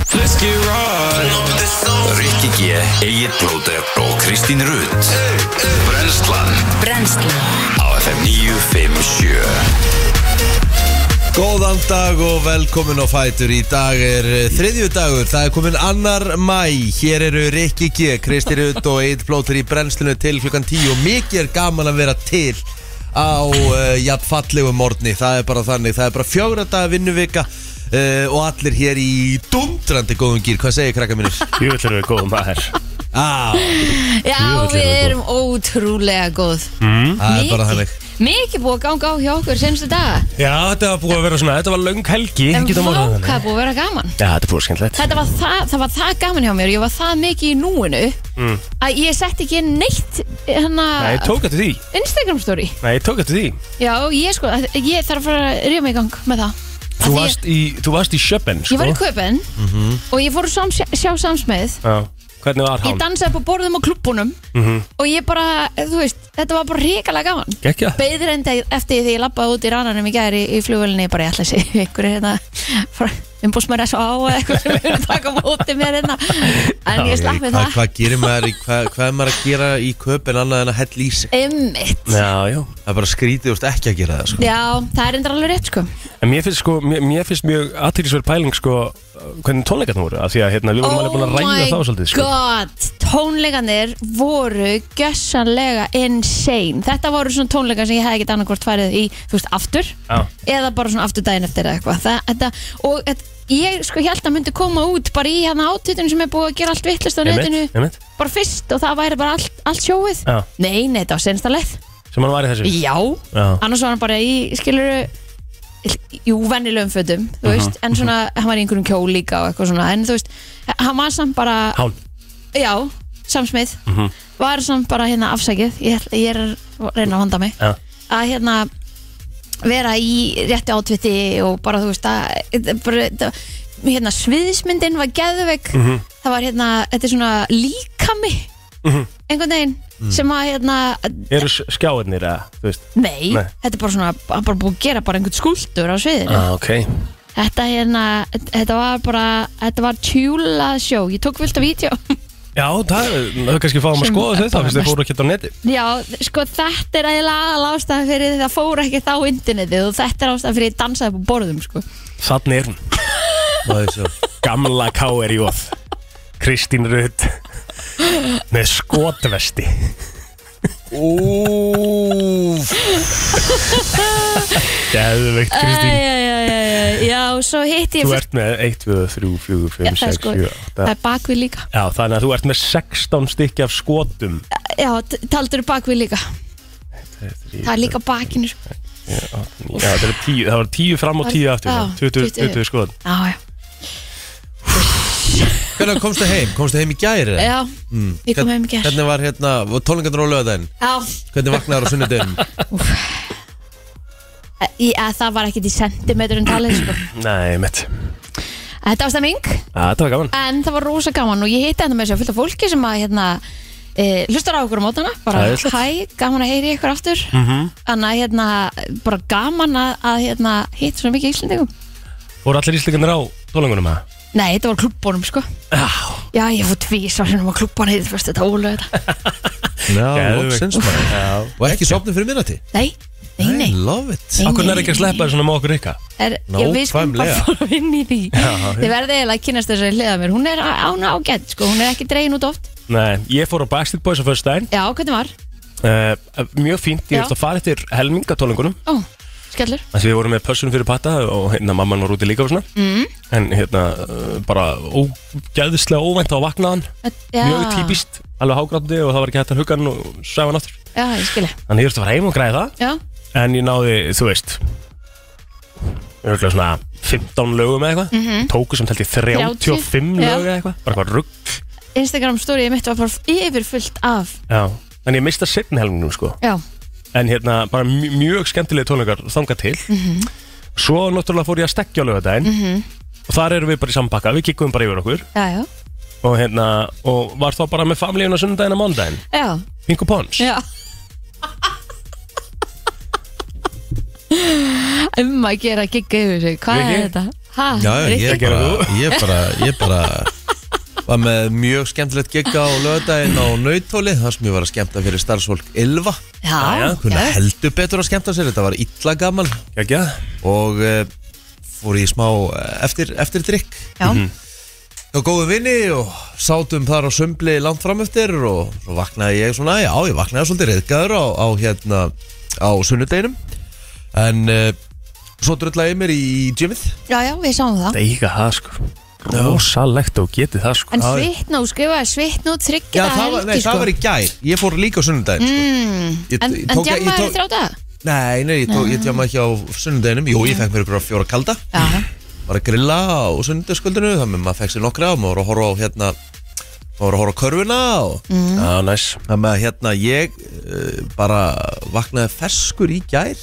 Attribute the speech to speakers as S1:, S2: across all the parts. S1: Let's get right Rikki G, Egil Blóter og Kristín Rutt Brenslan
S2: Brennslan
S1: á FM 957
S3: Góðan dag og velkomin á Fætur Í dag er eh, þriðju dagur Það er komin annar mæ Hér eru Rikki G, Kristi Rutt og Eitt Blóttur í brennslinu til klukkan 10 Og mikið er gaman að vera til Á uh, jafn fallegu morgni Það er bara þannig, það er bara fjögra daga vinnuvika uh, Og allir hér í Dundrandi góðum gýr, hvað segir krakka mínir?
S4: Jú, þetta eru góð maður
S3: Á,
S2: Já,
S4: Jú,
S2: við
S4: þetta er
S2: erum ótrúlega góð
S3: það er bara
S2: Mikið-
S3: þannig
S2: Mikið búið að ganga á hjá okkur senstu daga
S4: Já, þetta var búið að vera svona, þetta var löng helgi
S2: En
S4: ekki það morgun
S2: váka
S4: þannig.
S2: búið að vera gaman
S4: Já, þetta er búið skemmtilegt
S2: Þetta var það, það var það gaman hjá mér Ég var það mikið í núinu Að ég sett ekki inn neitt hana,
S4: Nei,
S5: Ah.
S4: ég tók eftir því
S2: Ah, Instagram story
S4: Nei, ég tók eftir því
S2: Já, ég sko, ég þarf að fara að ríða mig í gang með það Af
S4: Þú
S2: því
S4: varst í, þú varst í
S2: Ég,
S4: sjöppen,
S2: ég
S4: sko
S2: var í köpen Og ég fór að sám, sjá samsmeð
S4: Já, hvernig var Mhm.
S2: Ég
S4: hann?
S2: dansaði upp á borðum á klubbunum Og ég bara, þú veist, þetta var bara ríkalega gaman
S4: Gekja
S2: beður enda eftir því ég lappaði út í rannanum í gæri í flugvölinni bara ég ætla að sé einhverju hérna umbúsmæri að svo á eða eitthvað sem er að taka á móti mér hérna en ég slapp við
S3: Hvað,
S2: það
S3: hvað gerir maður, í, hvað, hvað er maður að gera í köpinn annað en að hell í sig?
S2: Einmitt.
S4: Já, já
S3: Það er bara skrítið úrst ekki að gera það sko.
S2: Já, það er endur alveg rétt sko
S4: En mér finnst sko, mér, mér finnst mjög aðtýrisverð pæling sko Hvernig tónleikarnir voru, af því að hérna, við vorum alveg búin að ræða þá svolítið sko
S2: Oh god, tónleikanir voru gjössanlega insane Þetta voru svona tónleikar sem ég hefði ekkert annarkvort farið í, þú veist, aftur
S4: Já,
S2: eða bara svona aftur daginn eftir eða eitthvað Það- þetta, og þetta, ég sko held að myndi koma út bara í hérna átutinu sem er búið að gera allt vittlust á netinu
S4: einmitt, einmitt
S2: bara fyrst og það væri bara allt, allt sjóið
S4: Já,
S2: Nei, nei, þetta var sensta leið
S4: sem hann var í þessu
S2: Já,
S4: Já,
S2: annars var hann bara í, skilur Jú, vennilegum fötum, þú veist En svona, hann var í einhverjum kjól líka og eitthvað svona En þú veist, hann var samt bara
S4: hán
S2: Já, samsmið mm Var samt bara hérna afsækið Ég, ætla- ég er að reyna að vanda mig
S4: Já.
S2: Að hérna vera í rétti átviti og bara þú veist að þetta bara, þetta- hérna sviðismyndin var geðveik það var hérna, þetta er svona líkami einhvern veginn sem að hérna,
S4: Eru s- skjáirnir eða, þú veist
S2: nei,
S4: Nei. Ah.
S2: þetta er bara svona hann bara búið að gera bara einhvern skúltur á sviðinu
S4: ok
S2: þetta hérna, þetta var bara þetta var tjúlað sjó, ég tók vilt af vídeo
S4: Já, það, það er kannski fáum að
S2: Sem
S4: skoða
S2: er
S4: þetta,
S2: bara
S4: fyrst þið
S2: mest-
S4: fóru ekki á neti
S2: Já, sko þetta er eiginlega aðal ástæðan fyrir því það fór ekki þá internetið og þetta er ástæðan fyrir ég dansaði upp á borðum sko.
S4: Þannig er hún
S3: Það er svo
S4: Gamla K.R.J. Kristín Rutt Með skotvesti
S3: Úf
S4: Geðveikt Kristín
S2: Æjæjæjæjæ, já, svo hitti ég
S4: Þú
S2: fyrst,
S4: ert um með 1, 2, 3, 4,
S2: Já, það
S4: 5,
S2: er
S4: 6,
S2: sko-
S4: 7,
S2: það
S4: 8
S2: er bakvið líka
S4: Já, þannig að þú ert með 16 stykki af skotum
S2: Já, t- taldur er bakvið líka, það er líka bakinu sko.
S4: Já, það, er 10, það var 10 fram og 10 aftur
S2: Já,
S4: 20,
S2: 20.
S4: 20 skot
S2: Já, já,
S3: Hvernig komstu heim? Komstu heim í gæri?
S2: já,
S4: Mm.
S2: ég kom heim í gerð
S3: Hvernig var hérna, tónlingarnir á lögadaginn?
S2: Já,
S3: Hvernig vaknaður á sunnudaginn?
S2: Í- að það var ekkert í sentimetrun talið sko.
S4: Nei, mitt
S2: Þetta var stemming,
S4: Það var gaman
S2: en það var rosa gaman og ég hitti enda með þessu fullt af fólki sem að hérna E, hlustar á okkur á mótana, bara
S4: Æðislegt.
S2: hæ, gaman að heyri ykkur aftur
S4: Mhm.
S2: Þannig að hérna, bara gaman að, að hérna, hitt svona mikið íslendingum
S4: Voru allir íslikanir á tólengunum að?
S2: Nei, þetta var klubbónum sko
S4: Já
S2: Já, ég fór tvís á sinum að klubbónu hitt fyrst þetta ólega þetta
S3: Já,
S4: Geðveikt.
S3: loksins maður
S4: Já
S3: Og ekki sopnið fyrir minnati?
S2: Nei, nei, nei
S3: I love it
S2: Nei,
S4: Akkur
S2: nei,
S4: er ekki að sleppa þér svona með okkur ykkar
S2: er, Já, við skulum bara
S3: Nákvæmlega.
S2: fóra inn í því Þið verðið eiginlega að kynast þess að hliða mér Hún er án ágætt sko, hún er ekki dregin út oft
S4: Nei, ég fór á Backstreet Boys á fyrst daginn
S2: Já, hvernig var?
S4: uh, Mjög fínt,
S2: Já.
S4: ég veist að fara eftir helmingatólengunum
S2: Ó, skellur
S4: Þannig að við vorum með pössun fyrir patta og hérna mamman var úti líka og svona mm. En hérna uh, bara ógæðislega óvænt á vaknaðan
S2: já,
S4: Mjög típist, alveg hágrátti og það var ekki hægt að hugga hann og sæfa hann aftur
S2: Já, ég skilja
S4: Þannig ég þurfti að fara heim og græða það
S2: Já,
S4: En ég náði, þú veist Örgulega svona 15 lögum eða eitthvað mm -hmm. Tóku sem telti 35
S2: 30, Mhm. já.
S4: lög eða eitthvað Bara eitthvað rugg
S2: Instagram story mitt var bara yfirfullt af
S4: Já En ég mista setni helmingnum sko
S2: Já,
S4: En hérna bara mj- mjög skemmtilegi tónleikar þangað til
S2: Mhm.
S4: Svo náttúrulega fór ég að stekja á lögadaginn Og þar erum við bara í sambakka Við kikkum bara yfir okkur
S2: já, já
S4: og hérna, og var þá bara með famlíun á sundaginn og mándaginn,
S2: Já,
S4: Pinko Pons
S2: já Um að gera gigga yfir sig Hvað
S4: Viki?
S2: er þetta? Ha,
S3: Já, já, ég
S2: Rikki?
S4: Ekki
S3: bara,
S4: að
S3: ég bara, ég bara var með mjög skemmtilegt gegga á lögadaginn á nautóli þar sem ég var að skemmta fyrir starfsfólk Ylva
S2: Já,
S4: já,
S3: Kunna
S2: já.
S3: heldur betur að skemmta sér, þetta var illa gaman
S4: Ekki að
S3: og uh, fór í smá eh, eftir, eftir drikk
S2: Já, Mhm.
S3: og góðu vinni og sátum þar á sömbli langt fram eftir og svo vaknaði ég svona, já ég vaknaði svolítið reyðgæður á, á hérna á sunnudeginum en uh, svo drullaði ég mér í gymið
S2: já, já, við sáum það
S4: Deyga það sko Rosalegt og getið það sko
S2: En svitna, þú skrifaði svitna og
S3: Já
S2: tryggja
S3: það var, nei,
S2: sko
S3: það var í gær, ég fór líka á sunnudegin mm, sko.
S2: En, en djammaði við þrjá daga?
S3: Nei, nei, ég, tók, ég tjáma ekki á sunnudeginum, jú ég fekk mér ykkur á fjóra kalda
S2: Já,
S3: var að grilla á sunnudagskvöldinu þannig að maður fekk sér nokkra og maður var að horfa á hérna maður var að horfa á körfuna og
S2: Mm.
S4: Já, næs
S3: Þannig að hérna ég uh, bara vaknaði ferskur í gær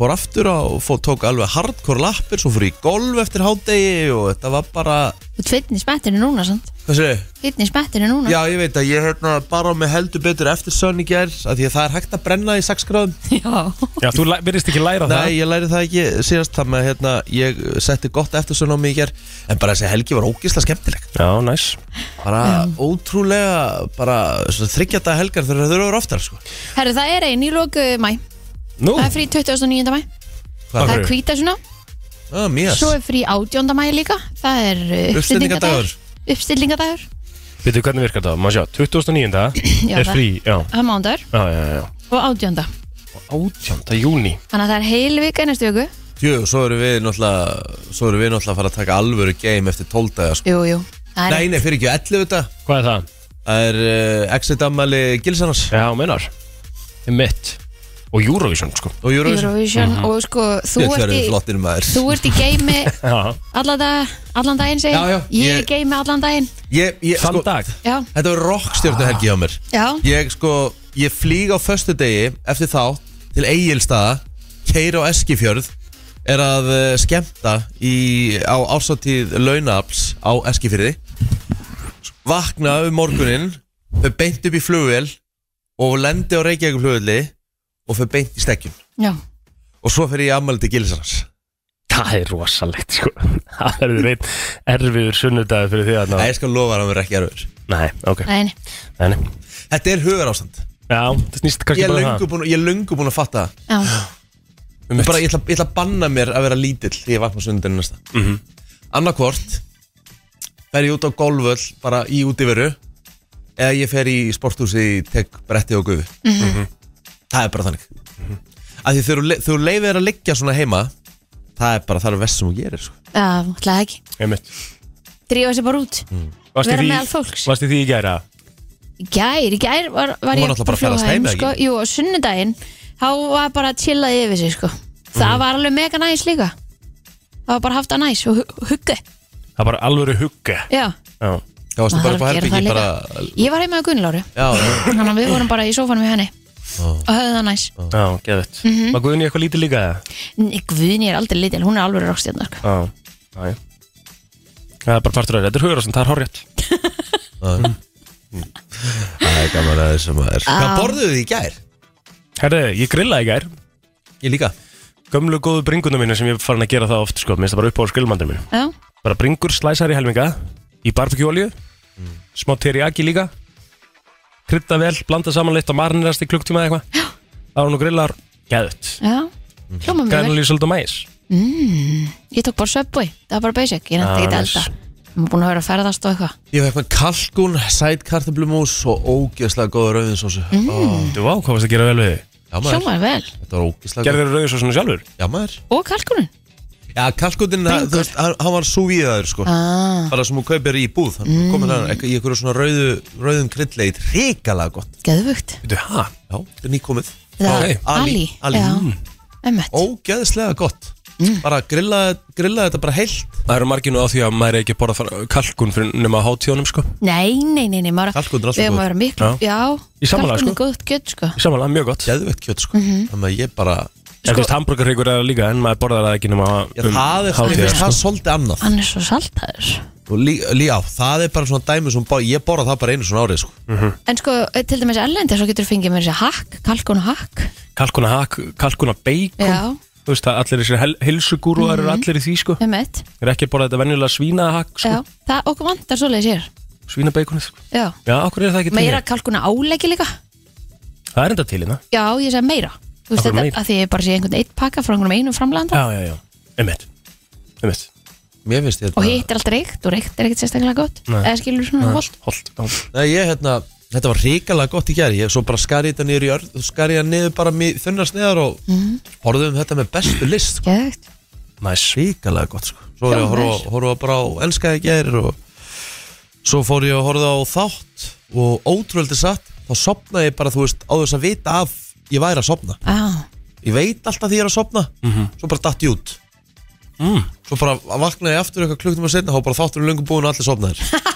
S3: fór aftur á, fór, tók alveg hardcore lappir svo fór ég í golf eftir hádegi og þetta var bara,
S2: þú tveitin í smettinu núna, sant?
S3: hvað séu?
S2: Tveitin í smettinu núna
S3: Já, ég veit að ég hérna bara á mig heldur betur eftir sönn í gær af því að það er hægt að brenna í 6 gráðum
S2: Já.
S4: Já, þú læ- virðist ekki læra það
S3: Nei, ég læri það ekki síðast þannig að hérna, ég setti gott eftir sönn á mig í gær en bara þessi helgi var ógisla skemmtileg
S4: Já, næs
S3: bara ótrúlega, bara þryggjata helgar þegar þau eru oftar sko.
S2: Herru, það er einn í lóku mæ
S4: Nú,
S2: Það er frí 29. mæ
S3: Hvað er
S2: Það er
S4: hverju?
S2: hvítasuna
S3: það? Mjög
S2: Svo er frí 18. mæ líka Það er uh,
S3: Uppstillingardagur.
S2: uppstillingardagur Uppstillingardagur
S4: veitu hvernig virkar það? Má sjá, 2009
S2: Já,
S4: er
S2: það-
S4: frí Já,
S2: Það er mándagur
S4: já, já, já
S2: og 18.
S4: Og 18. júni
S2: Þannig að það er heil vika í næstu viku
S3: Jú, svo erum við náttúrulega Svo erum við náttúrulega að fara að taka alvöru game eftir 12 daga sko.
S2: Jú, jú Það
S3: Nei,
S2: er
S3: nei, fyrir ekki 11 þetta
S4: Hvað er það?
S3: Það er uh, exit ammali Gilsarnas
S4: Já, meinar Mitt Og Eurovision, sko
S3: og Eurovision Mhm.
S2: Eurovision Og sko, þú
S3: Þetta
S2: ert
S3: verður
S2: í
S3: flottir maður
S2: Þú ert í geimi
S4: Já,
S2: allan, dag, allan daginn segir
S3: Já, já,
S2: Ég er
S3: ég-
S2: í geimi allan daginn
S3: ég, ég,
S4: þann
S3: sko,
S4: dag
S2: Já,
S3: Þetta var rockstjórnu helgi hjá mér
S2: já,
S3: Ég sko, ég flýg á föstudegi Eftir þá til Egilstaða Keir á Eskifjörð Er að uh, skemmta í, Á ásáttíð launaafls Á Eskifjörði Vakna um morgunin Fyrir beint upp í flugvél Og lendi á Reykjavík flugvéli Og fyrir beint í stekkjun
S2: já
S3: Og svo fyrir ég ammæli til Gilsarans
S4: Það er rosalegt, sko Það verður einn erfiður sunnudagur fyrir því að
S3: Það er sko lofa að hann verður ekki erfur
S4: Nei, ok
S2: Nei, nei.
S4: Nei, nei.
S3: Þetta er hugar ástand
S4: Já, það snýst
S3: Ég
S4: kannski
S3: er
S4: bara um
S3: löngu búinn- ég er löngu búin að fatta það
S2: já,
S4: það
S3: bara, ég, ætla, ég ætla að banna mér að vera lítill Því ég vakna sundinu næsta mm -hmm. Annarkvort Fer ég út á golföll bara í útiveru Eða ég fer í sporthúsi Tek bretti og gufi
S2: Mhm.
S3: Það er bara þannig mm Því þegar þú le- þegar þú leifir að liggja svona heima Það er bara það er vest sem þú gerir sko.
S2: já, ætlaði ekki
S4: Einmitt
S2: Drífa sér bara út
S3: Mm.
S4: Varstu í
S2: Vera
S4: því-
S2: meðal fólks.
S4: Varstu í því í gæra?
S2: Í gær, í gær var, var
S3: Hún var
S2: ég
S3: náttúrulega bara að ferðast heim,
S2: sko, Jú, á sunnudaginn þá var bara chillaði yfir sig sko.
S3: Mhm.
S2: það var alveg mega næs líka það var bara haft að næs og hu- huggu
S4: Það var alvöru hugge
S2: já,
S4: Já,
S3: Já, varstu
S2: maður
S3: bara
S2: þarf
S3: upp á
S2: að gera það
S3: herbyggi
S2: líka.
S3: bara,
S2: ég var heima á Gunnlóru
S3: já,
S2: þannig að við vorum bara í sófanum við henni og höfðu það næs
S4: já, geðvitt mm
S2: Mhm.
S4: Var Guðni eitthvað lítið líka það?
S2: Nei, Guðni er aldrei litil, hún er alveg rockstjarnar sko.
S4: Já, já, já Það er bara partur af þér. þetta er hugur og það er horrið
S3: Það er gaman aðeins sem maður
S2: Ah.
S3: Hvað borðuðu þið í gær?
S4: Herri, ég grillaði í gær
S3: Ég líka
S4: Gömlu góðu bringuna mínu sem ég er farin að gera það oft sko, minnst það bara upp á skilmandir mínu
S2: já,
S4: Bara bringur slæsar í helminga Í barbekjúolju Smá teriyaki líka Krydda vel, blanda saman litt og marnirast í klukktíma eða eitthvað Það var nú grillar, geðvitt
S2: já
S3: Mhm.
S2: hljóma mjög vel,
S4: Grænulíu svolítið mæs
S2: ég tók bara söpbúi það var bara basic, ég nætti
S4: Já,
S2: ekki að
S4: næs.
S2: elda maður er búin að vera að ferðast og eitthvað
S3: Ég fekk með kalkun, sætkartablumús og ógeðslega góða rauðinsósu mm.
S4: Þú vá, hvað varst að gera vel við þig?
S3: Já maður,
S2: hljóma vel,
S3: þetta var ógeðslega
S4: Gerðir rauðsósunu sjálfur?
S3: Já maður
S2: og kalkunum
S3: Já kalkunin, hann- þú veist, hann, hann var súvíðaður sko
S2: ah,
S3: Bara sem hún kaupir í búð Hann mm. komið hann í einhverju svona rauðu, rauðum krydleit Ríkalega gott
S2: geðvögt
S4: Þú, hæ?
S3: Já, þetta er nýkomið
S2: Það-
S3: Frá Ali, Ali.
S4: Mm.
S2: Já, emmett
S3: Ógeðslega gott Bara grillaði grilla þetta bara heilt
S4: Það eru margir nú á því að maður er ekki að borða fara- kalkun fyrir nema hátíðunum sko
S2: Nei, nei, nei, nei maður,
S3: Kalkun er alltaf
S2: Við erum
S3: góð.
S2: að vera miklu
S4: Já.
S2: Já,
S4: Í sammála,
S2: kalkun er
S4: sko.
S2: góð gött sko
S4: Samanlega mjög gott
S3: Geðveitt kjöt sko Þannig að ég bara
S4: En þú veist hambúrgarhyggur er það líka en maður borðar sko. það ekki nema
S3: Já, það er, mér
S4: Um, hátíðar
S3: finnst það
S4: sko.
S3: svolítið annað
S2: Hann er svo saltaður
S3: Og lí, lí, á, það er bara svona dæmi sem bá, ég borða það bara einu svona árið sko
S2: En sko, til dæmis erlendi Svo getur þú fengið mér þessi hakk, kalkun og hakk
S4: Kalkuna hakk, kalkuna bacon
S2: Já,
S4: Þú þú veist, það allir þessir hel hilsugúru mm eru allir í því, sko
S2: um eitt
S4: Ég er ekki að borða þetta venjulega svínahakk, sko,
S2: Já, það okkur vantar svoleiðis hér
S4: svínabeikonið sko.
S2: Já,
S4: Já, okkur er það ekki til
S2: meira
S4: hér?
S2: kalkuna áleggi líka
S4: Það er enda til hérna
S2: Já, ég segi meira Þú veist
S4: Af
S2: þetta,
S4: hverju meira?
S2: að því ég bara sé einhvern eitt pakka frá einhvern einum framlanda
S4: Já, já, já, einmitt Einmitt,
S3: Mér finnst hérna- þetta
S2: og hitt er alltaf reykt og reykt er ekkert sérstaklega gott
S4: Nei.
S2: eða skilur svona holt
S4: holt Já,
S3: Nei, ég, hérna, Þetta var hrikalega gott í gæri Ég svo bara skari þetta niður í örð Skari þetta niður bara mið- þunnar sneðar Og
S2: Mhm.
S3: horfðum þetta með bestu list sko.
S2: Geðvegt.
S4: næs
S3: Hrikalega gott sko. Svo er ég að
S2: Já,
S3: horfa, horfa bara á Elskaði gæri og Svo fór ég að horfa á þátt Og ótrúöldi satt Þá sopnaði ég bara, þú veist, á þess að vita af Ég væri að sopna
S2: Á,
S3: Ég veit alltaf því ég er að sopna Svo bara datt ég út
S4: mm.
S3: Svo bara vaknaði ég aftur eitthvað klukktum að setna Há bara þáttur löngu búin og allir sopnaðir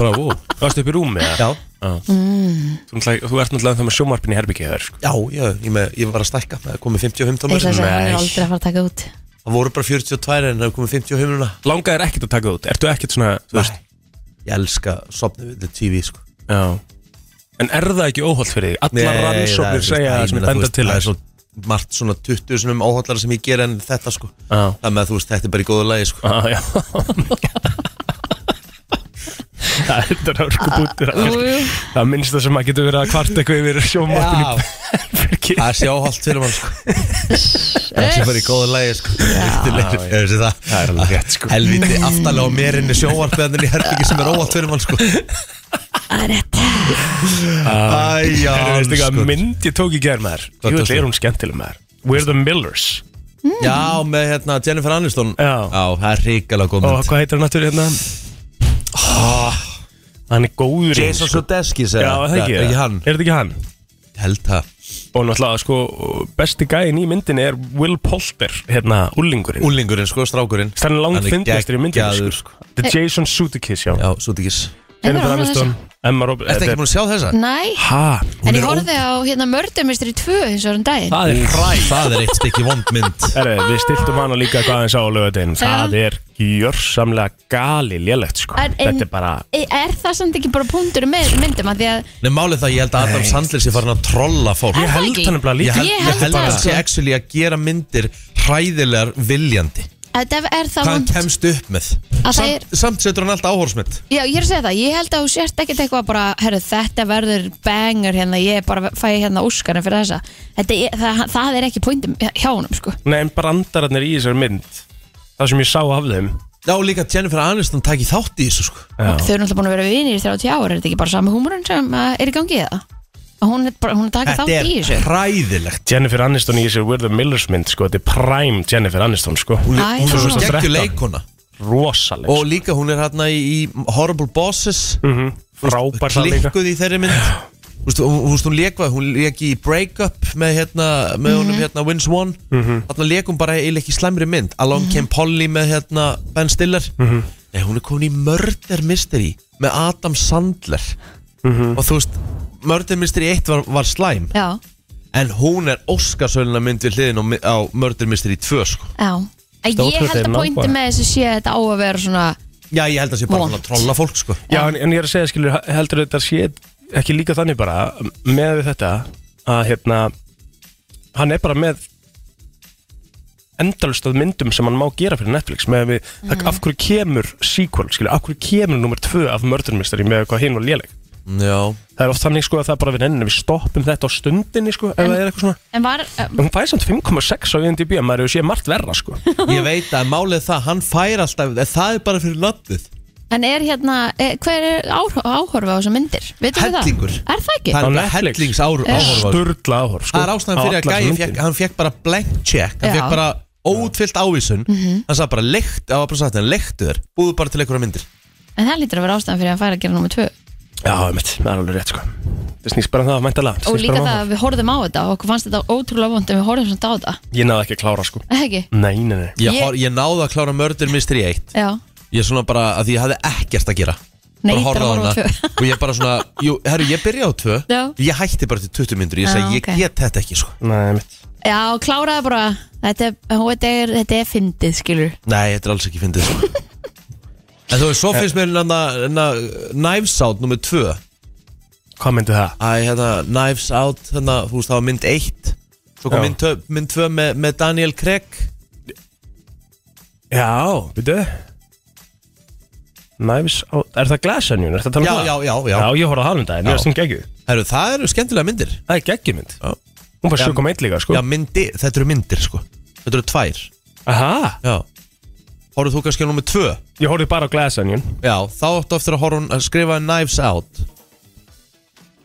S3: Bara, wow
S4: Varstu upp í rúmi, eða?
S3: Já,
S4: Þú, náttúrulega- þú ert náttúrulega það með sjómarpin í herbyggið sko.
S3: já, já ég, með, ég var að stækka Það er komið 55
S2: ég
S3: tómur
S2: ætla að segja, það er
S4: Nei.
S2: aldrei að fara að taka út
S3: Það voru bara 42 en það er komið 55 núna
S4: Langaðir ekkert að taka það út, ertu ekkert svona þú veist,
S3: Nei, ég elska sopnið við TV sko.
S4: Já En er það ekki óholt fyrir þig? Allar
S3: það er, þú
S4: rannsóknir
S3: veist,
S4: segja
S3: æ,
S4: það
S3: ég
S4: sem
S3: meina, þú
S4: benda
S3: veist,
S4: til
S3: Það er
S4: þess
S3: svo margt svona 20 sem áhaldara sem ég ger en þetta sko
S4: Já, Ah,
S3: Það með að þú veist, þetta er bara í góðu lagi sko
S4: já, já Það er þetta rörku búttir
S3: Ah.
S2: Jú, jú.
S4: Það minnst það sem maður getur verið að kvart eitthvað yfir
S3: Já,
S4: sjómarpin í herbyggið
S3: það er sjáhald fyrir mann sko Það sé bara í góðu lagi sko Virkilega, ég veist það.
S4: Það er alveg rétt, sko.
S3: Helviti aftalega á mér inn í sjóvarpeðaninn í herbyggi sem er óhald fyrir mann sko
S2: Það er rétt
S3: Æja,
S4: Það er
S3: sko.
S4: eitthvað mynd ég tók í gerð maður
S3: Hvað
S4: Jú,
S3: tókstu?
S4: þetta er hún skemmtileg maður We're the Millers
S3: Já, með hérna Jennifer Aniston
S4: Já.
S3: það er hrikalega góð
S4: Og
S3: mynd Ah.
S4: hvað heitir hann náttúrulega hérna? Hann er góður í henni,
S3: Jason
S4: sko.
S3: Sudeikis
S4: Já,
S3: eða?
S4: það er ekki
S3: Er
S4: það.
S3: ekki hann?
S4: Er þetta ekki hann?
S3: Ég Held það
S4: Og náttúrulega, sko, besti gæin í myndinni er Will Polter, hérna, úlingurinn
S3: Úlingurinn, sko, strákurinn
S4: Þannig er langt
S3: Hann er
S4: fyndastur í myndinni,
S3: geggjaður,
S4: sko The Jason Sudeikis, já
S3: Já, Sudeikis
S2: Nei, hún
S4: Jennifer
S2: er
S4: Aniston, Emma eh, Roberts
S3: Ertu ekki búin að sjá þessa?
S2: Nei,
S4: Hæ?
S2: en
S3: er
S2: ég horfði á hérna mördumistri 2 eins og hann daginn
S4: Það er hræ
S3: Það er eitt stykki vond mynd
S4: Herre, við stiltum hana líka hvað hann sá á lögadeginn Það er gjörsamlega gali lélegt sko
S2: En- en-
S4: Þetta er bara
S2: E- Er það samt ekki bara punktur með myndum að því að
S3: Nei, málið það, ég held að Adam Sandler sé farin að trolla fólk
S4: Ég
S2: það
S4: held
S2: ekki?
S4: hann bara
S3: Ég
S4: líka
S3: held,
S2: Ég
S3: ég
S2: held
S3: held
S2: það,
S3: að hann sé
S2: sko.
S3: actually að gera myndir hræðilegar viljandi
S2: þetta er það
S3: Hvað hann
S2: vont
S3: kemst upp með
S2: Að það
S3: Samt, samt setur hann alltaf áhórsmynd
S2: Já, ég er að segja það, ég held að þú sért ekkert eitthvað bara, herru, þetta verður banger hérna, ég bara fæ hérna óskarinn fyrir þessa þetta, er- það, það er ekki pointum hjá honum, sko
S4: Nei en brandararnir í þessari mynd Það sem ég sá af þeim
S3: Já, og líka Jennifer Aniston taki þátt í þessu sko
S2: Þau eru náttúrulega búin að vera vinir í 30 ára, er þetta ekki bara sami húmurinn sem að er í gangi eða? Að hún er bara, hún er takað þátt í
S3: Þetta
S2: þessu
S3: er hræðilegt
S4: Jennifer Aniston í þessari We're the Millers mynd sko Þetta er prime Jennifer Aniston sko
S3: Hún
S2: Æ,
S3: er, hún
S2: já.
S3: er svo
S4: 2013.
S3: skeggjuleikona
S4: Rosaleg
S3: Og
S4: sko.
S3: líka hún er hérna í, í Horrible Bosses
S4: Mhm, Frábær það líka
S3: klikkuð í þeirri mynd Þú veist, hún, hún, hún lék hvað, hún lék í Break Up með hérna, með honum hérna Wins One, þarna lék hún bara eiginlega ekki í slæmri mynd, Along Came Polly með hérna Ben Stiller Nei, hún er komin í Murder Mystery með Adam Sandler og þú veist, Murder Mystery 1 var, var slæm,
S2: Já,
S3: en hún er Óskarsöluna mynd við hliðin á, mi- á Murder Mystery 2 sko.
S2: já En
S4: Stórt
S2: ég
S4: hluti
S2: held
S4: er
S2: að pointum
S4: nákvæm.
S2: með þessu sé að þetta á að vera svona
S3: Já, ég held að sé bara
S2: Vont.
S3: svona að trolla fólk sko.
S4: Já, en, en ég er að segja, skilur, heldur þetta sé ekki líka þannig bara, með við þetta að hérna hann er bara með endalust af myndum sem hann má gera fyrir Netflix með við,
S3: Mhm.
S4: mm. af hverju kemur sequel, skilur, af hverju kemur nummer tvö af Murder Mystery með hvað hinn var léleg
S3: Já,
S4: það er oft þannig sko að það er bara við nennum við stoppum þetta á stundinni sko, ef það er eitthvað svona
S2: En var, eh,
S4: en hún fæði samt 5,6 á IMDb að maður hefur séð margt verra sko
S3: ég veit að málið það, hann fær alltaf, það er bara fyrir nöfnið
S2: en er hérna, eh, hver er áhor- áhorfa á þessu myndir? Veitum við það?
S3: Hellingur.
S2: Er það ekki?
S3: Það er
S4: Á
S3: bara
S4: Netflix.
S3: hellings áhorf á þessu.
S4: sturla áhorf sko
S3: Það er ástæðan
S4: á
S3: fyrir að
S4: allar
S3: gæði
S4: þessar
S3: fekk,
S4: myndir.
S3: hann fekk bara blank check Hann
S2: Já. Mhm.
S3: fekk bara óutfyllt ávísun Hann sagði bara leikt, það var bara sagt hann leiktu þér Búðu bara til einhverja myndir
S2: En það lítur að vera ástæðan fyrir að færa að gera nummer 2
S4: Já, einmitt, það er alveg rétt sko Það snýst bara um það að mæntalega
S2: Og líka það að við horfðum á þetta og okkur fannst þetta ótrúlega vond en við horfðum svona á þetta
S4: Ég náði ekki að klára sko
S2: Er það Ekki?
S4: Nei, nei, nei
S3: Ég,
S2: Ég-
S3: ég... ég náði að klára Murder Mystery 1
S2: Já
S3: Ég svona bara, að því ég hafði ekkert að gera
S2: Nei,
S3: Bara
S2: ég
S3: horfði
S2: bara
S3: á
S2: horfa á
S3: hana.
S2: tvö.
S3: Og ég bara svona, jú, herru, ég byrja á tvö
S2: Já.
S3: Ég hætti bara til 20 myndur Ég
S2: Já,
S3: sagði, ég
S2: ok.
S3: get þetta ekki, sko
S4: Nei, einmitt
S2: Já, kláraði bara Þetta er, þetta er, þetta er fyndið, skilur
S3: Nei, þetta er alls ekki fyndið, sko En þú veist, svo finnst mér hérna- hérna Knives Out nummer 2
S4: Hvað myndi það?
S3: Æ, hérna, Knives Out, hérna, þú veist, það var mynd 1 Svo kom
S4: Já.
S3: mynd, tvö- mynd tvö með, með Daniel Craig
S4: Já, byrju Knives á, er það glasenjun? Er það talað
S3: Já,
S4: um það?
S3: já, já, já.
S4: Já, ég horfði á það um daginn, mér
S3: Já.
S4: finnst hún geggjuð
S3: Herru, það eru skemmtilega myndir
S4: Það er geggjumynd
S3: Já.
S4: Hún bara
S3: Já.
S4: sjökum eitt líka, sko
S3: Já, myndi, þetta eru myndir sko Þetta eru tvær
S4: Aha,
S3: Já Horfðu þú kannski á nummer tvö
S4: ég horfði bara á glasenjun
S3: Já, þá áttu eftir að horfa að skrifa Knives Out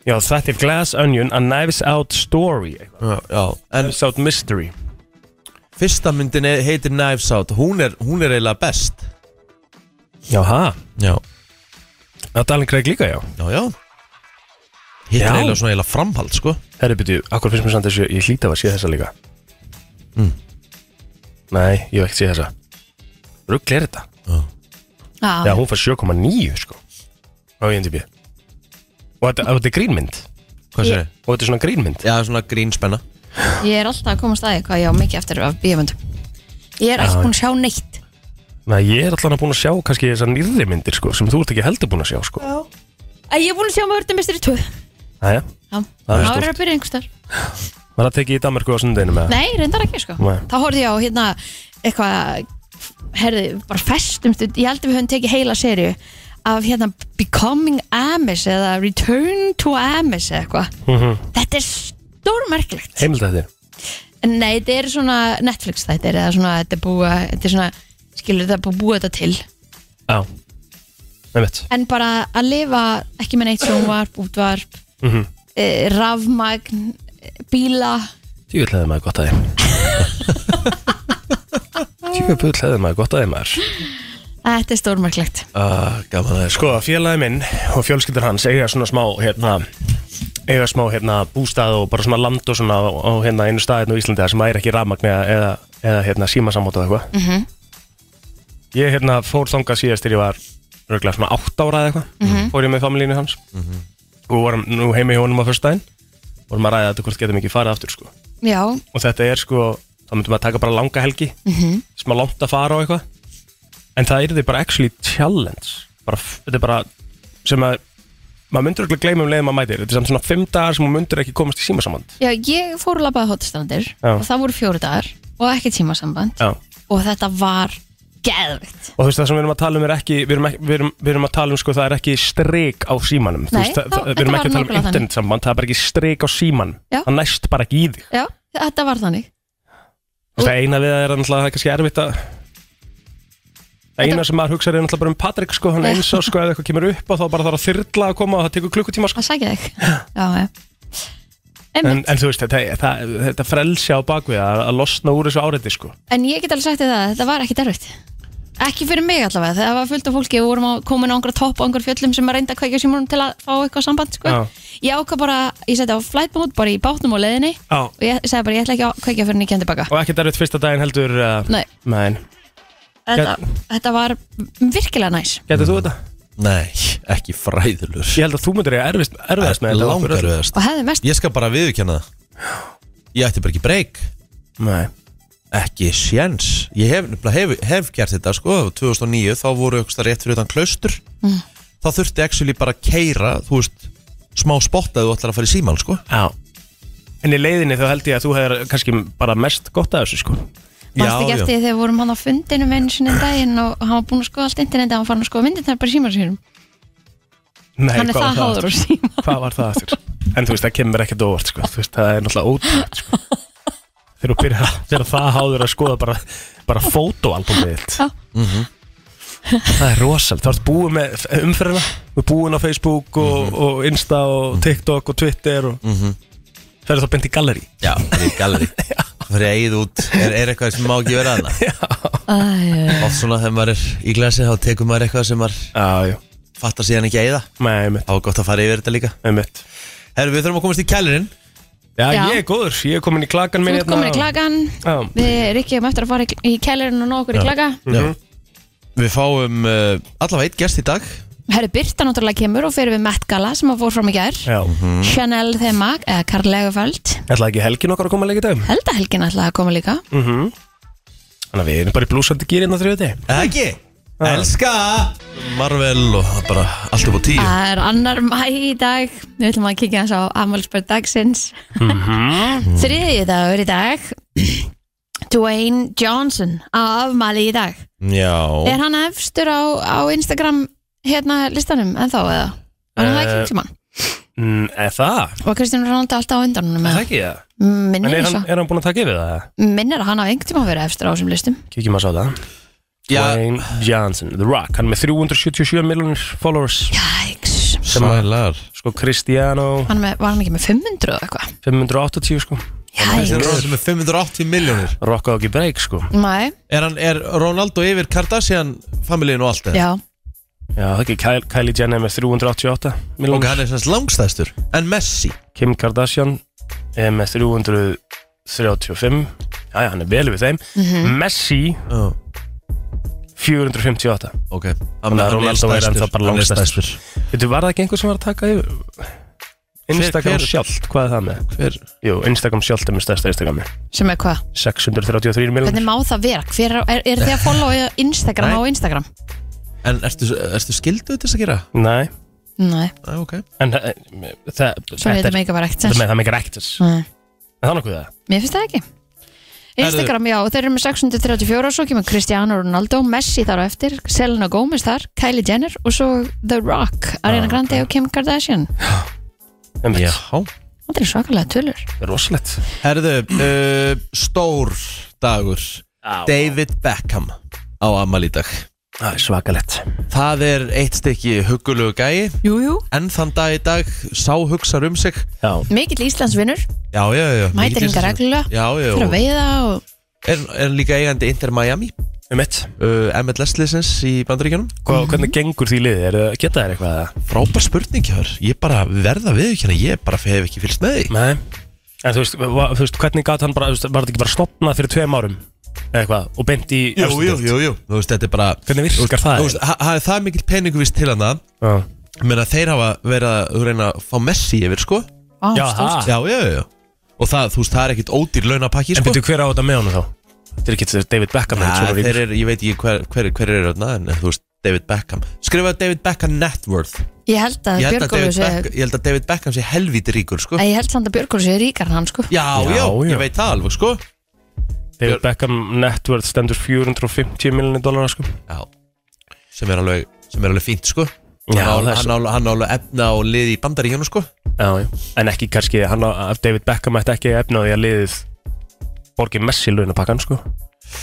S4: Já, þetta er Glass Onion, A Knives Out Story eitthvað.
S3: Já, já. En
S4: Knives Out Mystery
S3: fyrsta myndin er- heitir Knives Out Hún er, hún er eiginlega best
S4: Jaha,
S3: Já,
S4: það er Dalin Craig líka, já
S3: já, já Hitt er
S4: Já.
S3: eiginlega svona eiginlega framhald sko
S4: Herri, byrju, akkur finnst mér samt þessu, ég hlýta að sé þessa líka Mm. Nei, ég hef ekki sé þessa Rugl er þetta Já,
S2: Já,
S4: hún fær 7,9 sko á IMDb og þetta, og þetta er grínmynd
S3: Hvað sér
S2: Ég-
S3: ég?
S4: og þetta er svona grínmynd
S3: Já, svona grínspenna
S2: ég er alltaf að koma staði hvað ég á mikið eftir af bíomöndum Ég er ekki búin að sjá neitt
S4: Næ, ég er allan að búin að sjá kannski þessar nýrri myndir sko sem þú ert ekki heldur búin að sjá sko
S2: Æ, Ég er búin að sjá Mördumistri 2
S4: Næja,
S2: Já,
S4: Það er
S2: það
S4: stórt.
S2: verður að byrja einhver starf
S4: var það tekið í Danmarku á sundinu með
S2: Nei, reyndar ekki sko
S4: Nei.
S2: Þá horfði ég á hérna eitthvað herði, bara festumst ég held að við höfum tekið heila serju af hérna Becoming Amish eða Return to Amish eða eitthvað Þetta er stórmerkilegt
S4: heimildi þetta
S2: En Nei, þetta er svona Netflix þættir eða svona þetta er búa þetta er svona, skilur þetta er búið að búa þetta til
S4: Já, nefnt
S2: en bara að lifa ekki með neitt sjónvarp, útvarp
S4: mm -hmm.
S2: eh, rafmagn eh, bíla
S4: Tjúfull hefði maður gott að þeim Tjúfull hefði maður gott að þeim maður
S2: Þetta er stórmerkilegt
S3: ah, Gaman að
S4: Sko, félagi minn og fjölskyldur hans eiga svona smá, hérna eiga smá, hérna, bústað og bara svona land og svona á, hérna, einu stað hérna á Íslandi þar sem væri ekki rafmagn eða, eða, eða hérna, símasamót og eitthvað
S2: Mhm.
S4: Ég, hérna, fór þangað síðast þegar ég var röglega svona átt ára eða eitthvað fór ég með familínu hans
S3: Mhm.
S4: og vorum nú heimi hjá honum á föstudaginn vorum að ræða þetta hvort getum ekki farið aftur, sko
S2: Já,
S4: og þetta er, sko, þá myndum við að taka bara langa helgi
S2: mhm,
S4: sem að langt að fara og eitthvað en það er því bara actually challenge bara, f- þetta er bara sem að maður myndur ekki að gleyma um leiðum að mætir þetta er samt svona fimm dagar sem maður myndur ekki komast í símasamband
S2: Já, ég fór að labbaða hotstrandir
S4: Já.
S2: og það voru fjóru dagar og ekki tímasamband
S4: Já. og
S2: og þetta var geðvitt.
S4: þú veist það sem við erum að tala um er ekki við erum, ekki, við erum, við erum að tala um sko það er ekki streik á símanum Þú
S2: Nei,
S4: veist, það,
S2: þá-
S4: það, við
S2: þetta
S4: erum
S2: var
S4: ekki að tala um
S2: nákvæmlega þannig.
S4: internetsamband það er bara ekki streik á símanum
S2: Já.
S4: það næst bara ekki í þig
S2: Já, þetta var þannig.
S4: Þú veist, það eina við það er náttúrulega það er kannski erfitt að Það eina sem maður hugsa er náttúrulega bara um Patrik sko, hann
S2: Já.
S4: eins og sko, ef eitthvað kemur upp og þá bara þarf að þyrla að koma og það tekur klukkutíma sko.
S2: Það sækja þig. Já, já.
S4: en,
S2: En,
S4: en þú veist, þetta, það, þetta frelsja á bakvið að, að losna úr þessu áreiti sko.
S2: en ég get alveg sagt þér það, þetta var ekki derfitt. Ekki fyrir mig allavega, það var fullt af fólki og vorum á, komin á einhverja topp og einhverja fjöllum sem að reynda að kveikja símónum til að fá eitthvað samband, sko.
S4: Já.
S2: Ég ákvað bara, ég seti á flight mode bara í bátnum og leiðinni
S4: Já.
S2: og ég sagði bara, ég ætla ekki að kveikja fyrir nýkjandi baka.
S4: og ekki derfitt fyrsta daginn heldur uh,
S2: Nei,
S4: menn,
S2: þetta, þetta var virkilega næs.
S4: getur þú þetta?
S3: Nei, ekki fræðilur
S4: Ég held að þú myndir eiga erfist, erfiðast með þetta
S3: Langar
S4: okkur öll.
S3: viðast
S2: Og hefði mest
S3: Ég skal bara viðurkenna það Ég ætti bara ekki breyk
S4: Nei.
S3: Ekki séns Ég hef, nefnilega hef, hef gert þetta sko 2009 þá voru ykkur rétt fyrir utan klaustur
S2: Mm.
S3: Þá þurfti actually bara að keira Þú veist, smá spotta ef Þú ætlar að fara í símann sko
S4: Já. en í leiðinni þá held ég að þú hefur kannski bara mest gott af þessu sko.
S2: Manstu ekki eftir því þegar við vorum hann á fundinum einu sinni um daginn og hann var búinn að skoða allt interneti og hann fann að skoða myndirnar bara í símar sérum
S4: Nei,
S2: Hann er
S4: hvað
S2: það
S4: var
S2: háður
S4: aftur?
S2: úr síma
S4: hvað var það aftur? en þú veist, það kemur ekkert óvart sko. þú veist, það er náttúrulega ótrúlega sko. þegar þú byrjar að- þegar það háður að skoða bara, bara fotoalbumið þitt
S2: Já.
S4: Mhm. það er rosal, þú ert búið með umferðina þú ert búin á Facebook og, og Insta og TikTok og Twitter og það er þá beint í galleri
S3: Já, það er í galleri Það er eigið út Er, er eitthvað sem má ekki vera hana
S2: Æ,
S3: Oft svona þegar maður er í glasi Þá tekur maður eitthvað sem maður
S4: já, já,
S3: fattar síðan ekki eigið
S4: með mitt,
S3: Þá er gott að fara yfir þetta líka
S4: með mitt
S3: Herru, við þurfum að komast í kælirinn
S4: já,
S2: Já.
S4: ég er góður, ég er komin í klakan
S2: Þú
S4: minn
S2: ert komin í klagan
S4: já,
S2: Við ríkjum eftir að fara í- í kellerinn og ná okkur í klaga
S3: Já. Við fáum uh, allavega eitt gest í dag
S2: Herri Birta náttúrulega kemur og fyrir við Met Gala sem að fór fram í gær
S4: já.
S2: Chanel þema, eða Karl Lagerfeld
S4: ætlaði ekki helgin okkar að koma að leika í dag
S2: Held að helgin ætlaði að koma líka
S4: þannig að við erum bara í blúsandi gýrin hérna á þriðið
S3: Eða ekki? Elska Marvel og bara allt upp á tíu
S2: Það er annar mæ í dag Við ætlum að kikja hans á afmælspörð dagsins Þriðið dagur í dag Dwayne Johnson á afmæli í dag
S3: Já
S2: Er hann efstur á, á Instagram hérna listanum en þá eða? Var hann það ekki
S4: Eh,
S2: sem hann?
S4: Mm, er það?
S2: Var Kristján Rónaldi alltaf á undan
S4: Er
S2: honum?
S4: það ekki það? En
S2: Minnir
S4: er hann,
S2: svo
S4: er hann búin að taka yfir það?
S2: Minnir að hann á einhvern tíma að vera efstur á þessum listum
S4: Kíkjum að sá það
S3: Já,
S4: Dwayne Johnson, The Rock Hann er með 377 milljónir followers
S2: Jæks
S4: Sem að,
S3: sælar
S4: sko, Cristiano
S2: hann með, Var hann ekki með 500 og eitthvað?
S4: 580, sko
S3: Þessi er
S2: Jæks
S3: Ronaldo með 580 miljónir
S4: Rockaði ekki breyk, sko
S2: Mæ,
S3: Er, hann- er Ronaldo yfir Kardashian familíin og allt það?
S2: já
S4: Já, það ekki, Kylie, Kylie Jenner er með 388
S3: Ok,
S4: milljónir
S3: hann er semst langstæstur En Messi
S4: Kim Kardashian er með 335 Já, já, hann er vel við þeim Messi
S3: oh.
S4: 458
S3: Ok, hann,
S4: Þannig að Ronaldo er ennþá bara
S3: hann er
S4: langstærstur. Veitu, var það ekki einhver sem var að taka yfir? Instagram
S3: hver-
S4: sjálft, hvað er það með?
S3: Hver?
S4: Jú, Instagram sjálft er með stærsta Instagrami
S2: Sem er hvað?
S4: 633
S2: Hvernig
S4: miljonir
S2: má það vera? Hver er, er, er þið að followa Instagram
S3: Nei.
S2: á Instagram?
S3: En ertu, ertu skilduð til þess að gera?
S4: Nei,
S2: Nei,
S3: Æ, ok
S4: en eh, það
S2: svo
S4: þetta
S2: veitum
S4: er-
S2: við ekki bara ekkert
S4: þetta
S2: sens.
S4: með- það mikið rektis
S2: Nei,
S4: Það er nokkuð það
S2: Mér finnst það ekki Instagram, já, þeir eru með 634 og svo kemur Cristiano Ronaldo, Messi þar á eftir Selena Gomez þar, Kylie Jenner og svo The Rock,
S3: Ah,
S2: Ariana Grande og Kim Kardashian
S4: Einmitt.
S3: Já
S2: Það er svakalega tölur
S4: Það er rosalegt
S3: Herðu, uh, stór dagur David Beckham á amal í dag
S4: Það er svakalegt
S3: Það er eitt stykki huggulegu gæi
S2: Jú, jú
S3: En þann dag í dag sá hugsar um sig
S4: Já,
S2: Mikill Íslandsvinnur,
S3: Já, já, já
S2: mætir
S3: Mikið-
S2: hinga reglulega
S3: Já, já,
S2: fyrir
S3: já
S2: að veiða og
S3: Er, er líka eigandi Inter Miami
S4: um mitt
S3: uh, MLS-lisens í bandaríkjunum
S4: Hvernig gengur því liðið? Er, geta þær eitthvað? eða?
S3: Frábær spurning hjá þér Ég bara verða við ekki hérna Ég bara hef ekki fylgst með því
S4: Nei En þú veist, va, þú veist hvernig gat hann bara þú veist, Var þetta ekki bara stopnað fyrir tveim árum? Eða eitthvað, og beint í efstu deild?
S3: jú, jú Þú veist, þetta er bara
S4: Hvernig
S3: Þú
S4: virkar
S3: veist,
S4: það?
S3: þú veist, ha- ha- það er mikill peningu vist til hann
S4: Já.
S3: Menna þeir hafa verið að reyna að fá Messi yfir sko
S2: á,
S4: Já,
S2: stórt.
S4: það
S3: Já, já, já, já Og það, þú veist, það er ekkit ódýr launapakki
S4: En
S3: sko
S4: betur hver á þetta með honum þá? Þetta er ekki þetta er David Beckham
S3: Ja,
S4: er svona
S3: þeir
S4: ríkur.
S3: er, ég veit ekki hver, hver, hver er þarna En þú veist, David Beckham Skrifaðu David Beckham net worth
S2: Ég held að
S3: ég held, að
S2: Björgólu
S3: David
S2: sé
S3: Beckham, ég held að David Beckham sé helvíti ríkur sko
S2: Æ,
S3: Já,
S2: Ég held samt að Björgólu sé ríkar en hann sko
S3: já,
S4: Já, já.
S3: ég veit það alveg sko
S4: David Beckham net worth stendur 450 miljonir dólarar sko
S3: Já, sem er alveg, sem er alveg fínt sko
S4: Já,
S3: Hann
S4: það
S3: á-
S4: er
S3: hann á- hann á alveg efna og liði í bandaríkjónu sko
S4: Já, já. En ekki kannski, hann á, ef David Beckham ætti ekki efna á því að liðið borgi Messi launapakkan, sko.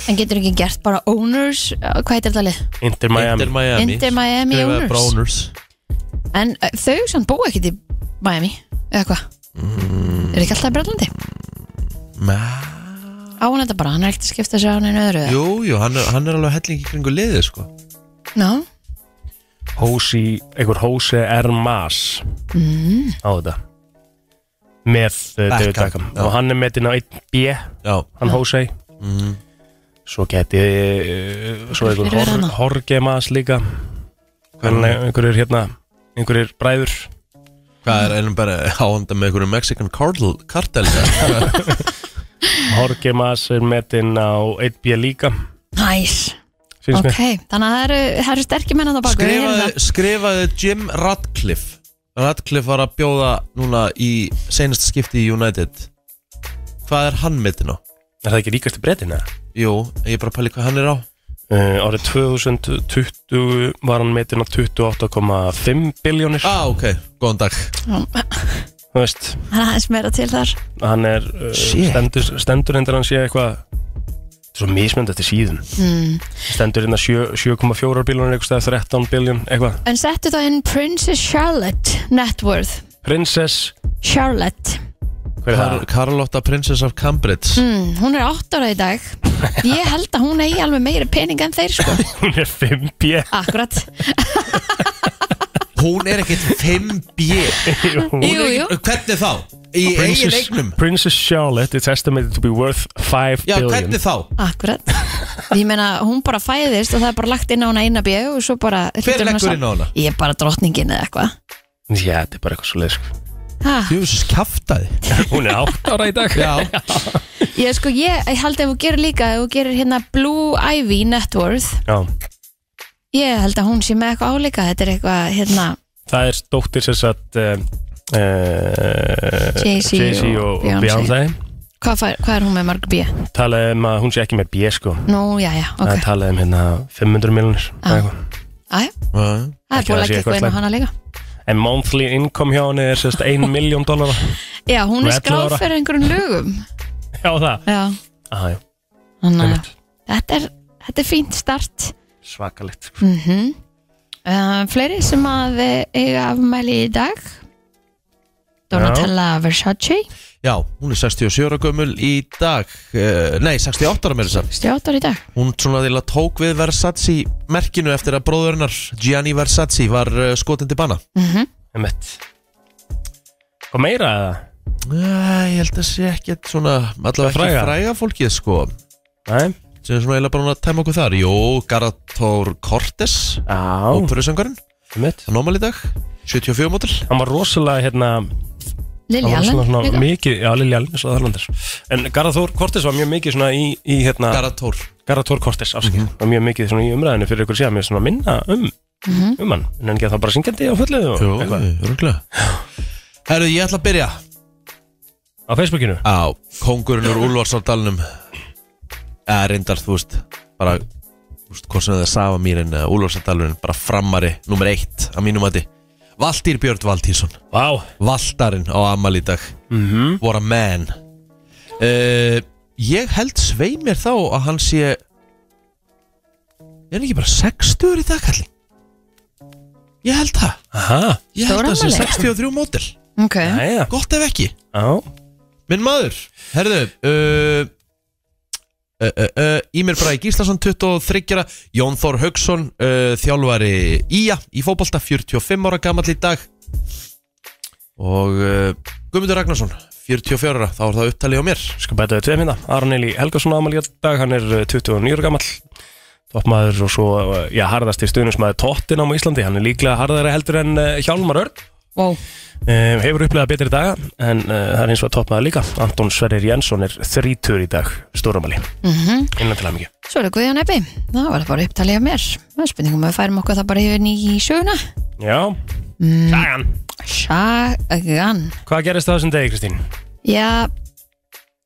S2: En getur ekki gert bara owners uh, Hvað heitir þetta lið?
S4: Inter Miami.
S3: Inter Miami
S2: Inter Miami
S3: Skrifaðu
S2: owners.
S3: bara owners
S2: En uh, þau sem búa ekkert í Miami Eða hvað?
S3: Mm.
S2: Er ekki alltaf í Breitlandi?
S3: Ma-
S2: Á hann þetta bara, hann er ekkert að skipta sér á hann einu öðru eða?
S3: Jú, jú, hann er, hann er alveg hellingi kringu liðið sko
S2: Ná,
S4: Hósi, einhver Hósi Ermas mm. á þetta. Með uh, David
S3: Beckham,
S4: Beckham.
S3: já.
S4: Og hann er metinn á 1B,
S3: Já,
S4: hann Hósi.
S3: Mhm.
S4: Svo geti, uh, svo
S2: Hver
S4: einhver
S2: er hann?
S4: Hor Horge Mas líka.
S3: Mm.
S4: Hvernig einhverjir hérna, einhverjir bræður.
S3: hvað er einum bara áhanda með einhverjum Mexican cartel, cartel
S4: Horge Mas er metinn á 1B líka,
S2: næs
S4: finnst
S2: Ok, þannig að það eru, það eru sterkir menn að það baka
S3: skrifaði, skrifaði Jim Radcliffe Radcliffe var að bjóða núna í seinasta skipti í United Hvað er hann mittin á?
S4: mér. Er það ekki ríkasti breytin, eða?
S3: Jú, ég er bara að pæli hvað hann er á
S4: Uh, árið 2020 var hann metin á 28,5 biljónir
S3: Ah, ok, góðan dag
S4: Þú veist,
S2: Það er aðeins meira til þar
S4: hann er uh,
S3: Shit.
S4: stendur, stendur hendur hann sé eitthvað þetta er svo mismönd eftir síðun
S3: Hmm.
S2: mm.
S4: stendur hérna 7 7,4 biljónir eitthvað stað, 13 biljón eitthvað
S2: En settu þá inn Princess Charlotte net worth
S4: Princess,
S2: Charlotte
S4: hver er
S3: Kar
S4: það?
S3: Carlotta Princess of Cambridge
S2: mm, Hún er 8 ára í dag Ég held að hún eigi alveg meiri pening en þeir sko
S4: Hún er 5B
S2: Akkurat
S3: Hún er ekkit 5B
S2: Jú, jú
S3: Hvernig þá? Í eigin
S4: Princess,
S3: leiknum?
S4: Princess Charlotte is estimated to be worth 5
S3: Já,
S4: billion
S3: hvernig þá?
S2: Akkurat Ég meina, hún bara fæðist og það er bara lagt inn á hana eina bjöð og svo bara hlýtur hún að
S3: leggur
S2: sam-
S3: inn á hana?
S2: Ég er bara drottningin eða eitthvað
S4: Já, þetta er bara eitthvað svo leið
S2: Ha,
S3: Júsus, kjaftaði
S4: Hún er 8 ára í dag
S3: Já,
S2: Ég sko, ég, ég held að ef þú gerir líka ef þú gerir hérna Blue Ivy Net Worth
S4: Já.
S2: Ég held að hún sé með eitthvað álíka Þetta er eitthvað, hérna,
S4: Það er dóttir sem sagt uh, uh,
S2: Jay-Z og
S4: og, og Beyoncé
S2: Beyoncé. hvað, fær, hvað er hún með marg bíja?
S4: Talaði um að hún sé ekki með B sko
S2: Nú, já, já,
S4: Það
S2: ok Ah.
S4: talaði um hérna 500 miljonir
S2: Já. Æja,
S3: Já,
S2: það er
S4: Ekki
S2: búið að
S4: að það sé
S2: leggja eitthvað inn
S4: eitthvað
S2: á hana líka
S4: En monthly income hjá henni er sérst 1 miljón dollara
S2: Já, hún
S4: Hún
S2: er
S4: er 11
S2: skráð
S4: ára.
S2: fyrir einhverjum lögum
S4: Já það
S2: Já,
S4: Aha, já,
S2: þannig að
S4: einmitt.
S2: þetta er, þetta er fínt start
S4: Svakalegt sko.
S2: mm uh, Fleiri sem að eh, eiga afmæli í dag Donatella Versace
S3: Já, hún er 67 ára gömul í dag uh, Nei, 68 ára með þess að
S2: Stjóttar í dag
S3: Hún svona til að tók við Versace merkinu eftir að bróðurinnar Gianni Versace var uh, skotin til banna
S4: Einmitt. Hvað meira eða?
S3: Æ, Ég held að sé ekkert svona allavega ekki fræga,
S4: Fræga?
S3: fólkið sko
S4: Nei
S3: sem er svona eiginlega bara hún að tæma okkur þar Jó, Garator Cortes
S4: Já,
S3: óperusöngarinn,
S4: einmitt
S3: það nómal í dag 74 mótil
S4: Hann var rosalega hérna
S2: Lili
S4: Það var
S2: Allen
S4: svona, svona
S2: líka.
S4: mikið, já Lili Allen, svo þarlandir En Garðar Þór Kortis var mjög mikið svona í, í hérna,
S3: Garator
S4: Garðar Þór Kortis, afskil Var mjög mikið svona í umræðinu fyrir ykkur síðan Mér svona minna um, um hann En hann ekki að það bara syngjandi á fullið og
S3: Jú,
S4: eitthvað
S3: örgulega Herru, ég ætla að byrja
S4: Á Facebookinu
S3: á Kongurinn úr Úlfarsdalnum eða reyndar, þú veist bara, þú veist, hvort sem það er Safa Mýrin eða Úlfarsdalurinn, bara framari nummer eitt að mínum að þið Valtýr Björn Valtýrsson,
S4: Vá
S3: Valtarinn á Amal í dag
S4: mm
S3: What a man uh, Ég held svei mér þá að hann sé Er hann ekki bara 60 í dag, kallinn? Ég held það
S4: Aha,
S3: Ég held að það sé
S2: Stórafmæli.
S3: 63 mótil
S2: Ok,
S4: næja
S3: Gott ef ekki
S4: Já,
S3: Minn maður, herðu uh, uh, uh, uh, Ímir Bræk Gíslason 23 Jón Þór Haugsson uh, Þjálfari Ía í fótbolta 45 ára gamall í dag Og uh, Guðmundur Ragnarsson 44 ára, þá er það upptalið á mér
S4: skal bæta við tveim hérna Aron Eli Helgason ámæli í dag, hann er eh, 29 ára gamall Toppmaður og svo, eh, já, harðasti stuðnismæður Tottenham á Íslandi Hann er líklega harðari heldur en eh, Hjálmar Örn
S2: wow
S4: Um, hefur upplegað betri daga en uh, það er eins og að topmaða líka Anton Sverrir Jensson er þrítur í dag stórumali,
S2: mm
S4: innan til að mikið
S2: Svo er það Guðjón Ebbi, það var bara upptalið af mér. Það er spurningum að við færum okkur það bara yfir ný í söguna.
S4: Já, sagan
S2: Sagan.
S4: Hvað gerist það þessum degi, Kristín?
S2: Já,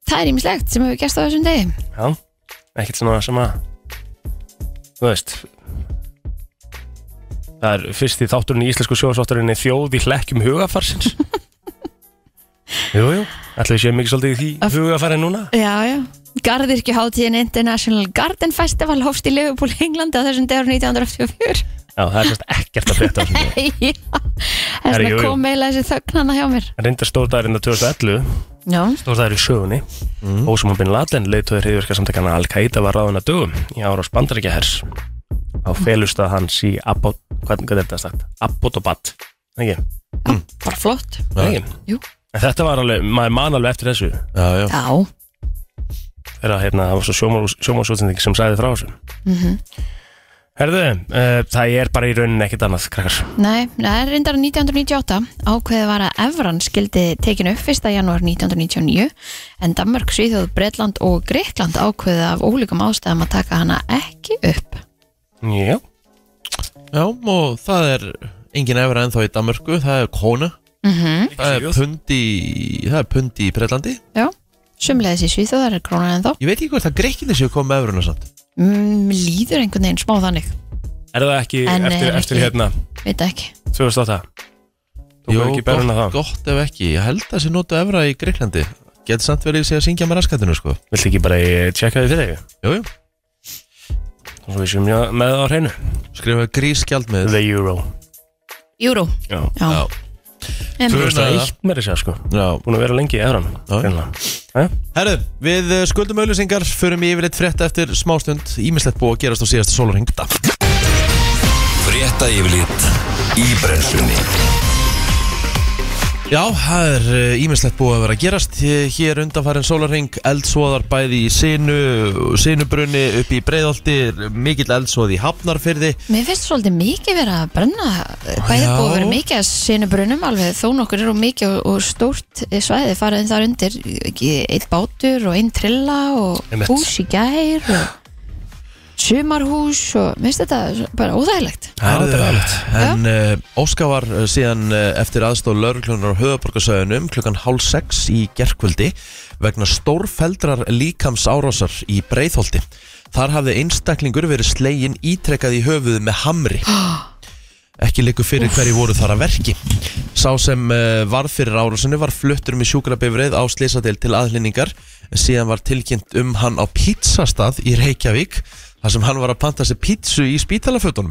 S2: það er ímislegt sem hefur gerst á þessum degi.
S4: Já, ekkert svona sem að þú veist það er fyrst í þátturinn í íslensku sjóðsátturinn þjóð í hlekkjum hugafarsins Jú, jú, ætli við séum mikið svolítið í því hugafarinn núna
S2: Já, já. Garðirkjuháttíðin International Garden Festival hófst í Liverpool, Englandi á þessum degur 1984.
S4: Já, það er sérst ekkert að frétta á þessum degi
S2: já, það er
S4: Herri, jú,
S2: svona
S4: jú.
S2: kom eiginlega þessi þögnana hjá mér.
S4: Reyndar stórdagarinn að 2011
S2: Já,
S4: Stór það er í sögunni mm. Ósama bin Laden leiðtóður hriðverka samtakana Al-Qaida var ráðin að dögum í árás bandaríkja hers á felustað hans í Abbot, hvað, hvað er þetta sagt? Abbotobat Nei, ekki,
S2: bara flott.
S4: nei, ekki.
S2: Jú.
S4: En þetta var alveg, maður man alveg eftir þessu
S3: Já, já,
S2: Já,
S4: þegar að, hérna, það var svo sjómálsútsending sem sagði frá þessu
S2: Mhm.
S4: Herðu, uh, það er bara í rauninni ekkert annað, krakkar
S2: nei, það er reyndar 1998. Ákveðið var að Evran skildi tekinu upp 1. janúar 1999 en Danmark, Svíþjóð, Bretland og Greikland ákveðið af ólíkum ástæðum að taka hana ekki upp.
S4: Já,
S3: já Og það er engin efra ennþá í Danmörku Það er kona Það er
S4: Svíþjóð.
S3: pundi, það er pundi í Breitlandi
S2: Já, sumleðis í Svíþjóð, það er krónan en þá.
S3: Ég veit ekki hvort að greikinni séu komið með efruna samt
S2: Mm, líður einhvern veginn smá þannig,
S4: er það ekki
S2: En
S4: eftir,
S2: er
S4: eftir
S2: ekki-
S4: hérna
S2: veit það ekki.
S4: 2008 Þú verður ekki berun að
S3: gott,
S4: það
S3: gott ef ekki Ég held að sé notu efra í Greiklandi Get samt verið að segja að syngja með raskatinu sko
S4: Viltu ekki bara eh, tjekka því fyrir þig?
S3: Jújú,
S4: Svo við séum já- með það á hreinu
S3: skrifa grískjald með
S4: The Euro
S2: Júrú,
S4: Já
S2: já.
S3: Já.
S2: En,
S3: Tvö-
S4: 2001 með þess að sko
S3: Já.
S4: Búin að vera lengi í Efran
S3: Já.
S4: Greinilega Eh?
S3: Herðu, við eh, skuldum auðlýsingar Förum í yfirleitt frétta eftir smástund Ímislegt búið að gerast á síðasta sólarhing
S1: Frétta yfirlit í brennslunni
S3: Já, það er eh, ímislegt búið að vera að gerast Eh, Hér undanfærin sólarhing Eldsvoðar bæði í sinu Sinubrunni upp í breiðolti Mikill eldsvoð í hafnarfyrði
S2: Mér finnst svolítið mikið verið að brenna bæði
S3: Já.
S2: búið að vera mikið að sinu brunum alveg þó nokkur eru mikið og- og stórt svæði farið þar undir ekki, einn bátur og einn trilla og
S4: Einmitt.
S2: hús í gær og sumarhús og minnst þetta svo- bara óþægilegt
S4: Já, þetta er alveg
S3: En uh, Óskar var uh, síðan uh, eftir aðstóð lauruglunar á höfuborgarsöðunum klukkan hálf sex í gerkvöldi vegna stórfeldrar líkams árásar í Breiðholti. Þar hafði einstaklingur verið slegin ítrekkað í höfuðu með hamri. Ekki leikur fyrir hverju voru þar að verki. Sá sem uh, varð fyrir árásinu var fluttur með sjúkrabifrið á slisadel til aðlinningar en síðan var tilkynnt um hann á pizzastað í Reykjavík þar sem hann var að panta sér pizzu í spítalafötunum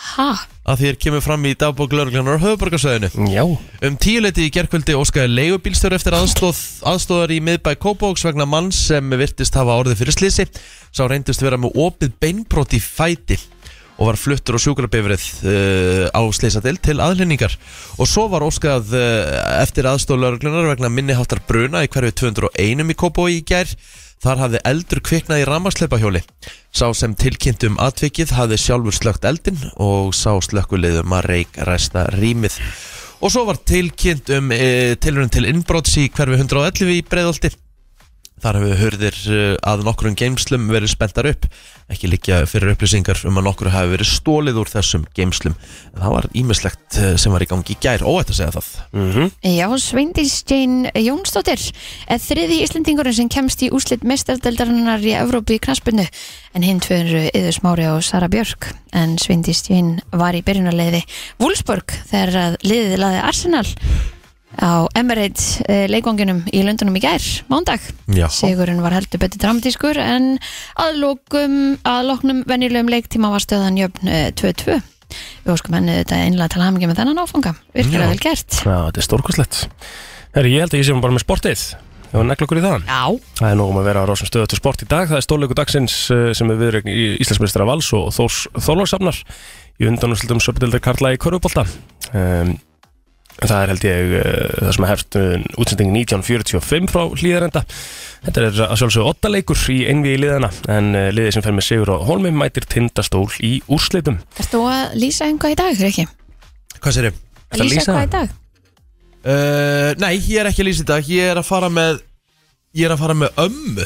S2: ha,
S3: að þér kemur fram í dagbók lauruglunar á höfuborgarsöðinu.
S4: Já,
S3: Um tíuleiti í gerkvöldi óskaði leigubílstjóri eftir aðstóð, aðstóðar í miðbæ Kópóks vegna manns sem virtist hafa orðið fyrir slisi. Sá reyndust vera með opið beinbrot í fæti og var fluttur á sjúkrabifrið uh, á slisadel til aðlendingar. Og svo var óskað uh, eftir aðstóð lauruglunar vegna minniháttar bruna í hverju 201 í Kópói í gær. Þar hafði eldur kviknað í rammarsleipahjóli. Sá sem tilkynnti um atvikið hafði sjálfur slögt eldin og sá slökkuleiðum að reik ræsta rýmið. Og svo var tilkynnt um e, tilurinn til innbróts í hverfi 111 í Breiðolti. Þar hefur hurðir eh, að nokkrum geimslum verið spenntar upp. Ekki líkja fyrir upplýsingar um að nokkur hafi verið stólið úr þessum geimslum. En Það var ímislegt eh, sem var í gangi í gær, óætt að segja það.
S4: Mhm.
S2: já, Sveindís Jane Jónsdóttir er þriði Íslendingurinn sem kemst í úslit mestardeldarinnar í Evrópu í knaspinu en hinn tvöður Yður Smári og Sara Björk en Sveindís Jane var í byrjunarleiði Wolfsburg þegar að liðið laði Arsenal á Emirates eh, leikvanginum í Lundunum í gær, mándag
S3: Já.
S2: Sigurinn var heldur betur dramatískur en að, lokum, að loknum venjulegum leiktíma var stöðan jöfn eh, 2-2 Við óskum henni þetta einlega til hamingi með þennan áfanga Virkilega
S3: Já.
S2: vel gert
S4: Já, þetta er stórkostlegt Herri, ég held að ég séum bara með sportið Ég var negla okkur í það
S2: Já,
S4: Það er nóg um að vera á rásum stöðu til sport í dag Það er stórleiku dagsins eh, sem er viðregn í Íslandsmeistara Vals og Þórs Þólarsafnar í undanúslutum söpdildar Karla í Körfubólta um, Það er held ég eh, það sem er hefst eh, útsending 1945 frá hlýðarenda Þetta er að sjálfsögðu åtta leikur í einvi í liðana en eh, liðið sem fer með Sigur og Holmi mætir tindastól í úrslitum
S2: ert þú að lýsa einhvað í dag, Riki?
S3: Hvað sér ég?
S4: Ertu að lýsa?
S2: hvað í dag?
S3: Uh, nei, ég er ekki að lýsa í dag. Ég er að fara með, ég er að fara með ömmu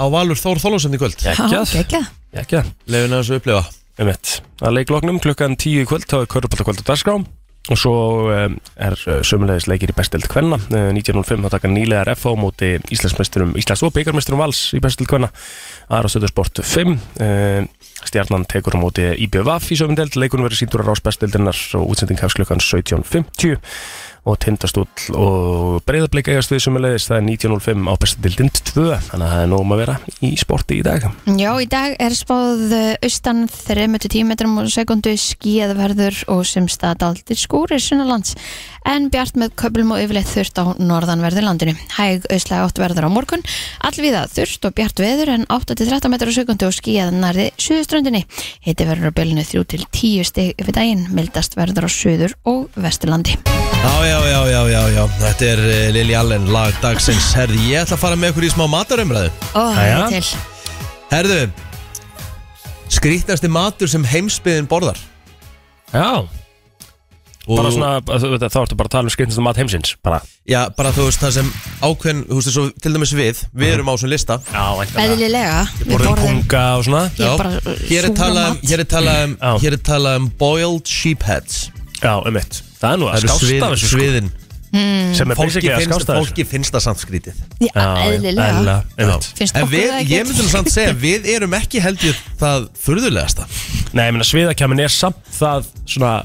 S3: á Valur Þór Þólusend í kvöld.
S4: Ekkjað,
S2: geggjað.
S4: ekkjað
S3: Leifin að þessu upplifa.
S4: um eitt. Að leikloknum klukkan 10 í kvöld þá er Körbóltakvöld og Darskrá og svo um, er sömulegis leikir í bestild Kvenna. Uh, 1905 þá taka nýlegar FH á móti Íslandsmeisturum, Íslands og byggarmeisturum Vals í bestild Kvenna. Aðra stöður sport 5. Uh, stjarnan tekur á móti IBVF í sömundeld. Leikunum verður síndur á rás bestildinnar og útsending hefst klukkan 17.50 og tindastúll og breyðarbleik eigast við sömulegis. Það er 19.05 á bestildin 2 þannig að það er nóg um að vera í sporti í dag.
S2: Já, í dag er spáð eh, austan 3-10 metrum og sekundu skíðverður og sem stað daldir skúrir sunnalands en bjart með köplum og yfirleitt þurft á norðanverðu landinu. Hæg auslega 8 verður á morgun, allvíða þurft og bjart veður en 8-13 metrum og sekundu og skíðað nærði suðuströndinni. Hiti verður á bylunu 3-10 stig yfir daginn, mildast verður á suður og vesturlandi.
S3: Já, já, já, já, já, já, þetta er eh, Lily Allen, lag dagsins Herði, ég ætla að fara með ykkur í smá matarumræðu
S2: Ó,
S4: Jæja.
S2: það er til.
S3: Herðu, skrítnasti matur sem heimsbyðin borðar
S4: Já,
S3: Og-
S4: bara svona, þá, þá ertu bara að tala um skrýtnastu mat heimsins bara.
S3: Já, bara þú veist það sem ákveðin, þú veist þessu, til dæmis við, við erum á svona lista
S4: Já, væntanlega
S2: Eðlilega, við
S4: Borðum
S2: borðum
S4: punga og svona
S2: Ég er bara, eh,
S3: hér er
S2: súran
S3: talað um,
S2: mat.
S3: hér er talað um,
S4: Já.
S3: hér er talað um boiled sheep heads
S4: Já, um eitt Það er nú að
S3: Það eru
S4: skásta af
S3: svið,
S4: þessu sko
S3: sviðin
S4: Sem er
S3: fólki
S4: basically að
S3: finnst,
S4: skásta af þessu
S3: fólki finnst það samt skrítið
S2: Mm. Já, eðlilega.
S4: Um
S3: Já.
S4: eitt
S2: Finnst
S3: En
S2: okkur
S3: við,
S2: það ekki?
S3: ég myndi nú samt segja, við erum ekki heldur það furðulegasta
S4: Nei, ég meina sviðakjamin er samt það svona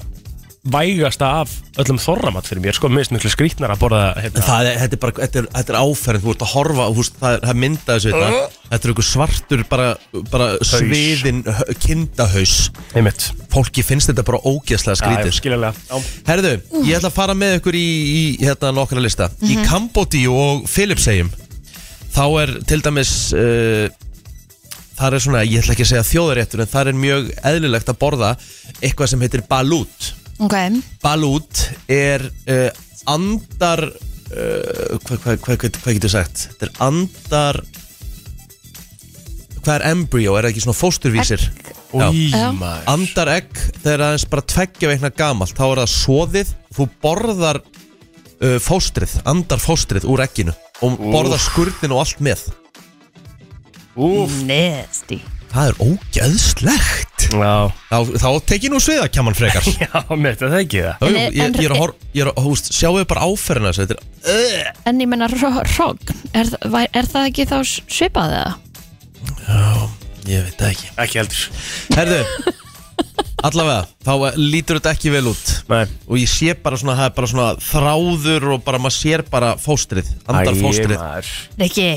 S4: vægasta af öllum þorramat fyrir mér sko, mér finnst miklu skrýtnar að borða
S3: En
S4: hérna.
S3: það er, þetta er bara, þetta er, þetta er áferðin, þú ert að horfa, þú veist, það, er- það mynda þessu þetta, þetta er einhver svartur bara, bara sviðin hö- kindahaus,
S4: Einmitt
S3: fólki finnst þetta bara ógeðslega
S4: Skrýtið
S3: skrítið.
S4: Skiljanlega Já.
S3: Herðu, ég ætla að fara með ykkur í, í hérna nokkra lista. Í Kambodí og Filipsegjum, þá er til dæmis, uh, þar er svona, ég ætla ekki að segja þjóðaréttur, en þar er mjög eðlilegt að borða eitthvað sem heitir balút.
S2: Ok,
S3: Balút er uh, andar uh, hvað hva, hva, hva, hva getur sagt? Þetta er andar hvað er embryo? Er það ekki svona fósturvísir? Já.
S4: Í,
S2: Já.
S4: maður.
S3: Andar egg þegar aðeins bara tveggja veikna gamalt þá er það soðið, þú borðar uh, fóstrið, andar fóstrið úr egginu og borðar skurnin og allt með
S4: Úff
S2: Nasty
S3: Það er ógeðslegt
S4: Já,
S3: Þá, þá tek ég nú sviðakjaman frekar Já,
S4: já, mér þetta það ekki það
S5: En-
S3: ég,
S5: en-
S3: ég er að horfa, ég er að, húst, sjáu bara áferðina þessu, þetta er
S5: En ég menna hrogn, er, þa- væ- er það ekki þá svipað eða?
S3: Ég veit það ekki
S4: Ekki heldur
S3: Herðu, allavega, þá eh, lítur þetta ekki vel út
S4: Nei,
S3: Og ég sé bara svona, það er bara svona þráður og bara maður sér bara fóstrið, andar
S4: Æ,
S3: fóstrið
S4: maður.
S5: Rikki,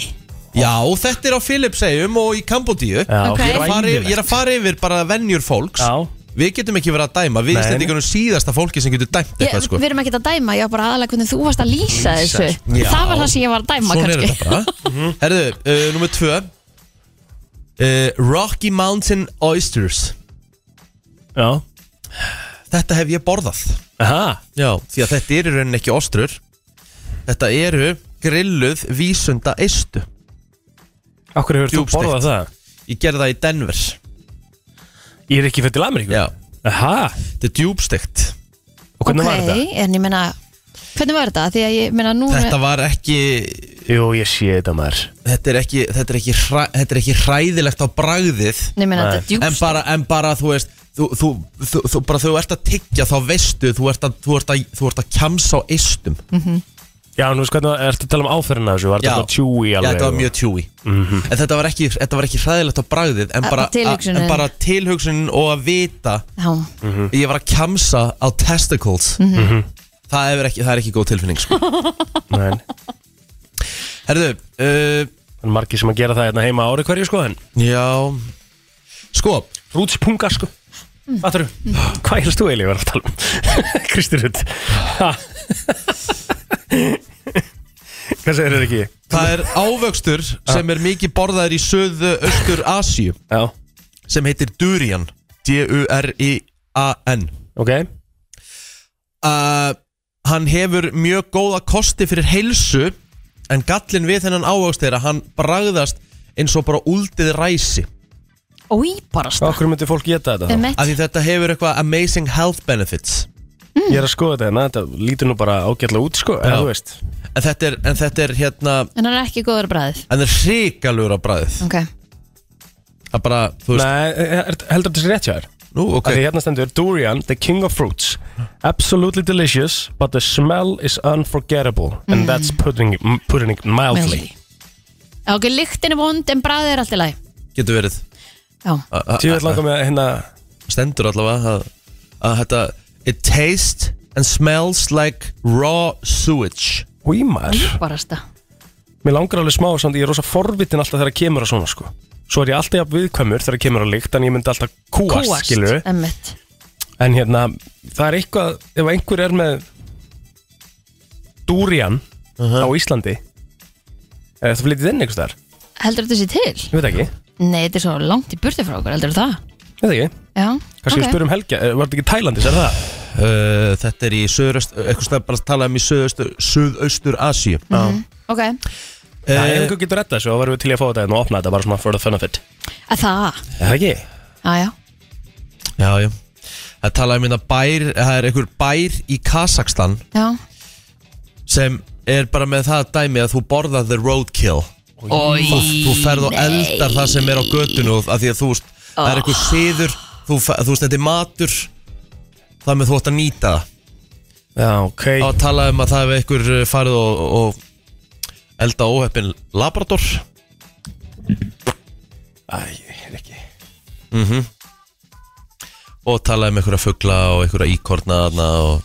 S3: Já, þetta er á Filipseyjum og í Kambodíu
S4: Já,
S5: Ok.
S3: Ég er að fara yfir- ég er
S4: hræðilegt.
S3: að fara yfir bara venjur fólks
S4: Já,
S3: Við getum ekki verið að dæma Við
S4: Nei, nei.
S3: Íslendingunum síðasta fólki sem getur dæmt
S5: ég,
S3: eitthvað sko
S5: við erum ekkert að dæma, ég var bara aðalega hvernig þú varst að lýsa þessu
S3: Já.
S5: Það var það sem ég var að dæma
S3: Svona er
S5: kannski Mhm.
S3: þetta bara Herðu, uh, nummer tvö uh, Rocky Mountain Oysters
S4: já
S3: Þetta hef ég borðað
S4: Aha,
S3: Já, því að þetta eru í rauninni ekki ostrur Þetta eru grilluð vísunda eistu
S4: okkur hefur þú
S3: Djúpsteikt.
S4: borðað það?
S3: Ég gerði það í Denver
S4: Ég er ekki fyrir til Ameríku
S3: Já,
S4: Aha,
S3: þetta er djúbstegt
S4: og hvernig var þetta?
S5: en ég menna, hvernig var þetta? Því að ég menna nú
S3: Þetta var ekki
S4: Jú, ég sé þetta maður
S3: þetta er ekki, þetta er ekki, hræ, þetta er ekki hræðilegt á bragðið
S5: Nei, menna,
S4: Nei.
S5: þetta er djúpst
S3: en bara, en bara þú veist þú, þú, þú, þú, bara þú ert að tyggja þá veistu þú ert að, þú ert að, þú ert að kjamsa á eistum
S4: Já, nú veist hvernig, ertu að tala um áferðina þessu? Var
S3: Já.
S4: þetta tjúi
S3: Já,
S4: alveg? Mhm.
S3: þetta var mjög tjúi en þetta var, ekki, þetta var ekki hræðilegt á bragðið en
S5: Að-
S3: bara,
S5: tilhugsunin.
S3: en bara tilhugsunin og að vita
S5: Já,
S3: ég var að kjamsa á testicles það, er ekki, það er ekki góð tilfinning sko.
S4: Nei,
S3: herðu uh,
S4: það er margir sem að gera það hérna heima ári hverju sko en
S3: já sko
S4: Rútspunga sko Hvað þurru? Hvað helst þú eiginlega verið að tala um? Kristi Rutt Ha. Hvað segir þetta ekki?
S3: Það er ávöxtur sem er mikið borðaður í söðu östur Asíu
S4: Já,
S3: sem heitir durian D-U-R-I-A-N
S4: ok
S3: uh, Hann hefur mjög góða kosti fyrir heilsu en gallin við þennan ávöxt er að hann bragðast eins og bara úldið ræsi
S5: og íbarast
S4: Okkur myndi fólk geta þetta þá?
S5: Einmitt.
S3: af því þetta hefur eitthvað amazing health benefits
S4: Ég er að skoða þetta en þetta lítur nú bara ágætlega út sko
S3: Já.
S4: eða þú veist
S3: en þetta er, en þetta er hérna
S5: En hann er ekki góður bræðið
S3: en það er hrikalur að bragðið
S5: Ok,
S3: að bara, þú veist,
S4: Nei, er- er- heldur þetta sér rétt hjá þér?
S3: nú ok
S4: Okay. Hérna stendur Durian, the king of fruits Absolutely delicious But the smell is unforgettable
S5: Mm.
S4: And that's putting, putting it mildly
S5: meðalli Ok, lyktin er vond en bræðið er allt í lagi
S3: getur verið
S5: Já,
S3: A- a-
S4: Tíðvægt langar með hérna
S3: stendur allavega að, að þetta It tastes and smells like raw sewage
S4: Hvímar
S5: íbarasta
S4: Mér langar alveg smá samt, ég er rosa forvitin alltaf þegar kemur að svona sko Svo er ég alltaf jafn viðkvæmur þegar kemur að lykt En ég myndi alltaf kúast,
S5: Kúast,
S4: kúast. skilur
S5: emmitt
S4: En hérna, það er eitthvað Ef einhver er með Durian
S5: Uh-huh.
S4: á Íslandi Er þetta flytið inn einhvers þar?
S5: Heldur þetta sér til?
S4: Ég veit ekki,
S5: Nei, þetta er svo langt í burti frá okkur, heldur það?
S4: ég veit ekki
S5: Já,
S4: Kannski
S5: ok.
S4: okay. við spyrum Helga, eh, var þetta ekki Tælandis, er það?
S3: uh, Þetta er í söðraust eitthvað stað bara að tala um í söðaustur, söðaustur Asíu
S5: Ok,
S4: Já, ef
S3: uh,
S4: einhver getur rettað þessu, þá verðum við til í að fá þetta hérna og opna þetta bara svona for the fun of it.
S5: að það,
S4: Er það ekki?
S5: já, já
S3: Já, já Það tala um hérna bær, það er einhver bær í Kazakstan
S5: Já,
S3: sem er bara með það dæmi að þú borðar the roadkill
S5: Oj,
S3: þú, þú ferð og
S5: nei.
S3: eldar það sem er á göttunum af því að þú veist, það
S5: Ah.
S3: er einhver siður þú, fe- þú veist, þetta er matur það með þú ætti að nýta það
S4: Já,
S3: Það
S4: ok.
S3: var að tala um að það hefur einhver uh, farið og, og elda óheppin Labrador
S4: Æ, ég er ekki.
S3: og tala um einhverja fugla og einhverja íkorna þarna og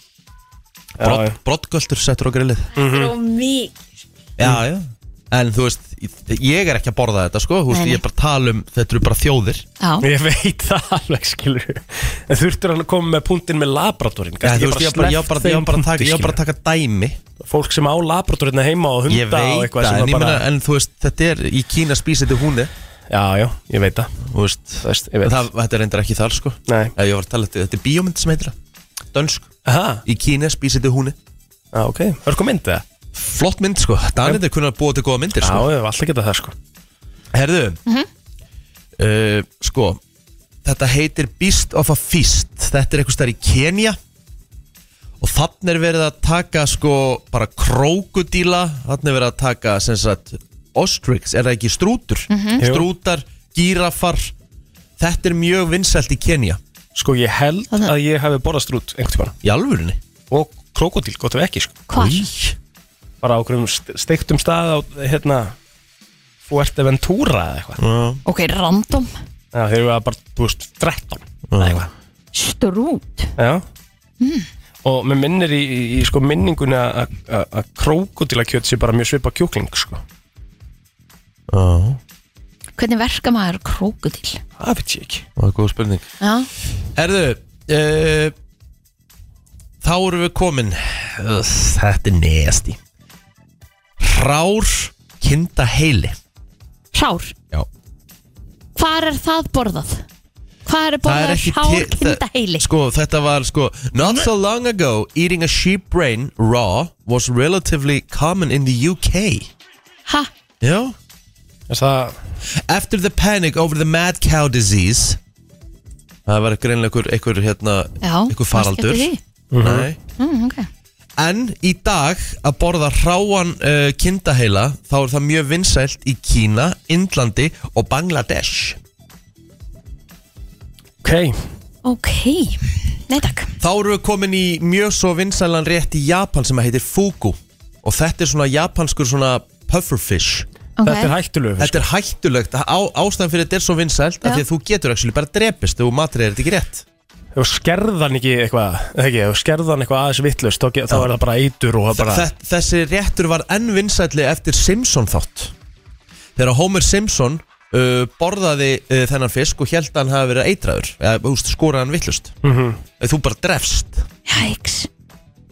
S3: brot,
S4: já. Mm.
S3: brottgöldur settur á grillið
S5: þetta er of mikið
S3: Já, já En þú veist, ég er ekki að borða þetta sko Þú veist,
S5: Nei, nei.
S3: ég er bara að tala um, þetta eru bara þjóðir
S5: Já,
S4: Ég veit það alveg, skilur. En þurftur hann að koma með punktinn með labradorinn?
S3: Já,
S4: Gæti
S3: þú veist, ég var bara, ég var bara, ég var bara, að taka- ég var bara að taka dæmi
S4: skilur. Fólk sem á labradorinn heima og hunda
S3: Ég
S4: og
S3: veit
S4: eitthvað
S3: það, en,
S4: sem var
S3: bara...
S4: bara...
S3: meina, en þú veist, þetta er í Kína spís þetta er húni
S4: Já, já, ég veit það.
S3: Þú veist,
S4: Þú veist, ég veit.
S3: það, þetta er reyndar ekki þar sko
S4: Nei.
S3: Já, Ég var að tala, þetta er bíómynd sem heitir það Dönsk,
S4: Aha,
S3: í Kína spís þetta er húni
S4: já, ok. Hörku myndið það?
S3: Flott mynd sko, Danið er kunnað að búa til góða myndir
S4: Já,
S3: sko.
S4: ég hef alltaf getað það, sko.
S3: Herðu uh, Sko Þetta heitir Beast of a Feast Þetta er eitthvað stær í Kenya Og þannig er verið að taka sko bara krókudíla Þannig er verið að taka sem sagt ostrix, er það ekki strútur? Strútar, gírafar Þetta er mjög vinsælt í Kenya
S4: Sko ég held
S5: Þannig-
S4: að ég hafi borðað strút einhvern tíma
S3: Í alvörunni
S4: Og krokodil, gott ef ekki sko
S5: Hvar?
S4: Bara á hverjum st- steiktum stað á, hérna Fuerteventura eða eitthvað
S3: uh,
S5: Ok, random
S4: Já, þeir eru bara, þú veist, 13 eða
S3: Já.
S4: eitthvað
S5: Strút
S4: Já Og mér minnir í, í, í sko minningunni að- að- að að krókódílakjöt sé bara mjög svipa kjúkling sko.
S3: uh,
S5: Hvernig verka maður krókudil?
S4: Það veit ég ekki
S3: Það er góð spurning
S5: Já,
S3: Herðu uh, Þá erum við komin Ugh, Þetta er nesti Hrár kinda heili
S5: hrár
S3: Já
S5: Hvar er það borðað? Hvar er
S3: Það er
S5: borðað
S3: ekki
S5: hrár
S3: til-
S5: kindaheili?
S3: það- Sko, þetta var sko Not so long ago, eating a sheep brain raw was relatively common in the UK
S5: Ha?
S3: Já
S4: Þess að
S3: After the panic over the mad cow disease Það var greinlega einhver, einhver hérna
S5: Já,
S3: einhver faraldur
S5: manstu eftir því?
S3: Nei
S5: Mm, ok
S3: En í dag að borða ráan uh, kindaheila þá er það mjög vinsælt í Kína, Indlandi og Bangladesh
S4: Ok,
S5: Ok, nei takk
S3: Þá erum við komin í mjög svo vinsælan rétt í Japan sem heitir Fugu og þetta er svona japanskur svona pufferfish
S4: þetta er
S5: okay.
S4: hættulegu
S3: Þetta er hættulegt, á, ástæðan fyrir þetta er svo vinsælt
S5: Já.
S3: að því að þú getur actually bara drepist ef þú matriðir þetta ekki rétt
S4: Ef skerðan ekki eitthvað eða ekki, ef skerðan eitthvað aðeins vittlust þá, ge- þá er það bara eitur og það bara
S3: Þe- Þessi réttur var enn vinsælli eftir Simpson þátt Þegar Homer Simpson uh, borðaði uh, þennan fisk og held að hann hafi verið eitraður eða úst, skoraði hann vittlust mm Þú bara drefst
S5: Jæks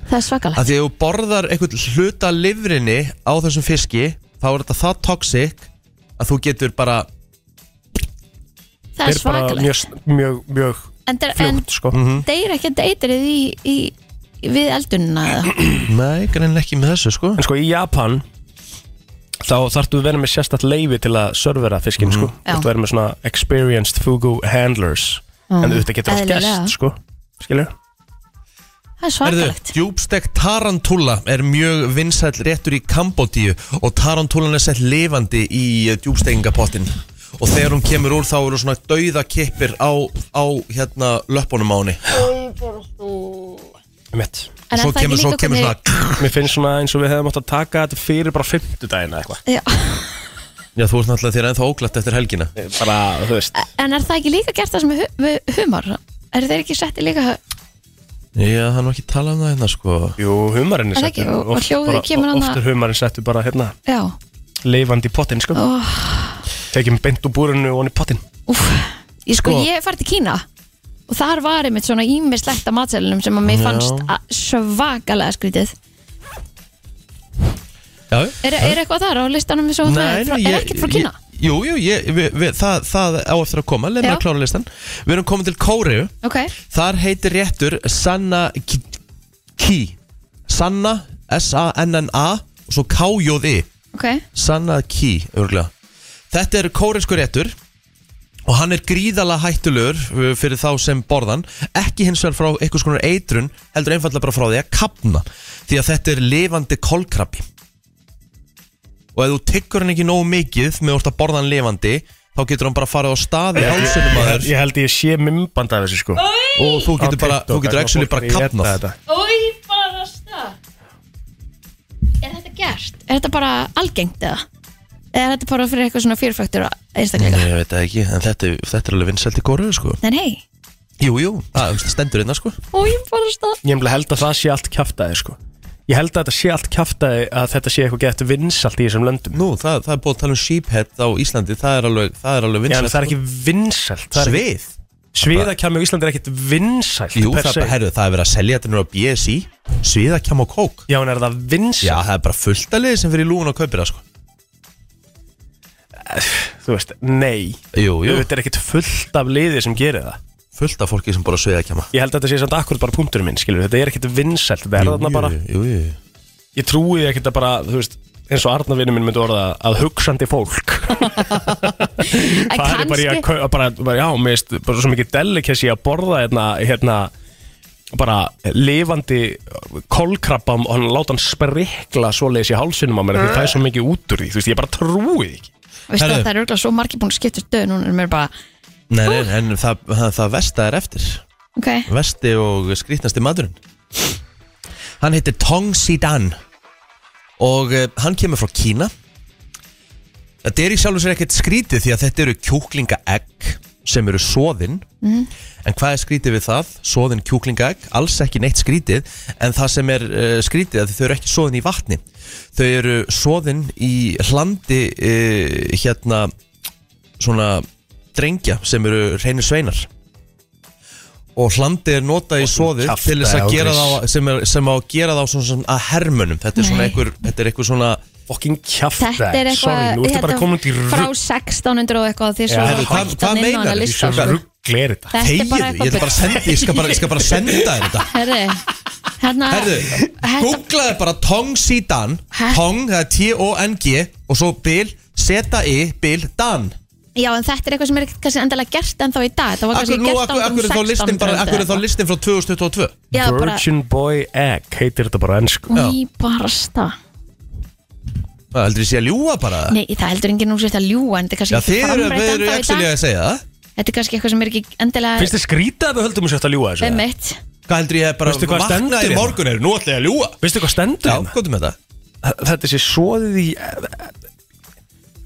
S5: Það er svakalegt
S3: að því að þú borðar einhvern hluta af lifrinni á þessum fiski þá er þetta það toxic að þú getur bara
S5: Það er
S4: bara
S5: svakalegt
S4: mjög, mjög, mjög
S5: En, der, en
S4: fljótt sko.
S5: deyr ekki að deytrið í, í, við eldunna eða?
S3: Nei, greinlega ekki með þessu sko
S4: En sko í Japan þá þarftu að vera með sérstætt leifi til að servera fiskin sko.
S5: Mhm. Já.
S4: Þarftu að vera með svona experienced fugu handlers en þú þetta getur allt
S5: Mm. eðlilega.
S4: gest sko. Skilur?
S5: Það er
S3: Herðu,
S5: svakalegt
S3: djúbstek tarantula er mjög vinsæll réttur í Kambodíu og tarantulan er sett lifandi í djúbstekingapottin og þegar hún kemur úr þá eru svona dauða kippir á, á hérna löppunum á henni
S4: Mitt.
S5: En
S3: og svo
S5: er það
S3: kemur,
S5: ekki
S3: svo
S5: líka
S3: kemur
S5: hvernig-
S3: svona
S4: Mér finnst svona eins og við hefðum átt að taka þetta fyrir bara fimmtudagina eitthvað
S5: Já,
S3: Já, þú ert náttúrulega þér ennþá óglætt eftir helgina
S4: bara, þú veist
S5: en er það ekki líka gert það sem er hu með humar? Er þeir ekki setti líka
S3: Já, það er nú ekki talað um það hérna sko
S4: Jú, humarinn er
S5: Er það ekki?
S4: settur
S5: Og- og
S4: oft
S5: hljóðið
S4: bara-
S5: kemur
S4: Oft
S5: annað-
S4: er humarinn settur bara hérna
S5: Já,
S4: leifandi í pottin sko
S5: oh,
S4: Tekjum beint úr búrinu og hann í pottin
S5: úf Ég sko,
S3: Sko-
S5: ég fært til Kína og þar var einmitt svona ímislegt að matselinum sem að mér
S3: Já.
S5: fannst að- svakalega skrítið
S3: Já, já
S5: Er, er eitthvað þar á listanum sem þú ert með? Frá- Er ekkert frá Kína?
S3: ég- Jú, jú, ég, vi, vi, það, það á eftir að koma, leið mér
S5: Já.
S3: að klára listan Við erum komin til Kóriðu
S5: Ok,
S3: Þar heitir réttur Sanna Ki, ki. Sanna S-A-N-N-A og svo K-J-I
S5: ok
S3: Sanna Ki, örgulega Þetta er kóresku réttur og hann er gríðalega hættulegur uh, fyrir þá sem borðan ekki hins vegar frá einhvers konar eitrun heldur einfallega bara frá því að kapna því að þetta er lifandi kolkrabbi og ef þú tyggur hann ekki nógu mikið með orta borðan lifandi þá getur hann bara farið á staði hálsunum að þér
S4: Ég held ég sé mymband af þessu sko
S3: og þú getur bara, þú getur actually bara kapnað
S5: Ói, bara stað Er þetta gert? Er þetta bara algengt eða? Eða er þetta bara fyrir eitthvað svona fjörfæktur einstaklega?
S3: Ég veit það ekki, en þetta, þetta er alveg vinsælt í kóru sko.
S5: Nei, hei,
S3: Jú, jú, það stendur hérna sko.
S5: ói, bara stað
S4: Ég held að það sé allt kjaftaði sko Ég held að þetta sé allt kjaftaði að þetta sé eitthvað gett vinsalt í þessum löndum
S3: Nú, það, það er búið að tala um sheephead á Íslandi Það er alveg, það er alveg
S4: Já, en
S3: vinsælt sko.
S4: það er ekki vinsalt það er ekki-
S3: Svið?
S4: Sviðakjami á Íslandi er ekkert vinsalt
S3: Jú, það, herru, það er verið að selja þetta nú á BSI Sviðakjám og kók
S4: Já, en er það
S3: Já,
S4: vinsalt?
S3: það er bara fullt að liði sem fyrir lúgun og kaupir það sko.
S4: Þú veist, nei
S3: Jú, jú,
S4: Þetta er ekkert fullt af liði sem gerir það
S3: fullt af fólki sem bara sviðakjáma
S4: Ég held að þetta sé samt akkurat bara punkturinn minn, skilur Þetta er ekkert vinsælt, þetta er þarna bara
S3: Jú, jú, jú.
S4: Ég trúi því ekkert að bara, þú veist eins og Arnarvinni minn myndi orða að hugsandi fólk
S5: En
S4: það er bara í að,
S5: kannski,
S4: kau- að bara, bara, já, mér veist, bara svo mikið delikessi að borða hérna, hérna bara lifandi kolkrabba og hann láta hann sprikla svoleiðis í hálsinum á mér því það er svo mikið út úr því, þú veist, ég bara trúi því ekki
S5: veistu að
S3: Herðu.
S5: það er örgulega svo margir búin að skipta stöðu núna um en mér bara,
S3: Nei, nei, en það, það, það vesta er eftir
S2: Ok,
S3: Vesti og skrýtnasti maðurinn Hann heitir Tong Sidan Og eh, hann kemur frá Kína Þetta er í sjálfu sér ekkert skrítið Því að þetta eru kjúklingaegg Sem eru soðin En hvað er skrítið við það? Soðin kjúklingaegg, alls ekki neitt skrítið En það sem er uh, skrítið er að Þau eru ekki soðin í vatni Þau eru soðin í hlandi uh, Hérna Svona drengja Sem eru reynir sveinar og hlandi er notað í soðið
S4: kjafta
S3: til þess
S4: á
S3: að gera
S4: gris.
S3: þá sem, er, sem á að gera þá svona, svona að hermönum þetta er svona
S2: Nei.
S3: einhver, þetta er einhver svona
S4: Fucking kjaft
S2: þetta er eitthvað hérna
S4: Sorry, nú ertu
S5: hérna,
S4: bara komin út í
S2: Frá
S4: rugg
S2: 1600 og eitthvað því svo
S4: Já,
S2: var
S4: hvað-
S2: hægt
S3: hvað
S2: að nynna
S3: meinarðu?
S2: hana lista
S3: Ég sé
S2: sko.
S4: Ruggli er þetta
S2: Þetta er
S3: þegið,
S2: bara
S3: ég ætla bara
S2: eitthvað
S3: að senda ég skal bara, ég skal bara senda þér þetta
S2: Herri, hérna
S3: herðu,
S2: Þetta
S3: googlaði bara Tong Sidan
S2: Hæ?
S3: Tong, það er T-O-N-G og svo bil, Z-A-I, bil, Dan
S2: Já, en þetta er eitthvað sem er ekkert kannski endalega gert ennþá í dag Þetta var
S3: Akkur,
S2: kannski
S3: nú,
S2: gert
S3: akkur,
S2: ánum
S3: akkur er þá
S2: 1600
S3: listin bara, akkur er þá
S2: eða
S3: listin frá 2022
S2: eitthvað. Já, bara,
S4: Virgin Boy Egg heitir þetta bara á ensku
S2: ný barasta
S3: Það heldur ég sé að ljúga bara
S2: Nei, það heldur enginn nú sér þetta ljúa En þetta er kannski
S3: Já,
S2: ekki
S3: þið eru,
S2: framrætt
S3: þið eru
S2: ennþá í
S3: actually
S2: dag
S3: að segja það
S2: Þetta er kannski eitthvað sem er ekki endilega
S4: Finnst þið skrítið að við höldum þessu eftir að ljúga þessu? eða?
S2: Einmitt.
S3: Hvað heldur ég bara
S4: Veistu hvað stendur
S3: vaknaði í
S4: hérna?
S3: morgun er, nú ætla ég að ljúga
S4: Veistu hvað stendur?
S3: Já,
S4: hérna?
S3: hvað er með þetta?
S4: Þetta sé svoðið í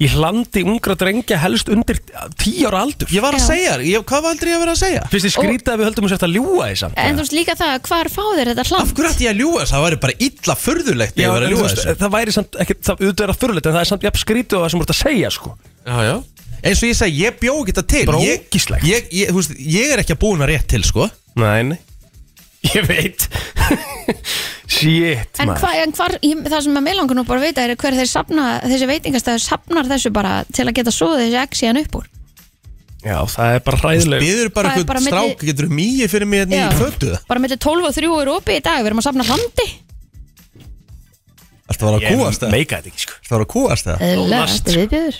S4: í hlandi ungra drengja helst undir tíu ára aldur
S3: Ég var að
S2: Já.
S3: segja, þér, ég, hvað heldur ég að vera að segja?
S4: Finnst þið skrítið að við höldum þessu eftir að ljúga þessu? samt?
S2: En þú veist líka það, hvar fá þér þetta
S3: Af
S2: hlant?
S3: hverju ætti ég að ljúga þessu? Það væri bara illa furðulegt ef
S4: Já,
S3: ég væri
S4: en
S3: að
S4: þú
S3: ljúga
S4: veist,
S3: þessu
S4: það væri samt ekki, það auðvitað er að þurrulegt en það er samt jafn skrítið á það sem þú ert að segja sko
S3: Já, já Eins og ég segi, ég bjó ekki þetta til
S4: Bara
S3: Ég-
S4: ógíslegt.
S3: ég, ég, þú veist, ég er ekki að búin að rétt til, sko
S4: Nei, nei Ég veit Shit,
S2: En,
S4: maður
S2: hva, en hvar, ég, það sem að mig langar nú bara að vita er hver þeir sapna, þessi veitingastæður sapnar þessu bara til að geta svoðið þessi egg síðan upp úr.
S4: Já, það er bara hræðileg
S3: Við erum bara
S2: Það er bara
S3: einhvern strák,
S2: milli-
S3: getur mýið fyrir mig hérna
S2: Já.
S3: í fötu
S2: Bara með 12 og 3 er opið í dag, við erum að sapna hlandi.
S3: Alltaf var að
S4: Ég
S3: kúast það
S4: meika þetta ekki sko
S3: Alltaf var að kúast það
S2: Eðlilega,
S4: Last.
S2: þetta er viðbjöður.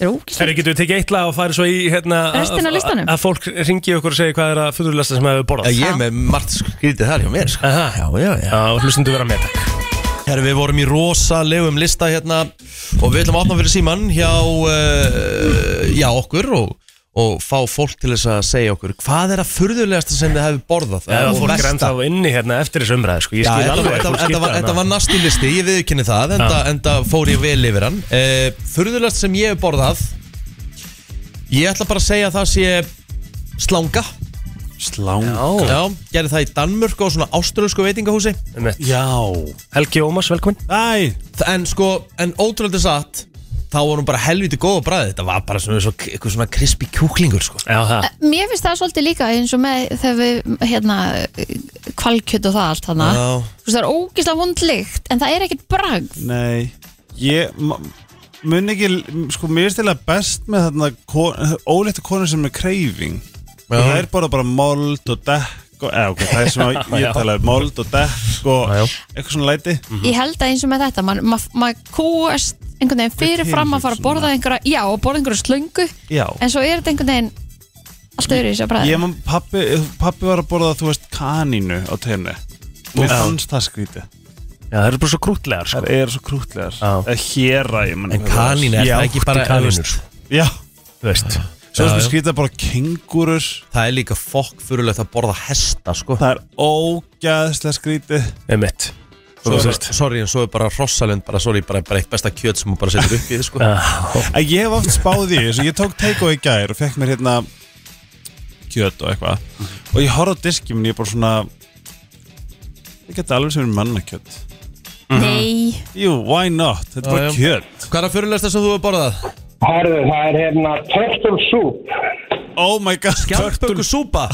S2: Þetta er ógíslega.
S4: Herri, getum við tekið eitt lag og farið svo í hérna
S2: Restina af
S4: að-
S2: listanum?
S4: Að fólk ringi okkur og segi hvað er að fullurlasta sem hefur borðað
S3: Ég er með margt skrítið þar hjá mér, sko
S4: Aha.
S3: Já, já, já
S4: Já, hlustundu vera með takk
S3: Herra, við vorum í rosalegum lista hérna og við ætlum að opna fyrir síman hjá, uh, hjá okkur og, og fá fólk til þess að segja okkur hvað er að furðulegasta sem þið hefur borðað
S4: Eða
S3: Og
S4: fólk er
S3: versta.
S4: ennþá inni hérna eftir þessu umræðu sko Ég
S3: Já,
S4: skil
S3: þetta,
S4: alveg
S3: þetta, þetta, var, þetta var nasti listi, ég viðkynni það enda, enda fór ég vel yfir hann uh, Furðulegast sem ég hef borðað Ég ætla bara að segja að það sé slanga
S6: Sláng
S4: Já,
S3: Já, gerði það í Danmörku á svona ástralsku veitingahúsi
S4: einmitt.
S6: Já
S4: Helgi Ómas, velkomin
S6: Æ
S3: En sko, en ótrúlega satt Þá var hún bara helviti góð á bræði Þetta var bara svona, svona, eitthvað svona krispi kjúklingur sko.
S4: Já, það
S2: Mér finnst það svolítið líka eins og með þegar við, hérna, kvalkjöt og það allt hana.
S3: Já.
S2: Þú veist, það er ógíslega vondlikt, en það er ekkert bragð.
S6: Nei Ég ma- mun ekki Sko mér stila best með þarna kon- Óléttu konur sem er kreifing
S3: Já.
S6: Það er bara bara mold og dekk og, eða, ok, Það er sem að
S4: Já.
S6: ég tala um Mold og dekk og
S4: Já, já.
S6: eitthvað svona læti
S3: Mm.
S2: Ég held að eins og með þetta, maður ma ma kúast einhvern veginn fyrir fram að fara að borða einhverja, já, og borða einhverja slöngu,
S6: Já
S2: en svo er þetta einhvern veginn allt öðru í þessu bræði.
S6: Ég man, pappi, pappi var að borða, þú veist, kanínu á tenni Mér fannst það skrítið
S4: Já, það eru bara svo krútlegar sko.
S6: Það eru svo krútlegar
S4: Já.
S6: Eða Héra, ég man
S3: En kanín er
S4: Ég
S3: það
S4: átti
S3: ekki bara
S4: kanínur.
S3: veist,
S6: Já
S4: Þú veist
S6: Svo
S3: Já,
S6: sem
S3: já.
S6: skrítið bara kengurur
S3: Það er líka fokk fyrirlegt að borða hesta sko.
S6: Það er ógæðslega skrítið
S4: Emitt
S3: Svo
S4: Þú
S3: er
S4: veist
S3: bara, sorry, en svo er bara rossalund bara, sorry, bara, bara eitt besta kjöt sem hún bara setur upp í sko.
S4: Já,
S6: En ég hef oft spáð í þessu, ég tók teiko í gær og fekk mér hérna kjöt og eitthvað og ég horf á diski minn, ég er bara svona ég geti alveg sem er mannakjöt
S2: Nei,
S6: Jú, why not? Þetta er bara
S3: já.
S6: kjöt
S3: Hvað er að fyrirlegasta sem þú hefur borðað?
S7: Herðu, það er hérna turtle soup.
S6: Oh my god
S3: Kjartböku súpa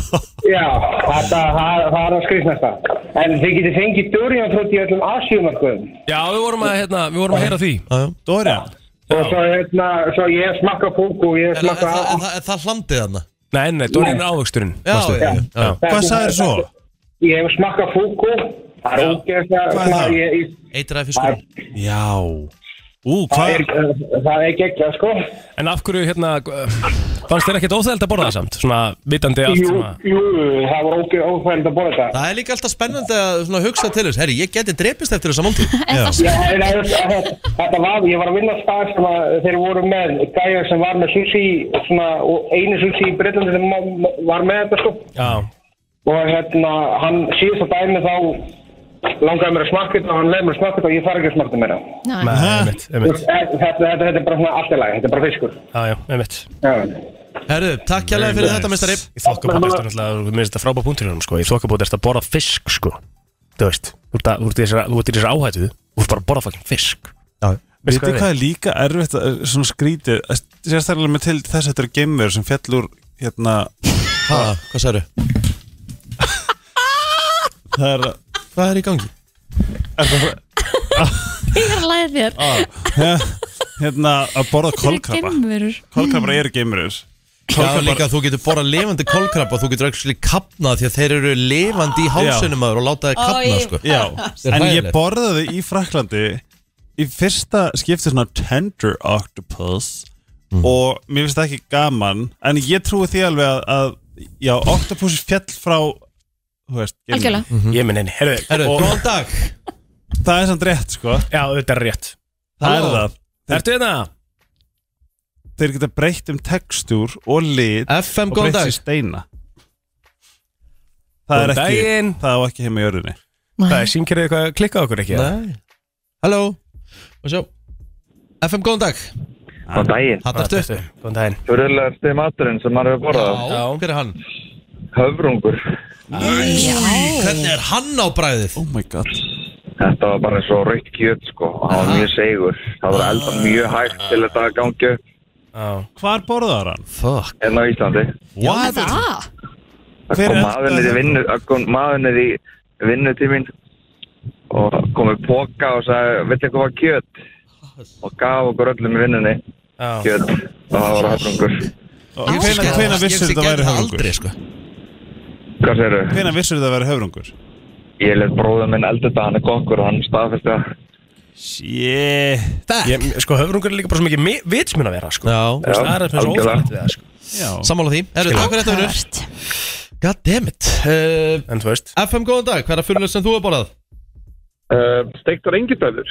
S7: Já, þetta, það, það er að skrýtnasta. En þið getið fengið durianfrútt í öllum asjumarkuðum.
S4: Já, við vorum að, hérna, við vorum að heyra því
S6: Dorian
S7: Og svo, hérna, svo ég smakka púku og ég
S3: En það- en
S7: smakka...
S3: það- en það- en það hlandið hann
S4: Nei, nei, Dórin er ávöxturinn
S3: Já,
S4: manstu?
S3: já, já.
S4: já.
S6: Hvað sagðir svo?
S7: hérna- Ég hef smakka púku. Það er ógeðslega...
S6: Hvað er það?
S7: svona, ég- ég-
S3: Eitraði fiskur
S6: Já Ú,
S7: Það
S6: hvað?
S7: er, það er geggja, sko.
S4: En af hverju, hérna, g- fannst þér ekkert óþægild að borða það samt? Svona vitandi allt
S7: Jú,
S4: sem að...
S7: jú, það var óþægild að borða þetta.
S3: Það er líka alltaf spennandi að svona, hugsa til þess Herri, ég geti drepist eftir þessa máltíð
S7: Já, en það- það- Þetta var, ég var að vinna stað sem að þeir voru með gæjar sem var með sushi, svona, og einu sushi í Breitlandi sem ma- var með þetta, sko.
S4: Já,
S7: og hérna, hann síðast að dæmi þá langaði mér að smakka þetta og hann leiði mér að smakka þetta og ég þarf ekki að smakka meira.
S5: Næ,
S4: með, einmitt, einmitt.
S7: Þetta, þetta, þetta er bara svona allt í lagi, þetta er bara fiskur.
S4: Já, já, einmitt.
S7: Já.
S3: Herru, takk hérlega fyrir þetta, mestari
S4: Í þokkabót ertu náttúrulega, mér finnst þetta frábæð punktur hérna, sko. Í þokkabót ertu að borða fisk, sko. Þú veist, þú ert að- þú ert í þessari- þú ert í þessari áhættu, þú ert bara að borða fucking fisk. Veistu
S6: Vitið
S4: hvað
S6: hvað er líka erfitt að, svona skrítið, að- sérstaklega með til þess að þetta eru geimverur sem fjall úr hérna,
S3: Ha, hvað særu?
S6: það er,
S3: Hvað er í gangi?
S6: er það,
S5: ég er að læða þér
S6: á, hérna að borða kolkrabba
S5: Geimverur
S6: kolkrabbar eru geimverur
S3: Já,
S6: Kolkrabbar-
S3: líka þú getur borað levandi kolkrabba Þú getur ekki kapnað því að þeir eru levandi í hálsunum aður og láta þeir kapna sko.
S6: Já,
S3: er
S6: en ég
S3: hræðilegt.
S6: borðaði í Fraklandi í fyrsta skipti svona tender octopus
S3: Mhm.
S6: og mér finnst það ekki gaman en ég trúi því alveg að, að já, octopus fjall frá þú veist, geimnum.
S3: Mhm.
S5: Algjörlega,
S4: Ég minn henni, herru,
S3: Herru,
S4: og-
S3: góðan dag
S6: það er samt rétt sko,
S4: Já, þetta er rétt.
S6: það
S3: Halló.
S6: er það
S4: Ertu hérna?
S6: þeir geta breytt um textúr og lit
S3: FM,
S6: og
S3: góðan
S6: breytt sér
S3: dag
S6: steina það er
S4: Góðan daginn.
S6: ekki það á ekki heima í jörðinni
S4: Það er símkerið eitthvað að klikka á okkur ekki? eða?
S3: Nei. Halló Og sjá FM, góðan dag
S8: Góðan daginn.
S3: Hann
S4: Hvað
S3: ertu?
S4: ertu? Góðan daginn.
S8: Fyrirlegasti maturinn sem maður hefur borðað.
S3: Já, hver er hann?
S8: Höfrungur.
S3: Hvernig er hann á bræðið?
S6: oh my god
S8: Þetta var bara eins og raukt kjöt sko. og Það var mjög segur. Það var elda mjög hægt til þetta að gangi upp
S4: Já.
S6: hvar borðaði hann?
S3: Fuck
S8: hérna á Íslandi.
S3: What?
S5: það
S8: Það
S6: Hver
S8: kom
S6: eldaði
S8: maðurinn í
S6: þetta?
S8: vinnu, það kom maðurinn í vinnutíminn og komið póka og sagði, veitu eitthvað var kjöt? Og gaf okkur öllum í vinnunni
S4: Já.
S8: kjöt og það var höfrungur.
S6: hvena, hvena vissur þetta væri höfrungur?
S3: Aldrei, sko.
S8: Hvað segir
S6: hvena vissur þetta væri höfrungur?
S8: Ég let bróðum minn elda þetta, hann er kokkur og hann staðfesti það.
S6: Yeah.
S4: Ég, sko, höfrungur er líka bara svo mikið mi- vitsmun að vera, sko.
S3: Já.
S4: Þú veist, Það er það sem er svo
S8: algjörlega.
S4: óþægt við það, sko.
S6: Já.
S3: Sammála því Herru, takk fyrir þetta, vinnur
S5: Áhugavert.
S3: God damn it uh,
S4: En þú veist.
S3: FM, góðan dag Hver er fyrir sem þú har borðað?
S9: Uh, steiktar engindöður.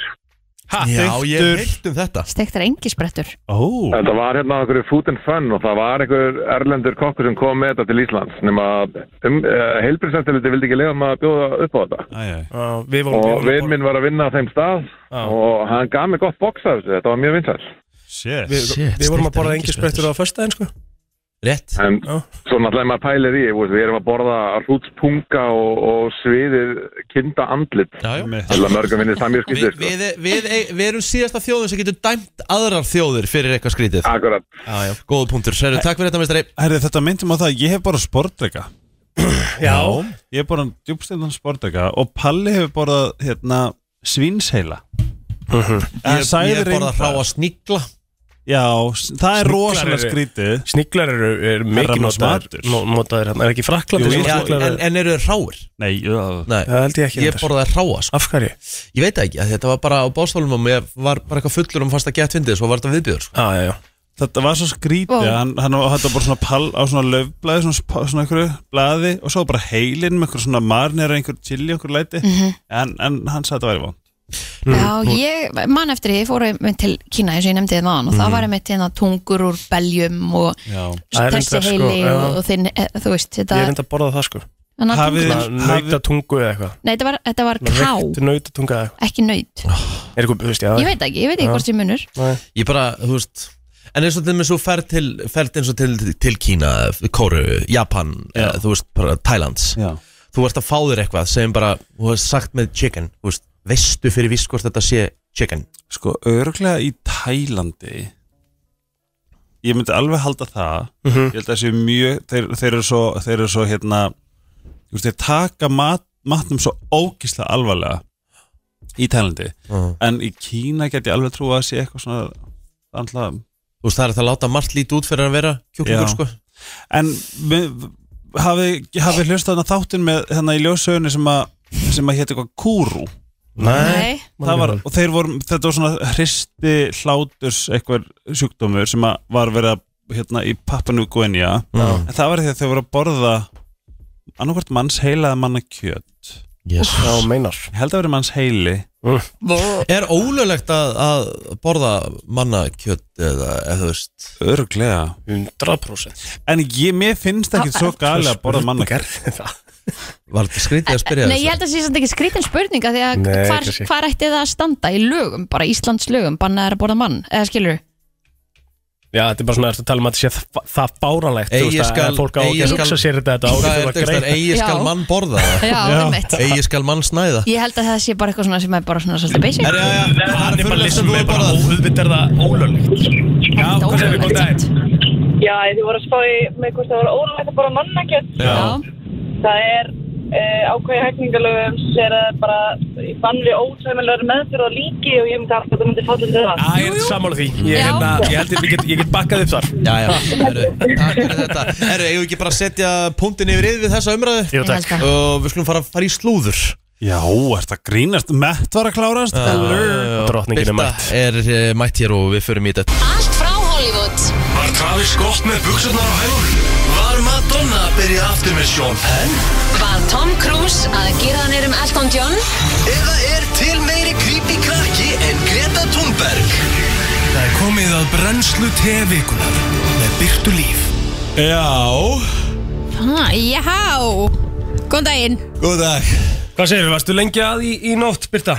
S4: Ha,
S3: Já, ég
S6: Steiktur.
S3: hef heilt um þetta
S5: Steiktar engisbrettur
S6: Ó,
S9: Þetta var hérna okkur food and fun og það var einhver erlendur kokkur sem kom með þetta til Íslands nema að um, uh, heilbriðsendiliti vildi ekki leiða maður að bjóða upp á þetta
S6: æjæj
S4: Já, við vorum
S9: og vinn
S4: við vorum-
S9: minn var að vinna á þeim stað
S4: Já.
S9: og hann gaf mig gott box af þessu, þetta var mjög vinsæl
S6: Shit
S4: við,
S3: Shit,
S4: við vorum að
S3: steiktar
S4: borða engi
S3: engisprettur.
S4: sprettur á föstudaginn sko.
S3: Rétt
S9: en
S4: Já.
S9: svo náttúrulega maður pælir í, þú veist, við erum að borða hrútspunga og, og sviðið kinda andlit
S3: Já, já
S6: Einmitt.
S9: Alla mörgum vinnir það mjög
S3: Við,
S9: skýttir sko.
S3: við, við, við erum síðasta þjóðum sem getur dæmt aðrar þjóðir fyrir eitthvað skrítið
S8: Ah.
S9: Akkurat
S4: já, já.
S3: Góða punktur, Særu, takk fyrir þetta meistari
S6: Herri, þetta myndum á það að ég hef bara sportdrega
S4: já,
S6: Ég hef bara djúbstindan sportdrega Og Palli hefur borðað hérna, svínsheila En
S3: Ég,
S6: sagði
S3: ég er bara að
S6: reyndar-
S3: hrá að snigla
S6: Já, s- það er
S4: Sniglar
S6: rosalega
S4: eru-
S6: skrítið
S4: sníklar eru, eru mikið
S6: Herramanns
S4: notaðir
S6: matur.
S4: nó- notaðir hérna, er ekki
S6: Jú,
S4: fraklandi sem
S6: ég-
S3: Já,
S4: sníklar
S3: en,
S4: eru
S3: en eru þeir hráir?
S6: Nei, já,
S3: Nei,
S4: það held ég ekki
S3: ég
S4: reyndar.
S3: borðaði hráa sko.
S4: af hverju
S3: Ég veit það ekki, af því þetta var bara á bástólum og ég var bara eitthvað fullur um fast að geta fyndið Svo var þetta viðbjöður sko.
S4: já, já, já.
S6: þetta var svo skrítið
S5: Vá.
S6: Hann, hann var þetta bara svona pall á svona löfblaði Svona, sp- svona einhverju blaði Og svo bara heilinn með einhverju svona marnir Einhverju chili, einhverju læti en, en hann sagði þetta væri vond
S5: Já, ég man eftir því, ég fór einmitt til Kína eins og ég nefndi það aðan og það var einmitt hérna tungur úr beljum og
S6: Já
S4: Það
S5: þessi
S4: er reyndar, sko,
S5: heili
S4: já.
S5: og, og þinn, e, þú veist, þetta
S4: ég er enda að borða það sko
S5: annar
S6: Hafið-
S5: tungur.
S6: Hafið-
S4: nautatungu eða eitthvað
S5: Nei, þetta var, þetta var ká,
S4: Reykt nautatunga eða eitthvað
S5: ekki nöyt
S4: er eitthvað, þú veist, já,
S5: Ég veit ekki, ég veit ekki
S4: Já.
S5: hvort sem munur
S3: Ég bara, þú veist En eins og til með svo ferð til, ferð eins og til, til Kína, Kóru, Japan, eh, þú veist, bara Thailands
S6: Já,
S3: Þú varst að fá þér eitthvað sem bara, þú veist sagt með chicken, þú veist, veistu fyrir viss hvort þetta sé chicken
S6: Sko, örglega í Tælandi Ég myndi alveg halda það Ég held að það sé mjög Þeir, þeir eru svo, þeir eru svo hérna þú veist, Þeir taka mat, matnum svo ógislega alvarlega Í Tælandi
S3: Mhm.
S6: En í Kína get ég alveg trú að það sé eitthvað svona andla.
S3: Þú veist, það er hægt að láta margt lítið út fyrir að vera kjúklingur,
S6: Já.
S3: sko
S6: En við- hafi, hafi hlustað þarna þáttinn með hérna í ljósögunni sem að sem að hétt eitthvað kúru
S5: Nei,
S6: það var, og þeir voru, þetta var svona hristi hláturs eitthvað sjúkdómur sem að var verið að hérna í Pappanú Guinja en það var því að þau voru að borða annarkvort manns heila eða manna kjöt
S3: yes.
S4: Já, meinar Mm,
S6: ég held að verið manns heili
S3: Er ólulegt að, að borða mannakjött eða eða þú veist
S6: örglega,
S4: 100%
S6: en ég, mér finnst ekki svo gali að borða manna kjöt
S4: gerði það
S3: Var þetta skrítið að spyrja
S5: Nei, ég held að það sé samt ekki skrítin spurninga því að
S4: Nei,
S5: hvar,
S4: kannski.
S5: hvar ætti það að standa í lögum, bara Íslands lögum bannað er að borða mann, eða skilur
S4: Já, þetta er bara svona ertu að tala um að þetta sé það, það báralegt
S3: Eigi skal-
S4: að fólk á
S3: eigi
S4: ekki að
S3: skal-
S4: hugsa sér þetta
S3: Það er
S4: þetta árið þú
S3: eitthvað
S4: að
S3: starf,
S4: greið
S3: eigi skal
S5: Já.
S3: mann borða það
S5: Já, einmitt.
S3: Eigi skal mann snæða
S5: Ég held að það sé bara eitthvað svona sem er bara svona svolítið basic
S3: Herra, já, já, það er fyrir sem
S4: Kannibalism
S3: þú
S4: er
S3: er
S4: bara
S3: borðað
S4: óhuðvitt er það ólöglegt Já,
S5: Þetta
S4: hvað segir við góð
S5: ómögulegt
S4: dag?
S5: samt.
S10: Já, þið voru að spá í með hvort það voru ólega bara mannakjöld.
S5: Já.
S10: Það er uh, ákveði hækningalögum sem er að bara í bann við ótæmilegur meðfyrð og líki og ég myndi alltaf að það myndi falla til það.
S4: Já, ég er sammála því Ég,
S5: Já.
S4: hérna, ég held að ég get, ég get bakkað upp þar
S3: Já, já, herru, takk fyrir þetta Herru, eigum við ekki bara að setja punktin yfir yfir við þessa umræðu
S4: Jú,
S5: Ég held
S4: takk
S5: að
S3: og við skulum fara, fara í slúður
S6: já, er það grínast, mett var að klárast
S4: Drottningin er
S3: Birta
S4: mætt
S3: er eh, mætt hér og við förum í þetta
S11: Allt frá Hollywood
S12: Var Travis Scott með buksunar á hælunum? Var Madonna að byrja aftur með Sean Penn?
S11: Var Tom Cruise að gera hann erum Elton John?
S12: Eða er til meiri creepy krakki en Greta Thunberg? Það er komið að brennslu tevikunar með byrtu líf.
S6: já,
S5: Ha, Já, góðan daginn
S3: Góð dag
S4: Hvað segir við, varstu lengi að í, í nótt, Birta?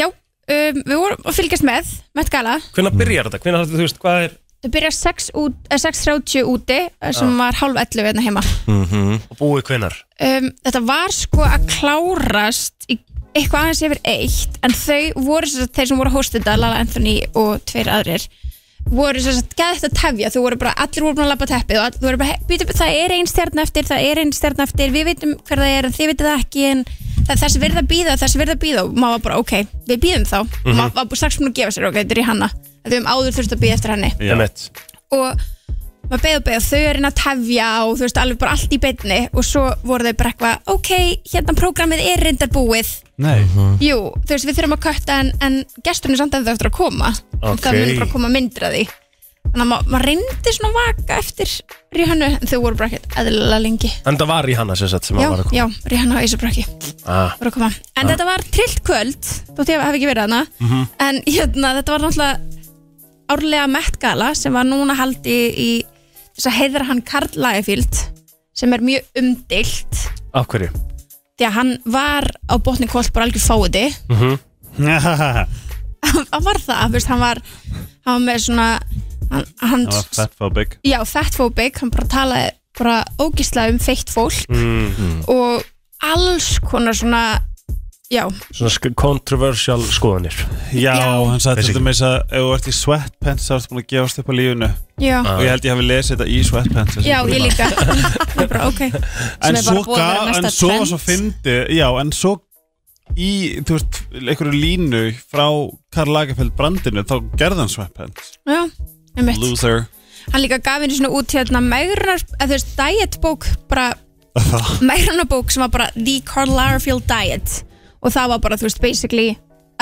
S2: Já, um, við vorum að fylgjast með Met Gala,
S4: Hvenær byrjar þetta? Hvenær þetta, þú veist, hvað er
S2: það byrjar 6 út- eh, 6.30 úti eh, sem var hálf 11 hérna heima
S4: og búið hvenar?
S2: um, Þetta var sko að klárast í eitthvað aðeins yfir eitt en þau voru, sem sagt, þeir sem voru að hósta þetta Lala Anthony og tveir aðrir voru sem sagt, geða þetta tefja þau voru bara, allir voru búin að labba teppið og all- þau voru bara, býtum, það er ein stjarn eftir það er ein stjarn eftir, við veitum hver það er en þið veitum það ekki en það, þessi verða að býða þessi verða að býða og maður var bara, ok, við býðum þá og maður var bara strax búin að gefa sér, ok, þetta er í hanna þau um áður þurft að býða eftir henni
S6: Já.
S4: Emmett
S2: og maður beðið og beðið og þau er inn að tefja og þú veist alveg bara allt í beinni og svo voru þau bara eitthvað ok, hérna prógramið er reyndar búið
S6: nei
S2: jú, þú veist við þurfum að kötta en, en gesturinn er samt að þau eftir að koma
S4: Ok.
S2: það munir bara að koma myndir að því þannig að ma- maður reyndi svona vaka eftir Rihanna en þau voru bara ekkert eðlilega lengi
S4: En það var í hana sem sagt sem
S2: já,
S4: að var að
S2: já, Rihanna og Ísabrakki
S4: koma ah.
S2: voru að koma en þetta var trillt kvöld, þótt ég hef ekki verið hana en hérna, þetta var náttúrulega árlega Met Gala sem var núna haldi í þess að heiðra hann Karl Lagerfield sem er mjög umdilt
S4: Af hverju?
S2: því að hann var á botni kvöld bara algjör fáiði Mhm. hann var það, þú veist, hann var hann var með svona hann, hann,
S6: það var fatphobic
S2: já, fatphobic, hann bara talaði bara ógislega um feitt fólk og alls konar svona já,
S4: Svona sk- controversial skoðanir
S6: já,
S2: Já.
S6: hann sagði
S4: Basically.
S6: þetta með þess að ef þú ert í sweatpants þá ertu búin að gefast upp á lífinu
S2: já
S6: og ég held ég hafi lesið þetta í sweatpants þessi
S2: Já,
S6: tíma.
S2: ég líka Ég bara, ok
S6: en
S5: er bara
S6: svo
S5: búið að vera
S6: gaf,
S5: næsta
S6: en svo var
S5: trend.
S6: svo fyndi já, en svo í, þú veist, einhverju línu frá Karl Lagerfeld brandinu þá gerði hann sweatpants
S2: Já, einmitt
S6: loser
S2: Hann líka gaf henni svona út hérna megrunar, eða þú veist, dietbók bara, megrunarbók sem var bara The Karl Lagerfeld Diet og það var bara, þú veist, basically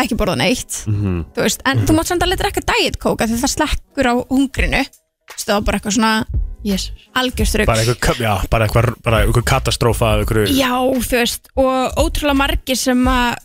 S2: ekki borða neitt
S6: Mhm.
S2: þú veist, en þú mátt samt alveg drekka diet coke af því það slekkur á hungrinu Þú veist, það var bara eitthvað svona
S5: Yes.
S2: algjörstrygg
S4: Bara einhver, ka- já, bara einhver, bara einhver katastrófa af einhverju
S2: Já, þú veist, og ótrúlega margir sem að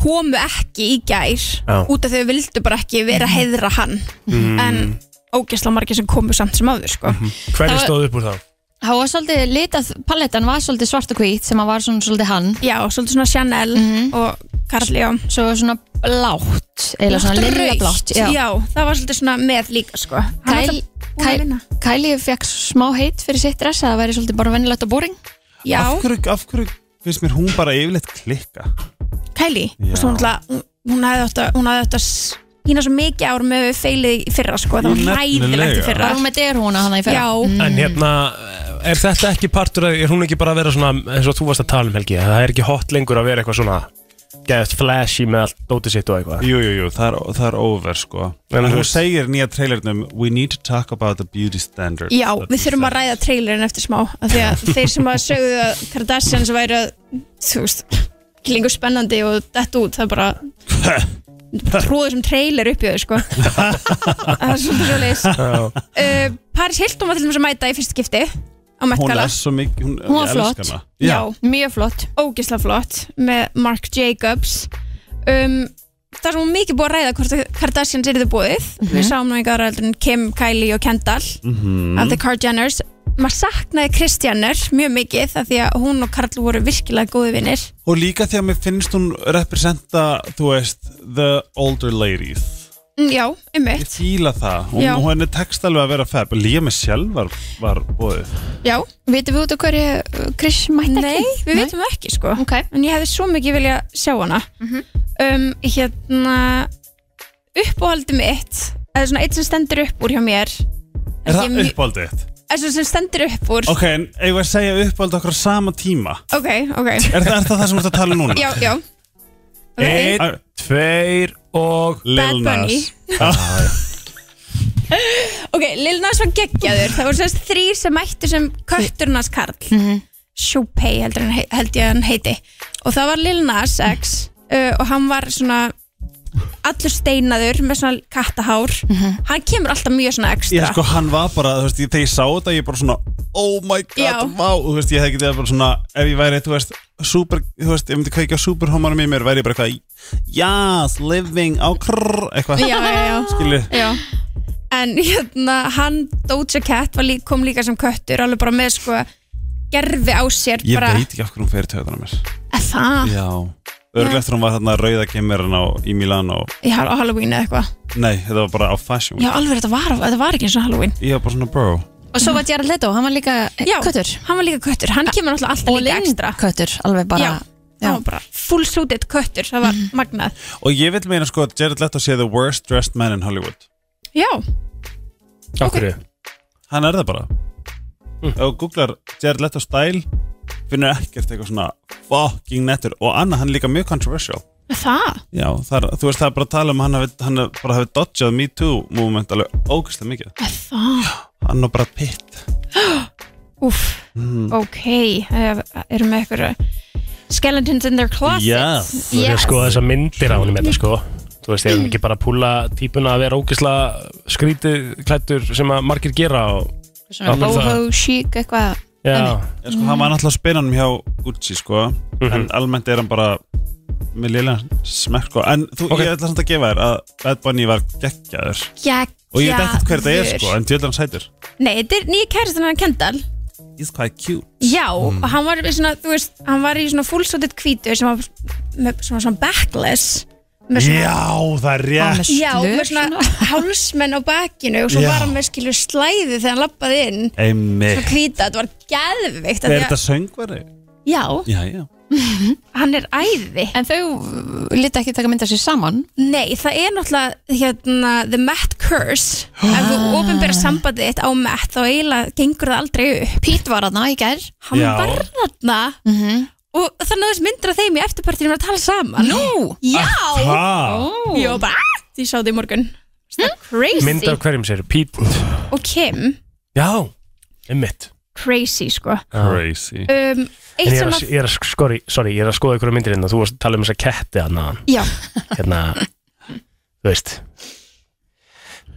S2: komu ekki í gær
S4: Já.
S2: út af þau vildu bara ekki vera
S5: Mhm.
S2: að heiðra hann
S6: Mhm.
S2: en ógæsla margir sem komu samt sem áður sko.
S4: Hverju
S5: Það var-
S4: stóð upp úr það?
S5: Það var svolítið litað, palettan var svolítið svart og hvít sem að var svona svolítið hann
S2: Já, svolítið svona Chanel
S5: Mhm.
S2: og Karli og
S5: svo svona blátt eða svona lilla
S2: Rautt.
S5: blátt
S2: já. það var svolítið svona með líka sko. Hann
S5: Kæl-
S2: var alltaf búinn að
S5: Kæ-
S2: vinna.
S5: Kylie fekk smá heit fyrir sitt dress að það væri svolítið bara vennilegt og boring
S2: Já,
S6: af hverju, af hverju finnst mér hún bara yfirleitt klikka
S2: Kæli
S6: Já.
S2: hún, alltaf- hún- hún hafði átt að hún hafði átt að s- hína svo mikið ár með feilið í fyrra sko. það var
S6: Nefnilega.
S2: hræðilegt í fyrra
S5: var hún með derhúna hann í fyrra Mhm.
S2: Já,
S4: En hérna, er þetta ekki partur að, er hún ekki bara að vera svona, eins og þú varst að tala um Helgi, það er ekki hot lengur að vera eitthvað svona geðast flashy með allt dótið sitt og eitthvað
S6: Jú, jú, jú, það er, það er over sko
S4: En
S6: En
S4: þú
S6: hún
S4: veist-
S6: segir í nýja trailernum We need to talk about the beauty standards
S2: Já, við þurfum að ræða trailerin eftir smá af því að þeir sem að sögðu að Kardashians væri að þú veist, ekki lengur spennandi og dett út, það er bara tróður sem trailer upp í þau sko það er svolítið svo leis uh, Paris Hilton var til þess að mæta í fyrst skipti á Met
S6: Hún
S2: Gala
S6: er svo mikið Hún,
S2: hún var
S6: ég elska
S2: flott,
S6: hana.
S2: já. mjög flott ógislega flott, með Marc Jacobs um, það sem hún mikið búið að ræða hvort að Kardashians er þið búið við sáum nú einhver aldrei Kim, Kylie og Kendall
S13: Mhm.
S2: af The Kar Jenners maður saknaði Kris Jenner mjög mikið af því að hún og Karl voru virkilega góði vinnir
S6: Og líka því að mér finnst hún representa, þú veist, the older ladies.
S2: Mm, já, einmitt
S6: Fíla það. Hún,
S2: Já.
S6: hún er tekst alveg að vera feb. Líka mig sjálf var, var bóðið.
S2: Já, veitum við út af hverju Chris mætti ekki? Nei, við veitum það ekki sko okay. En ég hefði svo mikið vilja sjá hana um, Hérna Uppáhaldi mitt Eða svona eitt sem stendur upp úr hjá mér
S6: Er
S2: Ég
S6: það
S2: mjög-
S6: uppáldið þitt?
S2: Eða svona sem stendur upp úr
S6: Ok, en eigum við að segja uppáldið okkur á sama tíma?
S2: ok, ok.
S6: Er það, er það það sem þú ert að tala um núna?
S2: Já, já
S6: Einn, tveir og... Lil
S2: Bad Bunny.
S6: Nas. Ah, já.
S2: Ok, Lil Nas var geggjaður Það voru semst þrýr sem mættu sem kötturnars Karl mm -hmm. Choupei heldur hann, hei- held ég að hann heiti Og það var Lil Nas X uh, Og hann var svona Allur steinaður með svona kattahár Hann kemur alltaf mjög svona
S6: Ég
S2: ekstra
S6: sko, hann var bara, þú veist, ég- þegar ég sá þetta, ég bara svona, oh my
S2: Já.
S6: god, vá, þú veist, ég hefði getið bara svona, ef ég væri, þú veist, super, þú veist, ef ég myndi kveikja á superhomanum í mér, væri ég bara eitthvað, yes, living á krrrr, eitthvað,
S2: Já, já, já.
S6: skilju,
S2: Já. En hérna, hann Doja Cat var líka, kom líka sem köttur Alveg bara með sko Gerfi á sér
S6: ég
S2: bara,
S6: veit ekki af hverju hún fer í töðunum mér,
S2: Er það?
S6: já, örglega eftir hún var þarna rauða kemurinn á, í Milán og,
S2: Ég har á Halloween eða eitthvað
S6: nei, þetta var bara á fashion,
S2: Já, alveg þetta var, þetta var ekki eins og Halloween
S6: ég var bara svona, bro,
S5: Og svo var Jared Leto, hann var líka
S2: Já, köttur. hann var líka köttur, hann kemur náttúrulega alltaf líka ekstra
S5: Köttur, alveg bara
S2: Já, Mhm. hann var bara full suited köttur, það var magnað
S6: og ég vil meina sko að Jared Leto sé the worst dressed man in Hollywood,
S2: Já,
S6: okkur, hann er það bara, ef þú googlar Jared Leto style, finnur ekkert eitthvað svona fucking nettur og annað hann er líka mjög controversial
S2: það
S6: Já, þar, þú veist það er bara að tala um að hann hafi, hann hafi- bara hafi dodgjað Me Too movement alveg ógeðslega mikið
S2: Það,
S6: Hann og bara pitt
S2: úff
S6: mm.
S2: Ok, eh, erum við eitthvað Skeletons in their closet
S4: Þú verður að skoða þessar myndir á honum þetta sko Þú veist, ég er ekki bara að púla típuna að vera ógisla skrítið klættur sem að margir gera og
S5: Svona
S4: Það er bara það.
S2: oh,
S5: boho chic eitthvað
S4: Já.
S6: Já, sko, hann var náttúrulega spinanum hjá Gucci sko En almennt er hann bara með lélega smekk sko En þú, ég ætla samt að gefa þér að Bad Bunny var geggjaður
S2: Geggjaður.
S6: Og ég veit ekkert hver þetta er sko, en djöðlega hann sætir
S2: Nei, þetta er nýja kærastan hann Kendall
S6: He's quite cute
S2: Já,
S6: Mm.
S2: og hann var í svona, þú veist, hann var í svona full suited hvítu sem var með svona, svona backless með svona-
S6: Já, það er rétt
S2: Já, með svona hálsmenn á bakinu og svo
S6: Já.
S2: var hann með skilur slæðu þegar hann lappaði inn
S6: Einmitt
S2: Svo hvita, þetta var geðvikt
S6: Eh. Er þetta söngvari?
S2: Já,
S6: Já, já
S2: hann er æði
S5: En þau lítið ekki taka mynda sér saman
S2: Nei, það er náttúrulega hérna, the Matt curse Ef þú ofinbera sambandið þitt á Matt þá eiginlega gengur það aldrei upp
S5: Pít var hann í gær
S2: Hann
S5: Já.
S2: var þarna
S5: Mhm.
S2: og það náðist myndir af þeim í eftirpartinu að tala saman Nú? Já
S4: Aha.
S2: Jó, bara, "Ah!" ég sá þetta í morgun Það er crazy
S4: mynd af hverjum sér, Pít
S2: Og Kim,
S4: Já, einmitt
S2: crazy sko
S6: Crazy
S2: um,
S4: En
S2: Eitt
S4: ég er
S2: sem
S4: að,
S2: að
S4: ég er að, skori, sorry, ég er að skoða ykkur myndir hérna Þú varst að tala um þessa ketti hana
S2: Já,
S4: Hérna, þú veist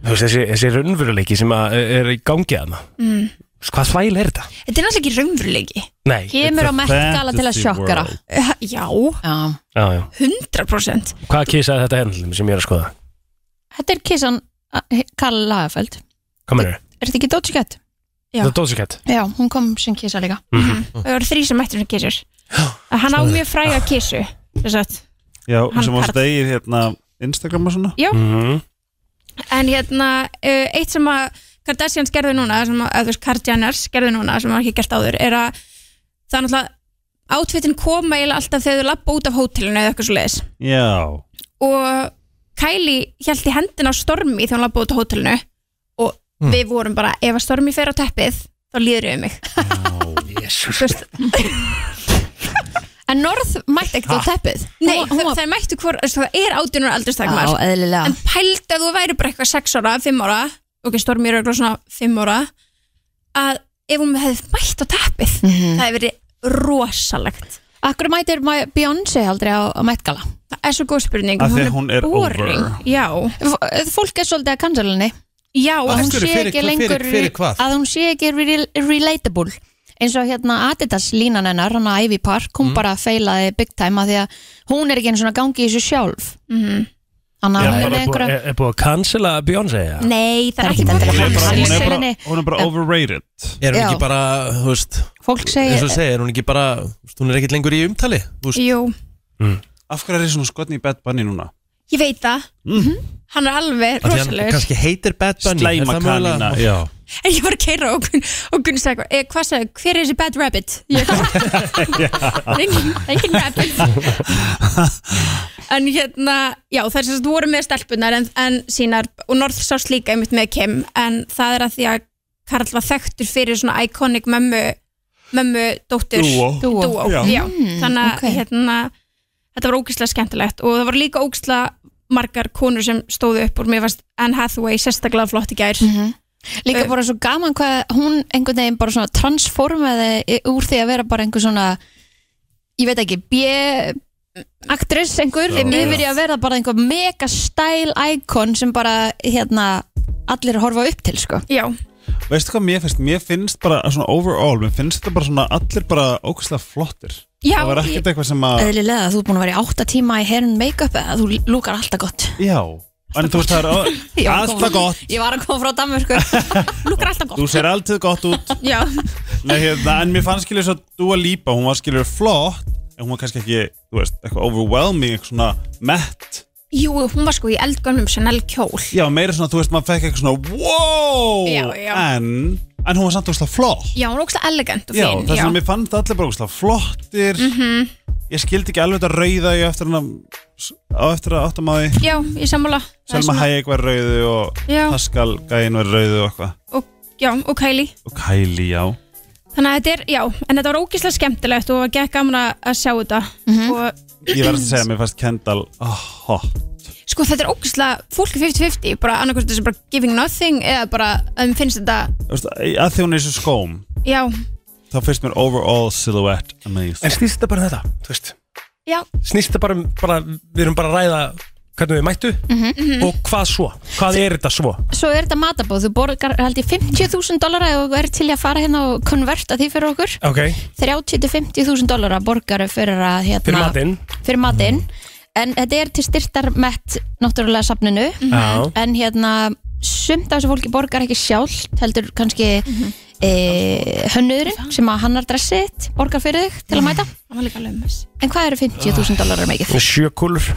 S4: Þú veist, þessi, þessi raunveruleiki sem að er í gangi hérna. hana
S2: mm.
S4: Hvað þvæl er þetta?
S2: Þetta er náttúrulega ekki raunveruleiki
S4: Nei
S2: Kemur
S4: it's
S2: á
S4: a
S2: Met Gala til að
S4: fantasy
S2: sjokkera.
S4: world.
S2: Eh, Já,
S4: Já, já
S2: 100%
S4: Hvað kísaði þetta hendlum sem ég er að skoða?
S5: Þetta er kissan uh, Karl Lagerfeld
S4: Hvað mennur?
S5: Er þetta ekki Doja Cat? Já.
S4: Það er dósikett
S5: Já, hún kom sem kissa líka
S4: Mhm.
S2: Það voru þrý sem mættur sem kissur Hann á mjög fræga kissu sem sagt.
S6: Já,
S2: Hann
S6: sem var
S2: Karl.
S6: stegið hérna Instagram og svona
S2: Já.
S4: -hmm.
S2: En hérna, eh, eitt sem að Kardashians gerðu núna, sem að, eða þú veist, Kardashians gerðu núna, sem að ekki gert áður, er að það er náttúrulega átvitin koma eiginlega alltaf þegar þau lappa út af hótelinu eða eitthvað svo leiðis
S6: Já
S2: og Kylie held í hendina á Stormi þegar hún lappa út á hótelinu og
S6: Mm.
S2: við vorum bara, ef að Stormi fer á teppið þá líður við mig Fyrst,
S5: En Norð mætti ekkert á
S2: Ha?
S5: teppið
S2: Nei, það, það er mættu hvor, þú veist, það er átjónur aldurstakmar
S5: Já, eðlilega.
S2: En pælt að þú væri bara eitthvað 6 ára, 5 ára Ok, Stormi er eitthvað svona 5 ára
S5: Mhm.
S2: Að ef hún hefði mætt á teppið Það hefði verið rosalegt
S5: Akkur mætir Ma- Beyoncé aldrei á, á Met Gala?
S2: Það er svo góð spurning
S6: Af því hún er boring. over.
S5: Já Fólk er svolítið að cancela henni Já,
S6: Af
S5: að hún
S6: hverju?
S5: sé
S6: Fyrir
S5: ekki
S6: hva-
S5: lengur
S6: fyrir- fyrir hvað?
S5: Að hún sé ekki rel- relatable eins og hérna Adidas línan hennar hann að Ivy Park, hún
S6: Mm.
S5: bara feilaði big time að því að hún er ekki einu svona gangi í þessu sjálf
S2: mm.
S5: Þannig að
S4: Er
S5: hún er
S4: bara búið-
S5: einhverja
S4: er- er búið að cancela Beyoncé?
S2: Mm.
S4: eða?
S5: Nei, það er ekki
S6: Hún er
S5: endilega
S6: bara-
S5: hann
S6: hún
S5: segir
S6: er bara-
S5: henni
S6: Hún er bara
S5: En-
S6: overrated
S3: Er hún
S5: Já.
S3: ekki bara, þú veist
S6: e-
S5: Fólk
S3: eins og
S4: Eh.
S3: þú
S5: segir
S3: segir, er hún ekki bara þú veist, hún er ekkert lengur í umtali þú veist.
S2: Jú,
S6: Af hverju er það svona skotni í Bad Bunny núna?
S2: ég veit það
S6: Mm.
S2: Hann er alveg
S3: Af því hann
S2: rosalegur
S3: kannski heitir Bad Bunny er
S6: Slæma
S3: það mögulega-
S6: kanina, já
S2: En ég var að keira og Gunn, og Gunn sagði eitthvað, eh, hvað sagði, hver er þessi bad rabbit? Ég kom, engin, engin rabbit. en hérna, já þær sem sagt voru með stelpunar en, en sínar, og Norð sást líka einmitt með Kim, en það er að því að Karl var þekktur fyrir svona iconic mömmu, mömmu dóttur.
S13: Dúó.
S2: Dúó,
S13: Já.
S2: já.
S13: Mm,
S2: Þannig að
S13: ok.
S2: hérna, þetta var ógislega skemmtilegt og það var líka ógislega margar konur sem stóðu upp úr mér fannst Anne Hathaway sérstaklega flott í gær
S5: Líka bara svo gaman hvað hún einhvern veginn bara svona transformaði í- úr því að vera bara einhver svona ég veit ekki, B aktress einhver,
S2: Já,
S5: yfir í
S2: já.
S5: að verða bara einhver mega stæl icon sem bara hérna allir horfa upp til sko
S2: Já,
S6: Veistu hvað mér finnst? Mér finnst bara að svona overall Mér finnst þetta bara svona allir bara ógæslega flottir
S5: Já,
S6: Það var ekkert eitthvað sem að
S5: eðlilega að þú er búin að vera í 8 tíma í herun make-up eða þú lúkar alltaf gott
S6: Já En þú veist það
S5: Ég var að
S6: er
S5: koma-
S6: alltaf gott
S5: Ég var að koma frá Danmörku Lúkar alltaf
S6: Þú ser alltaf gott út
S2: Já,
S6: Nei, hérna, En mér fannst skilur svo að Dua Lipa Hún var skilur flott En hún var kannski ekki, þú veist, eitthvað overwhelming Eitthvað svona mett
S2: Jú, hún var sko í eldgömlum Chanel kjól
S6: Já, meira svona, þú veist, maður fekk eitthvað svona Wow
S2: Já, já.
S6: En, en hún var samt ógæslega flott
S2: Já, hún er ógstlega elegant og
S6: Já,
S2: fín
S6: þess að mér fannst allir bara ógæslega flottir
S2: Mhm.
S6: Ég skildi ekki alveg þetta rauða Ég eftir hann á eftir að áttum á því
S2: Já, í sammála Það er
S6: Selma
S2: svona-
S6: Hayek var rauðu og
S2: Já.
S6: Pascal Gæin var rauðu og eitthvað
S2: og, Já, og Kylie
S6: og Kylie, já
S2: Þannig að þetta er, já, en þetta var ógíslega skemmtilegt og var gekk gaman að- að sjá þetta og
S6: Ég var að segja, mér fannst Kendall oh, hot.
S2: sko þetta er ógíslega, fólk er 50-50 bara annarkvæmst þessi bara giving nothing eða bara, um, finnst þetta,
S6: Þú veist, að því hún er í þessu skóm
S2: já
S6: þá finnst mér overall silhouette amazing
S4: En snýst þetta bara um þetta, þú veist
S2: Já,
S4: Snýst þetta bara um, bara, við erum bara að ræða hvernig við mættu Mhm. og hvað svo? Hvað er þetta svo?
S5: Svo er þetta matabóð, þú borgar held ég 50.000 dollara og er til í að fara hérna og konverta því fyrir okkur
S4: Ok,
S5: 30-50.000 dollara borgaru fyrir að hérna,
S4: fyrir matinn
S5: fyrir matinn. en þetta er til styrtar mett náttúrulega safninu
S4: Já.
S5: en hérna sumt af þessu fólki borgar ekki sjálft heldur kannski mm hönnurinn sem að hannar dressið borgar fyrir þig til að mæta
S2: það var líka lömmis
S5: en hvað eru 50.000 dollara mikið?
S4: Sjökulur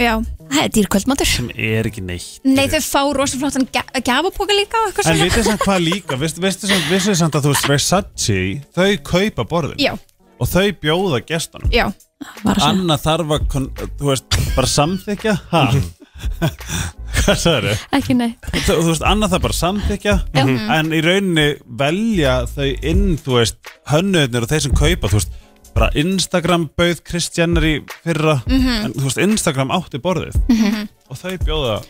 S2: Já,
S5: það er dýrkvöldmatur
S6: sem er ekki neitt
S2: Nei, þau fá rosa flottan ga- gjafapoka líka og eitthvað
S6: En
S2: svona.
S6: vitið samt hvað líka, veistu veistu samt, veistu samt að þú veist Versace, þau kaupa borðin
S2: Já,
S6: og þau bjóða gestunum
S2: já
S6: Anna þarf að, kon- þú veist, bara samþykja ha? Hvað sagði þau?
S5: Ah. ekki nei
S6: þú, þú veist, annað það bara samþykja
S5: Já. Mhm.
S6: en í rauninni velja þau inn, þú veist, hönnuðnir og þeir sem kaupa, þú veist, bara Instagram bauð Kristjannir í fyrra
S5: Mhm.
S6: en þú veist, Instagram átti borðið
S5: Mhm.
S6: og þau bjóða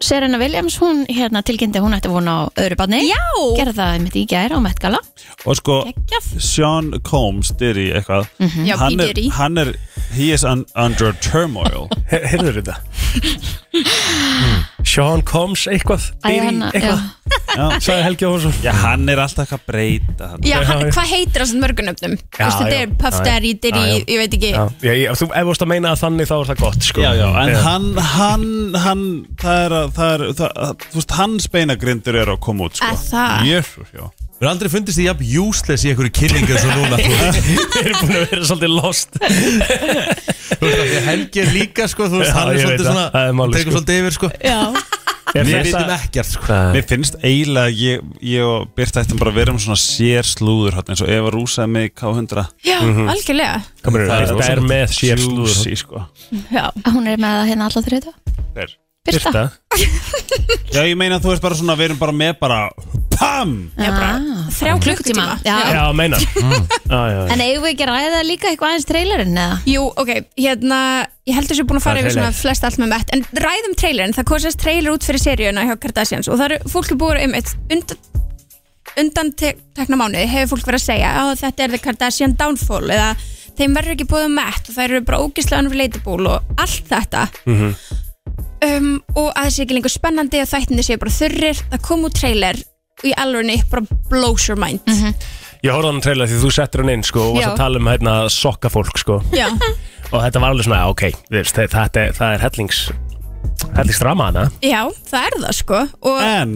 S5: Serena Williams, hún hérna tilkynnti að hún ætti vona á öðru barni Já Gerði það einmitt í gær á Met Gala
S6: og sko,
S2: Geggjað.
S6: Sean Combs Diddy eitthvað,
S5: Mhm. Já, P.
S6: hann,
S5: Diddy.
S6: er, hann er he is un, under turmoil
S4: Heyrður þetta? Sean Combs eitthvað
S2: Æ, hann-
S4: Diddy eitthvað Sæði Helgi Óhansson
S6: Já, hann er alltaf eitthvað að breyta hann.
S2: Já, hann, hvað heitir þessum mörgunöfnum? Þú veist, þetta er Puff Daddy, Diddy, ég veit ekki
S4: já, já, já, Þú ef þú ert að meina það þannig þá er það gott sko.
S6: Já, já, en hann, hann, hann, það er að, það er, það, að, þú veist, hans beinagrindur er að koma út, sko.
S2: Er það?
S6: Jössus, já.
S3: Við erum aldrei fundist því jafn useless í einhverju kynningu svo núna Þú
S4: Við erum búin að vera svolítið lost
S3: þú veist, af því að Helgi er líka, sko, þú veist,
S4: Já,
S3: hann er
S4: ég veit
S3: svolítið
S4: það.
S3: svona
S4: Það er málið,
S3: tekur
S4: sko.
S3: svolítið yfir, sko
S4: Er
S6: Við
S4: þessa-
S6: vitum
S3: ekkert, sko.
S4: Hvað-
S6: Mér finnst eiginlega að ég, ég og Birta ættum bara að vera um svona sér slúður hann eins og Eva Rúsaði með í K100
S2: Já,
S6: Mhm.
S2: algjörlega
S4: Komur,
S6: Það er-
S4: Þetta er með sér slúður
S6: Juicy, sko.
S2: Já.
S5: Hún er með það hérna alltaf þrjóta
S6: Hver?
S5: Birta. Birta.
S6: Já, ég meina þú veist bara svona, við erum bara með bara PAM!
S5: ah, Þrjá klukkutíma Já.
S4: meina
S5: En eigum við ekki að ræða líka eitthvað aðeins trailerinn eða?
S2: Jú, ok, hérna ég heldur sér búin að
S5: Hvað
S2: fara
S5: er
S2: yfir svona
S5: trailer?
S2: flest allt með mett en ræðum trailerinn, það kosast trailer út fyrir seríuna hjá Kardashians og það eru fólk er búið um eitt undan, undan tekna mánuði hefur fólk verið að segja að þetta er The Kardashian Downfall eða þeim verður ekki búið um mett og þær eru bara ógislega unrelatable og allt þetta
S5: Mhm.
S2: um, og að það sé ekki lengur spennandi og þættinni séu bara þurrir það kom út trailer og í alvörni bara blows your mind
S4: Ég horfði á hann trailer því þú settir hann inn sko og varst
S2: Já.
S4: að tala um hérna sokka fólk sko
S2: Já,
S4: og þetta var alveg svona, já, ok, þú veist, þe- þetta er, það er hellings hellingsdrama hana
S2: já, það er það sko og
S6: en,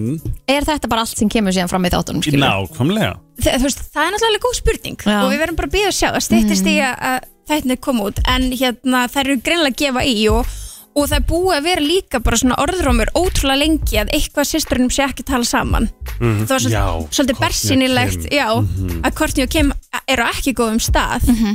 S5: Er þetta bara allt sem kemur síðan fram í þáttunum skilur?
S6: nákvæmlega
S2: það, þú veist, það er náttúrulega alveg góð spurning
S5: Já.
S2: og við verðum bara að býða að sjá það stýttist í að að þættinni koma út en hérna þær eru greinlega að gefa í og, og það er búið að vera líka bara svona orðrómur ótrúlega lengi að eitthvað sýstrunum sé ekki að tala saman
S10: Mhm.
S2: það var svolítið,
S10: Já,
S2: svolítið bersinilegt
S6: Kim.
S2: já,
S6: Mhm.
S2: að Courtney og Kim eru á ekki góðum stað mm -hmm.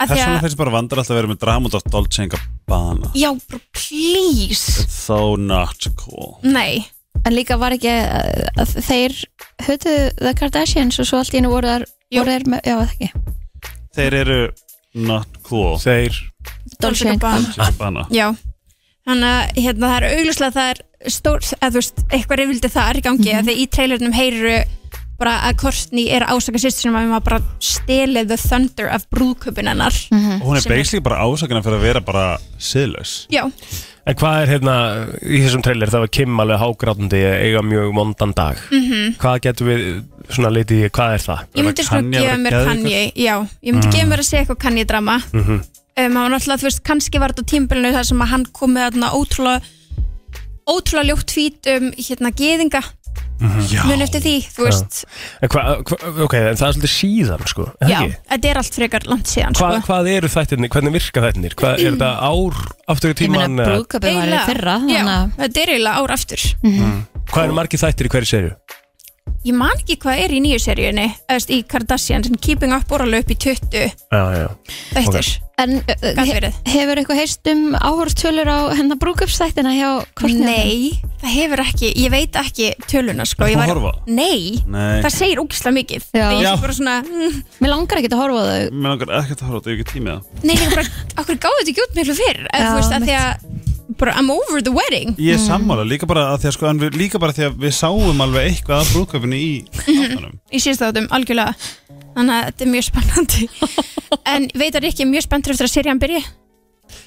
S2: að
S6: Þess
S2: því
S6: vegna
S2: að,
S6: finnst bara vandar alltaf að vera með dramund og Dolce Gabbana
S2: já, bara please
S6: It's so not cool
S2: Nei
S5: En líka var ekki að, að þeir höfðu The Kardashians og svo allt í hennu voru þar voru þær með, já það ekki
S6: Þeir eru not cool
S4: Þeir
S5: Dolce
S2: Gabbana.
S6: Gabbana
S2: Já, þannig að hérna, það er augljóslega það er stór, að þú veist, eitthvað reyfildi þar í gangi mm því í trailernum heyriru bara að Courtney er að ásaka sýstur sem að við maður bara stelið the thunder af brúðköpun hennar
S6: Og hún er basically bara ásakana fyrir að vera bara siðlaus
S2: Já,
S4: En hvað er hérna í þessum trailer, það var Kim alveg hágráðandi eiga mjög mondan dag
S2: Mhm.
S4: Hvað getum við svona litið í, hvað er það?
S2: ég myndi sko gefa mér Kanye Já, ég myndi
S4: Mm.
S2: gefa mér að segja eitthvað Kanye drama
S4: mm -hmm.
S2: um, hann var náttúrulega, þú veist, kannski var þetta á tímbilinu þar sem að hann kom með þarna ótrúlega ótrúlega ljótt fít um hérna geðinga,
S4: Mhm.
S2: mun eftir því þú veist,
S4: En hvað, hva, ok, en það er svolítið síðan sko er það
S2: já,
S4: ekki?
S2: þetta er allt frekar langt síðan sko.
S4: Hva, hvað eru þættirnir, hvernig virka þættirnir? Hvað, er þetta ár aftur í tíman?
S5: brúðkaupið var í
S2: Eiginlega,
S5: fyrra,
S2: já,
S5: þannig að- Mm.
S2: þetta er eiginlega ár aftur
S4: Hvað eru margir þættir í hverju serju?
S2: ég man ekki hvað er í nýju seríunni eðst, í Kardashian, sem Keeping Up orðalega upp í 20
S4: Já, já
S2: þættir
S5: En uh,
S2: Gat
S5: he,
S2: verið.
S5: hefur eitthvað heist um áhorftölur á hennar brúkupsþættina hjá Kourtney?
S2: Nei, það hefur ekki, ég veit ekki töluna sko
S5: Ert
S2: Ég
S5: þú að
S2: var-
S5: horfa?
S2: Nei,
S6: Nei.
S2: það segir ógislega mikið
S5: Já.
S2: Ég
S6: Já.
S2: sé bara svona, mm,
S5: Mér langar ekki að horfa á þau
S6: Mér langar ekkert að horfa á þetta, ég hef ekki tímið það
S2: Nei, líka bara, okkur gáðu þetta ekki út miklu fyrr eða
S5: Já,
S2: þú veist að því að bara, I'm over the wedding
S6: Ég er sammála, líka bara að því að sko, en við, líka bara því að við sáum alveg eitthvað af brúðköpunni í
S2: í síðust þáttum, algjörlega þannig að þetta er mjög spennandi en veit að Rikki er mjög spenntur eftir að serían byrja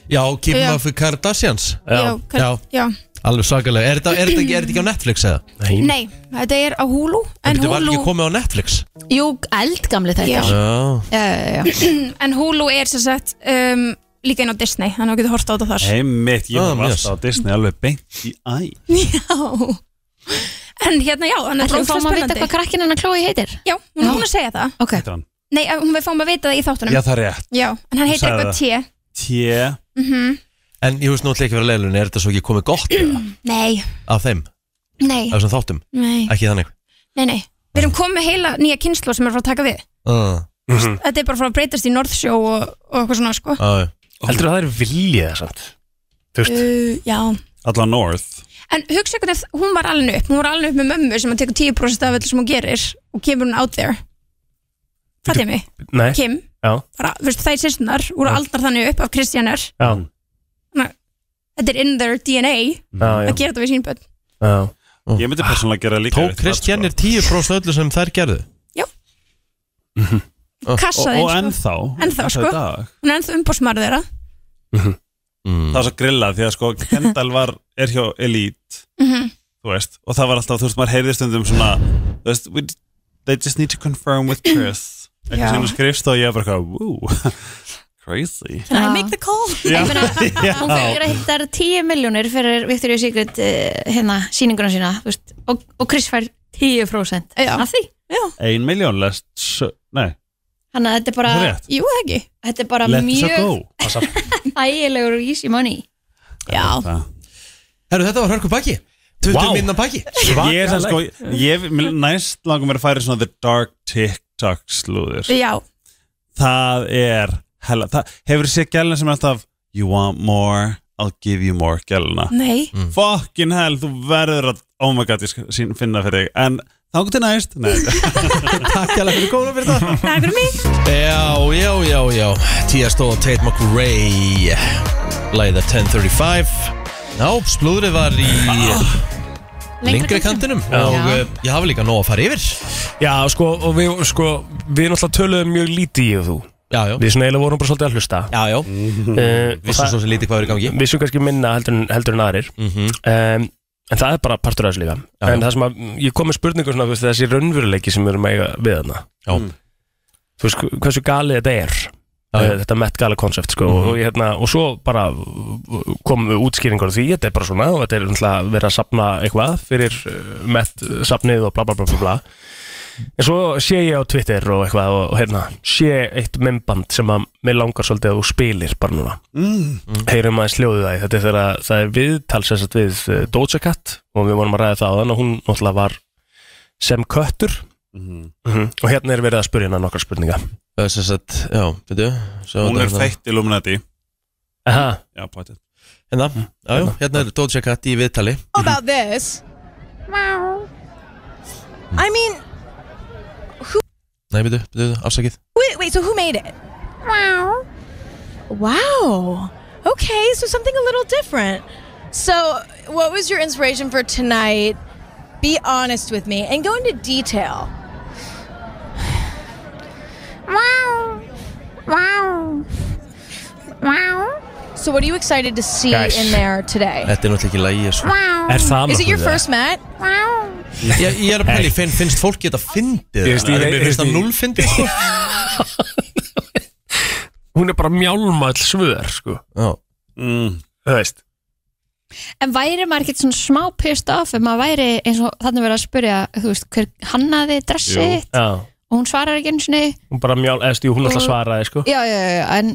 S3: Já, Kim
S2: Já.
S3: of Kardashians
S2: Já, Kar- já.
S3: Alveg svakalega Er þetta er þetta ekki, er þetta ekki á Netflix eða?
S2: Nei, þetta er á Hulu en
S3: Þetta var
S2: Hulu,
S3: ekki komið á Netflix
S5: Jú, eldgamli
S2: Já.
S5: þættir
S3: Já
S5: Já, já, já
S2: en Hulu er sem sagt um, líka inn á Disney, þannig að við getum horta á þetta þar
S6: Heimitt, ég var alltaf á Disney alveg beint í æ
S2: Já En hérna já, þannig
S5: Ætli við fáum að vita hvað krakkinn hennar Chloe heitir?
S2: Já, hún er búin að segja það
S5: Ok
S6: hann?
S2: Nei, að hún við fáum að vita það í þáttunum
S6: Já, það er rétt.
S2: Já, en hann
S6: Hún
S2: heitir
S6: sagði
S2: eitthvað T
S6: það. Tjé
S2: mm
S3: En ég veist náttúrulega ekki verið að leilunni Er þetta svo ekki komið gott
S2: Nei,
S3: af þeim?
S2: nei,
S3: Af þessum þáttum?
S2: nei,
S3: Ekki þannig
S2: nei, nei Við erum komið með heila nýja kynslu sem er frá að taka við
S3: uh.
S1: Ah.
S6: Mm.
S2: Þetta er bara frá að breytast í Norðsjó og, og eitthvað svona sko
S3: Ah,
S4: Heldur það er viljið það samt? Þú veist,
S2: uh, Já,
S6: Alla North
S2: en hugsa eitthvað ef hún var alveg upp Hún var alveg upp með mömmu sem að tekur 10% af öllu sem hún gerir og kemur hún out there Fattir mig,
S4: nei
S2: Kim
S4: Já,
S2: bara, þú veist, þær sýstunar úr aldar þannig upp af Kristjanar
S4: já,
S2: þetta er in their DNA
S4: já,
S2: að gera þetta við sín börn
S4: já
S6: Ég myndi persónulega gera líka
S3: Tók
S6: sko.
S3: Kristjannir 10% öllu sem þær gerðu?
S2: Já.
S3: Mhm. Ah.
S2: Kassaði,
S6: Og, og
S2: sko.
S6: ennþá
S2: Ennþá, sko.
S6: í dag.
S2: hún er ennþá umbósmarður þeirra
S3: Mm.
S6: Það var svo grillað því að sko Kendall var, er hjá Elite
S2: Mhm.
S6: þú veist, og það var alltaf, þú veist, maður heyrði stundum svona, þú veist, we, they just need to confirm with Chris
S2: Já.
S6: eitthvað sem skrifst og ég er bara eitthvað, woo crazy
S2: Can I make the call?
S6: Já.
S5: Ég meina,
S6: Já.
S5: hún fyrir að hitta 10 miljónir fyrir Victoria's Secret uh, hérna, síninguna sína þú veist, og, og Chris fær 10%
S2: Já.
S5: af því
S6: ein miljón lest, s- nei
S5: Þannig að þetta
S2: Uh,
S5: er bara,
S6: Það er rétt.
S2: Jú, það ekki
S5: þetta er
S2: uh,
S5: bara
S6: Let us
S5: mjög
S6: go Það samt-
S5: ægilegur og easy money
S2: Já,
S6: það.
S3: Herru, þetta var hörku pakki 20 wow.
S6: Vá.
S3: minna pakki
S6: ég er það sko, ég, mér- næst langum mér að færa svona the dark tiktok slúður
S2: já,
S6: það er hella, það hefur séð gælna sem er alltaf you want more, I'll give you more gælna
S2: nei
S6: fucking hell, þú verður að oh my god, ég skal sín- finna fyrir þig en þá kom til næst Nei.
S3: Takk alveg fyrir góðan fyrir það
S2: Það er fyrir mig
S3: Já, já, já, já Tiesto og Tate McRae Læða 1035 Já, splúðrið var í lengri kantinum
S4: Já.
S3: og já. ég hafi líka nóg að fara yfir
S4: Já, sko, og við, sko, við náttúrulega töluðum mjög lítið í og þú já, já. Við svona eiginlega vorum bara svolítið að hlusta já, já.
S3: Mm. Vissum svo sem lítið hvað er í gangi.
S6: Mm.
S4: Vissum kannski minna heldur, en- heldur en aðrir um, En það er bara partur af þessu líka
S3: Já,
S4: En
S3: já.
S4: það sem að, ég kom með spurningu svona, þú veist, Þessi raunveruleiki sem við erum að eiga við þarna
S3: Já.
S4: Þú veist hversu galið þetta er já, Þetta met gala koncept sko,
S3: Mhm.
S4: og, ég, hérna, og svo bara komum við útskýringar á því Þetta er bara svona og Þetta er náttúrulega verið að sapna eitthvað Fyrir uh, met sapnið og bla bla bla bla, bla. En svo sé ég á Twitter og eitthvað og, og hérna, sé eitt memband sem að mér langar svolítið að þú spilir bara núna
S6: Mm.
S4: heyrum aðeins hljóðu það í. þetta er þegar að það er viðtal sem sagt við uh, Doja Cat og við vorum að ræða það á þann og hún náttúrulega var sem köttur
S6: Mhm.
S4: Mhm. og hérna er verið að spurja hennar nokkar spurninga
S3: Það er sem sagt, já, veitu
S6: Hún er fætt Illuminati
S4: Aha.
S6: Já, bætið
S3: Hérna,
S6: Mm.
S3: já, já, hérna er Doja Cat í viðtali
S13: about this. Wow. I mean,
S3: Nei, veitu, veitu, afsakið
S13: wait, wait. So who made it? Wow. Wow. Okay, so something a little different. So, what was your inspiration for tonight? Be honest with me and go into detail. Wow. Wow. Wow. So, what are you excited to see
S3: Guys.
S13: in there today?
S3: Þetta er náttúrulega ekki lægi sko.
S13: Wow. Is it your first met? Wow.
S3: Ég, ég er að pæli, finn, finnst fólk geta fyndið
S4: Ég veist, ég-
S3: það? Mér finnst
S4: ég-
S3: það null fyndið sko.
S4: hún er bara mjálmall svör sko.
S6: mm.
S4: það veist
S5: En væri maður ekkert svona smá pissed off ef maður væri eins og þannig verið að spyrja þú veist, hver hannaði dressið þitt?
S4: Já.
S5: og hún svarar ekki einu sinni
S4: hún bara mjál, eðst, jú, hún alltaf svaraði sko.
S5: Já, já, já, já, en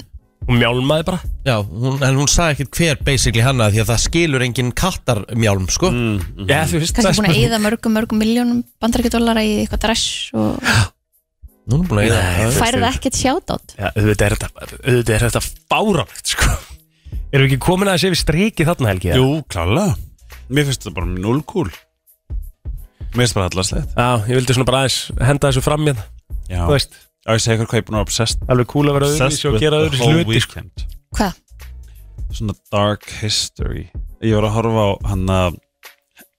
S4: hún mjálmaði bara
S3: Já, hún, en hún sagði ekkert hver basically hanna því að það skilur engin kattarmjálm sko. mm,
S4: mm. Já, þú veist
S5: kannski búin að eyða mörgum, mörgum miljónum bandarækjadólara í eitthvað dress og
S3: Nú er búin að eyða
S5: færið ekkert sjátátt
S4: Já, auðvitað er þetta, auðvitað er þetta fáránlegt, sko. Erum við ekki komin að sé við streiki þarna, Helgi? eða?
S6: Jú, klálega Mér finnst þetta bara null cool Mér finnst bara allarslegt
S4: Já, ég vildi svona bara aðeins henda þessu fram hérna.
S6: Já
S4: Þú veist.
S6: Já, ég segi ykkur hvað ég er búin að vera obsessed
S4: Alveg cool að vera
S6: obsessed
S4: öðruvísi og
S6: with
S4: gera
S6: the
S4: öðruvísi
S6: whole
S4: hluti, sko.
S6: weekend.
S5: Hvað?
S6: Svona dark history Ég var að horfa á hann að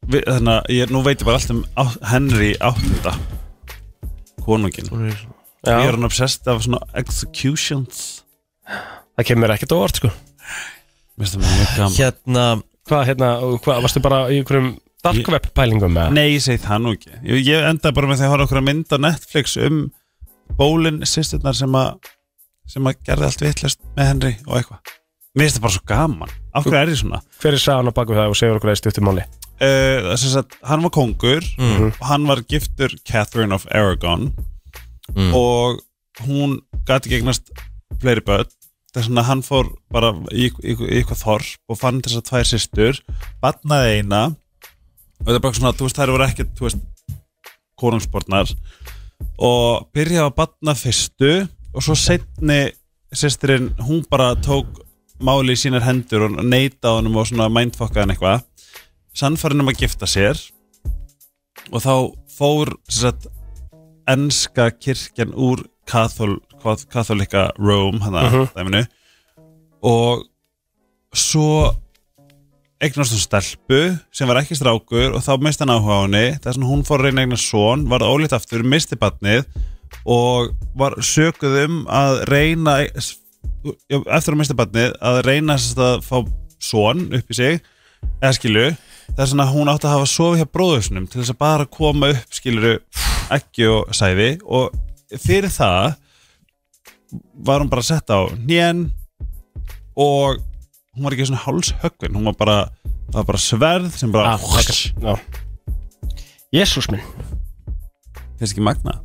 S6: við- Þannig að ég, nú veit ég bara allt um á, Henry áttunda Konungin
S4: Já.
S6: Ég er hann obsessed af svona executions
S4: Það kemur ekkert á orð, sko.
S6: Mér finnst það mjög gaman
S3: Hérna
S4: Hvað, hérna, og hvað, varstu bara í einhverjum dark web pælingum með
S6: Nei, ég segi það nú ekki Ég, ég endaði bara með því að horfa okkur að mynda Netflix um bólin sýsturnar sem að sem að gerði allt vitlust með Henry og eitthvað Mér finnst það bara svo gaman Af hverju er ég svona?
S4: Hver er sagan á baku það og segir okkur það í stuttumáli?
S6: Uh, sem sagt, hann var kongur og hann var giftur Catherine of Aragon og hún gati gegnast fleiri börn þess vegna hann fór bara í, í, í eitthvað þorp og fann þessar tvær systur batnaði eina og þetta er bara svona, þú veist, þær voru ekkert þú veist, konungsbornar og byrjaði að batna fyrstu og svo setni sýstirinn, hún bara tók máli í sínar hendur og neyta honum og svona mindfokkaði hann eitthvað sannfærin um að gifta sér og þá fór sem sagt, enska kirkjan úr kathol, katholika Rome hana, uh
S4: Mhm.
S6: dæminu og svo eignast hún stelpu sem var ekki strákur og þá misti hann áhuga á henni þess að hún fór að reyna að eignast son varð ólíkt aftur, misti batnið og var sökuð um að reyna já, eftir að mista batnið að reyna sem sagt, að fá son upp í sig eða skilu það er svona að hún átti að hafa sofið hjá bróðusnum til þess að bara koma upp skiluru ekki og sæði og fyrir það var hún bara sett á nén og hún var ekki svona hálshöggvin hún var bara, það var bara sverð sem bara
S4: ah, Jésús minn
S6: finnst ekki magna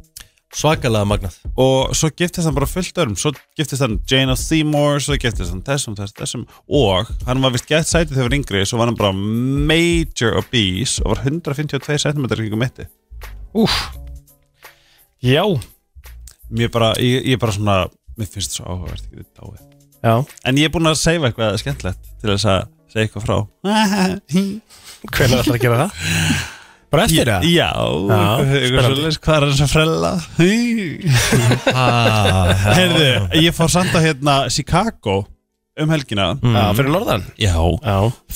S3: svakalega magnað
S6: og svo giftist hann bara fullt örum svo giftist hann Jane of Seymour svo giftist hann þessum, þessum, þessum og hann var vist gett sætið þegar hann var yngri svo var hann bara major obese og var 152 cm kringum mitti
S4: Úf Já
S6: Mér bara, ég, ég bara svona mér finnst það svo áhugavert ekki þetta dáið
S4: Já
S6: En ég er búinn að segja eitthvað skemmtlegt til þess að segja eitthvað frá
S4: Hvernig ætlar að gera það? Bara eftir það?
S6: Já, eitthvað
S4: spennandi.
S6: svoleiðis, hvað er þess að frella?
S4: Ah, já.
S6: Herðu, ég fór samt að hérna Chicago um helgina
S4: Já, fyrir norðan?
S6: Já.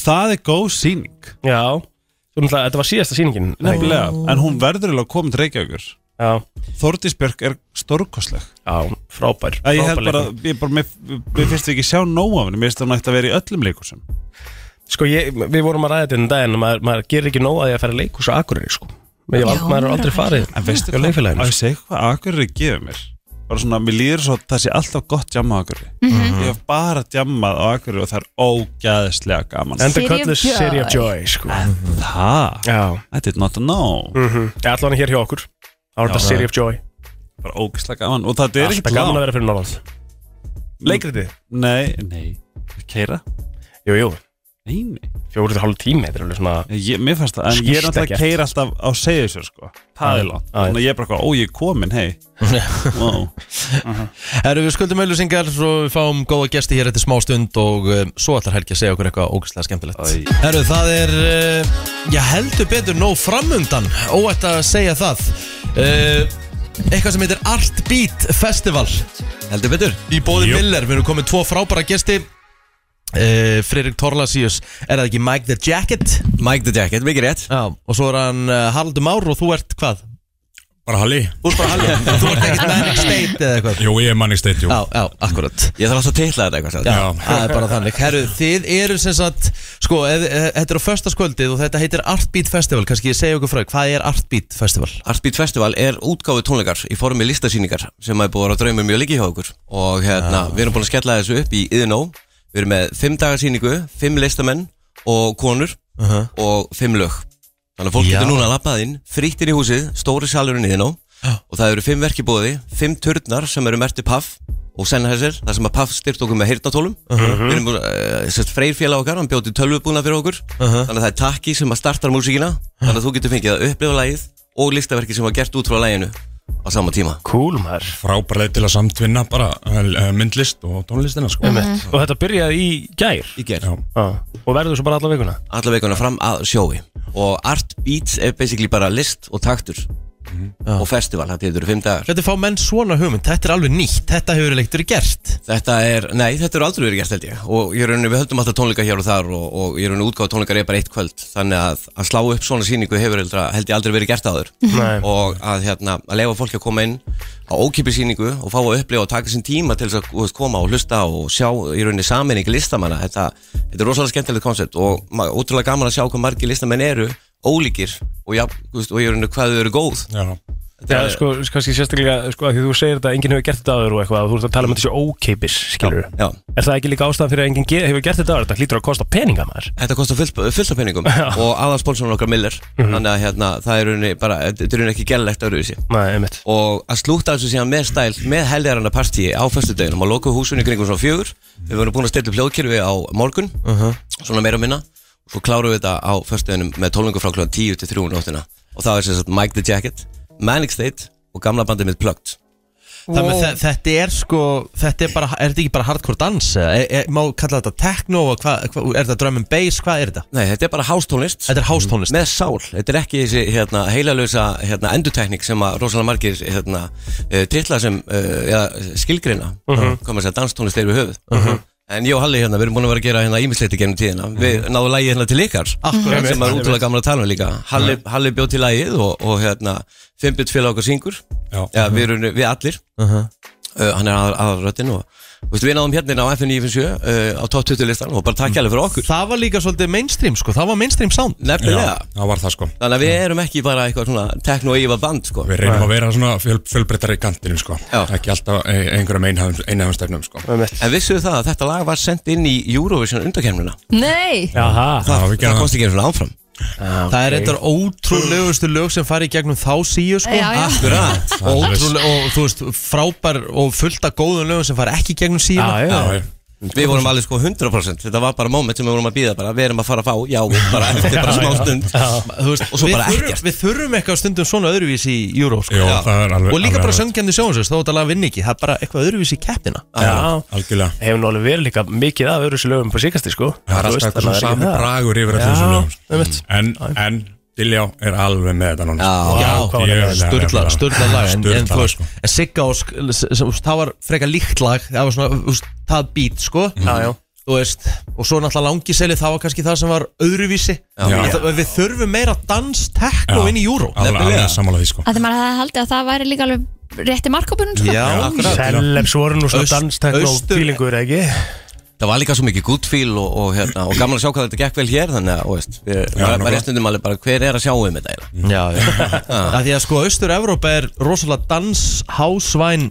S6: Það er góð síning
S4: Já Þú náttúrulega, þetta var síðasta síningin
S6: Nefnilega, en hún verður alveg að koma til Reykjavíkur Þórdís Björk er stórkosleg
S4: Já, frábær
S6: að Ég
S4: frábær
S6: held bara,
S4: leikmaður.
S6: ég bara, mér, mér finnst ekki sjá nóg af henni Mér finnst að hún ætti að vera í öllum leikursum
S4: Sko, ég, við vorum að ræða þetta um daginn maður, maður gerir ekki nóg að því að fara í leikhús á Akureyri sko. Ég, Já, maður er aldrei farið
S6: En veistu
S4: hjá
S6: hvað,
S4: leikfélaginu,
S6: á ég
S4: sko.
S6: segi hvað Akureyri gefur mér Bara svona, mér líður svo að það sé alltaf gott jamma á Akureyri
S4: Mhm.
S6: Ég hef bara jammað á Akureyri og það er ógæðislega gaman
S4: Enda City of kölluð Joy. City of Joy, sko.
S6: Það?
S4: Já
S6: I did not know
S4: mm -hmm. Allan hér hjá okkur Það var
S6: Já.
S4: þetta City of Joy
S6: Bara ógæðislega gaman Og það er
S4: Alltaf
S6: ekkert
S4: gaman að
S6: langt
S4: vera fyrir Norrland Leikritið?
S6: Nei, nei Keira?
S4: Jú, jú
S6: Nei, nei
S4: Fjórið og hálf tími, þetta er alveg svona
S6: ég, Mér fannst það, en ég er náttúrulega að keira alltaf á segjusur sko, það
S4: Já.
S6: er langt
S4: Já, já.
S6: Þannig að ég er bara eitthvað, ó ég er komin, hei wow.
S3: Herru, við skuldum auðlusingar og við fáum góða gesti hér eftir smá stund og um, svo ætlar Helgi að segja okkur eitthvað ógæslega skemmtilegt Herru, það er, uh, ég heldur betur nóg framundan, óætt að segja það uh, Eitthvað sem heitir Art Beat Festival Heldur betur Í bóði Miller, við erum komið tvo frábæra gesti Uh, Fririk Torlasíus Er það ekki Mike the Jacket? Mike the Jacket, mikið rétt Já, Og svo er hann uh, Haraldur Már og þú ert hvað? Bara Halli Þú ert bara Halli Þú ert ekkert Manic State eða eitthvað
S1: Jú, ég er manni steitt, jú
S3: Já, já, akkurat
S1: Ég þarf alltaf að teitla þetta eitthvað
S3: Já, það er bara þannig Herru, þið eru sem sagt Sko, eð- e- þetta er á föstaskvöldið og þetta heitir Artbeat Festival Kannski ég segja okkur frá, hvað er Artbeat Festival?
S1: Artbeat Festival er útgáfi tónleikar í formi listasýningar sem er búið að vera draumur mjög líki hjá okkur og hérna, við erum búin að skella þessu upp í Iðnó við erum með fimm dagarsýningu, fimm listamenn og konur
S3: Uh-huh.
S1: og fimm lög þannig að fólk
S3: Já.
S1: getur núna að labbað inn, frítt inn í húsið stóri salurinn í Iðnó og það eru fimm verk í búði, fimm turnar sem eru merti Paf og Sennheiser, þar sem að Paf styrt okkur með heyrnatólum
S3: Mhm.
S1: við erum búin að, uh, freyr félag okkar, hann bjóti tölvubúna fyrir okkur
S3: Uh-huh.
S1: þannig að það er takki sem að startar músíkina þannig að þú getur fengið að upplifa lagið og listaverki sem var gert út frá laginu á sama tíma
S4: Cool maður
S1: Frábær leið til að samtvinna bara uh, myndlist og tónlistina sko
S4: Einmitt. Og þetta byrjaði í gær
S1: Í gær
S4: Og verður svo bara alla vikuna
S1: Alla veikuna fram að sjói og art beats er basically bara list og taktur og festival, það getur fimm dagar
S3: Hvernig fá menn svona hugmynd? Þetta er alveg nýtt, þetta hefur leikt verið gert
S1: Þetta er, nei, þetta er aldrei verið gert held ég og ég rauninni, við höldum alltaf tónleika hér og þar og, og ég rauninni útgáð tónleikar er bara eitt kvöld þannig að að slá upp svona síningu hefur held, held ég aldrei verið gert áður
S4: Nei.
S1: og að hérna, að leifa fólki að koma inn á ókipi síningu og fá að upplifa og taka sinn tíma til þess að þú veist, koma og hlusta og sjá í rauninni saminning listamanna þetta, þetta er rosalega skemmtilegt koncept og ma- ótrúlega gaman að sjá hvað margir listamenn eru ólíkir og, ja, veist, og ég rauninni hvað þau eru góð
S4: Já Já, sko, kannski sérstaklega, sko, að því þú segir þetta enginn hefur gert þetta áður og eitthvað, og þú ert að tala um þetta séu ókeipis, skilur
S1: Já.
S4: Er það ekki líka ástæðan fyrir að enginn ge- hefur gert þetta áður? Þetta hlýtur að kosta peninga maður
S1: Þetta kostar fullt, fullt af penningum og aðalspónsunum okkar Miller
S4: Mhm.
S1: þannig að hérna, það er rauninni bara, þetta er rauninni ekki gællegt öðruvísi
S4: Nei, einmitt
S1: og að slúta þessu síðan með stæl með helgarana partíi á föstudeginum og loku húsunni kringum svona fjögur við vorum búin að stilla upp hljóðkirfi á morgun
S3: Mhm.
S1: svona meira og minna og svo klárum við þetta á föstudeginum með tólningu frá kljóðan 10 til 3 nóttina og það er sem sagt Mike the Jacket, Manic State og gamla bandið mitt Plugged
S3: Þannig að þe- þetta er sko, þetta er bara, er þetta ekki bara hardcore dans? eða? Er, er, má kalla þetta techno, og hva, hva, er þetta drum and bass, hvað er þetta?
S1: Nei, þetta er bara hástónlist
S3: Þetta er hástónlist
S1: Með sál, þetta er ekki þessi hérna, heilalösa hérna, enduteknik sem að rosalega margir hérna, uh, titla sem uh, ja, skilgreina
S4: Mhm.
S1: koma þess að danstónlist er við höfuð
S3: Mhm.
S1: En ég og Halli hérna, við erum búin að vera að gera hérna ímisleiti gennum tíðina Við náðum lagi hérna til ykkar
S3: Akkurat.
S1: sem er útrúlega gaman að tala um líka Halli,
S3: Mhm.
S1: Halli bjóð til lagið og, og hérna Fimbitt félag okkar syngur
S3: Já.
S1: ja, við, erum, við allir
S3: Uh-huh.
S1: uh, hann er aðal, aðalröttin og veistu, við náðum hérna inn á FN 97 uh, á top 20 listan og bara takk
S3: Mhm.
S1: hérlega fyrir okkur
S3: Það var líka svolítið mainstream sko, það var mainstream sound
S1: Nefnilega það var það sko Þannig að við erum ekki bara eitthvað svona tekno-íva band sko Við
S3: reynum
S1: að vera
S3: vera
S1: svona fjöl, fjölbreyttari í kantinu sko Já. Ekki alltaf e-, einhverjum einhafum stefnum sko En vissuðu það að þetta lag var sendt inn í Eurovision undarkemnuna
S5: Nei
S4: Jaha
S1: Það, það komst ekki eins og áfram
S3: Það er eitthvað ótrúlegustu lög sem fari í gegnum þá síu sko
S1: Já, já. Akkurat.
S3: Ótrúleg og þú veist frábær og fullt af góðum lögum sem fari ekki í gegnum síu
S1: Við vorum alveg sko 100% Þetta var bara moment sem við vorum að býða bara Við erum að fara að fá, já, bara eftir bara smá stund
S3: Þú veist,
S1: Og svo
S3: við
S1: bara
S3: þurfum-
S1: ekkert.
S3: Við þurfum eitthvað stundum svona öðruvísi í Euro sko.
S1: Jó, það er alveg-
S3: Og líka
S1: alveg
S3: bara
S1: rétt.
S3: söngjandi sjónsins, þá er þetta að vinna ekki Það er bara eitthvað öðruvísi í keppina
S4: Já, algjörlega Hefur nú alveg verið líka mikið af öðru sér lögum på síkasti, sko
S1: Það er
S4: Þú
S1: alltaf
S4: veist,
S1: eitthvað
S4: þannig að
S1: svona
S4: ekki
S1: sami
S4: það.
S1: bragur yfir öllum
S4: Já,
S1: þessum lögum, sko.
S4: einmitt.
S1: En, en Diljá er alveg með þetta núna Já,
S3: Já,
S1: hvað var þetta?
S3: sturla, sturla lag En, en þú
S1: Sturlað,
S3: veist, en
S4: Mhm.
S3: Sigga og Sk- s- s- þú veist, það var frekar líkt lag Það var svona, þú veist, það beat sko
S1: Já, já.
S3: þú veist, og svo náttúrulega langiseli það var kannski það sem var öðruvísi
S14: Já.
S3: Að það- við þurfum meira danstekno inn í júró
S14: Alveg, alveg sammála því sko
S5: að því maður hefði haldið að það væri líka alveg rétti markkopunum sko.
S4: Celebs voru nú svona danstekno fílingur, ekki?
S1: Það var líka svo mikið good feel og, og, hérna, og gaman að sjá hvað þetta gekk vel hér þannig að, og veist, við,
S3: Já,
S1: já,
S3: nokkuð.
S1: maður er stundum alveg bara hver er að sjá um þetta eiginlega?
S3: Já, já. að því að sko austur-Evrópa er rosalega danshásvæn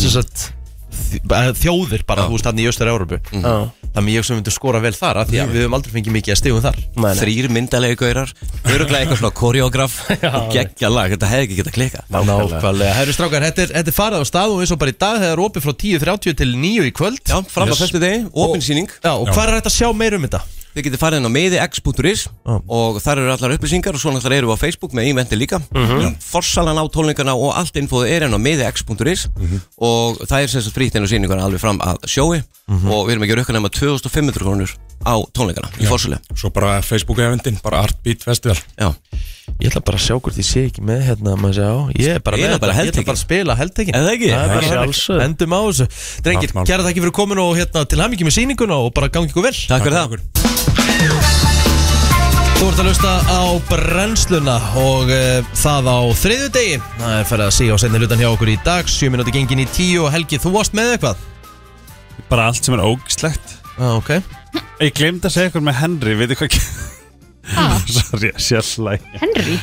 S3: sem sagt, þj- bara þjóðir bara, þú veist, hann í austur-Evrópu
S1: Já.
S3: þannig ég sem myndi skora vel þar af því að við höfum aldrei fengið mikið að stegum þar
S1: Nei, nei. Þrír myndalegi gaurar, öruglega eitthvað svona koreograf og geggja lag, þetta hefði ekki getað klika
S3: Nákvæmlega, herru strákar, þetta er, þetta er farið á stað og eins og bara í dag, það er opið frá 10.30 til 9 í kvöld Já,
S1: fram á föstudegi, opin sýning.
S3: Já, og
S1: Já.
S3: hvað er þetta að sjá meira um þetta?
S1: Þið getið farið inn á meðix.is
S3: Ah.
S1: og þar eru allar upplýsingar og svo náttúrulega eru við á Facebook með íventi líka
S3: Mhm.
S1: Já. Forsalan á tólningana og allt infóðu er inn á meðix.is
S3: Mhm.
S1: og það er sem sagt frýtt inn á sýninguna alveg fram að sjói
S3: Mhm.
S1: og við erum ekki að rukka nema 2500 krónur á tólningana í forsalu
S14: Svo bara Facebook eventin, bara Artbeat Festival
S1: Já
S3: Ég ætla bara að sjá hvort ég sé ekki með hérna maður sé á Ég er bara
S14: Ég
S3: með
S14: er bara
S3: þetta, ég ætla
S14: heltekin.
S3: bara að spila heldtekin
S14: Er það ekki?
S3: Það er bara
S14: Ekki
S3: þannig.
S14: sjálfsögðu.
S3: Endum á þessu Drengir,
S14: Allt mál.
S3: kæra þakki fyrir komin og hérna, til hamingjum með sýninguna og bara gangi ykkur vel
S1: Takk fyrir það
S3: Þú ert að lusta á brennsluna og uh, það á þriðju degi Það er fyrir að síga á senni lutan hjá okkur í dag 7 minúti gengin í 10 og Helgi, þú varst með eitthvað?
S6: Bara allt sem er ógislegt
S3: ah, okay.
S6: Ég glemd að segja eitthvað með Henry Veitir hvað ah. Sorry, sérlæg
S5: Henry?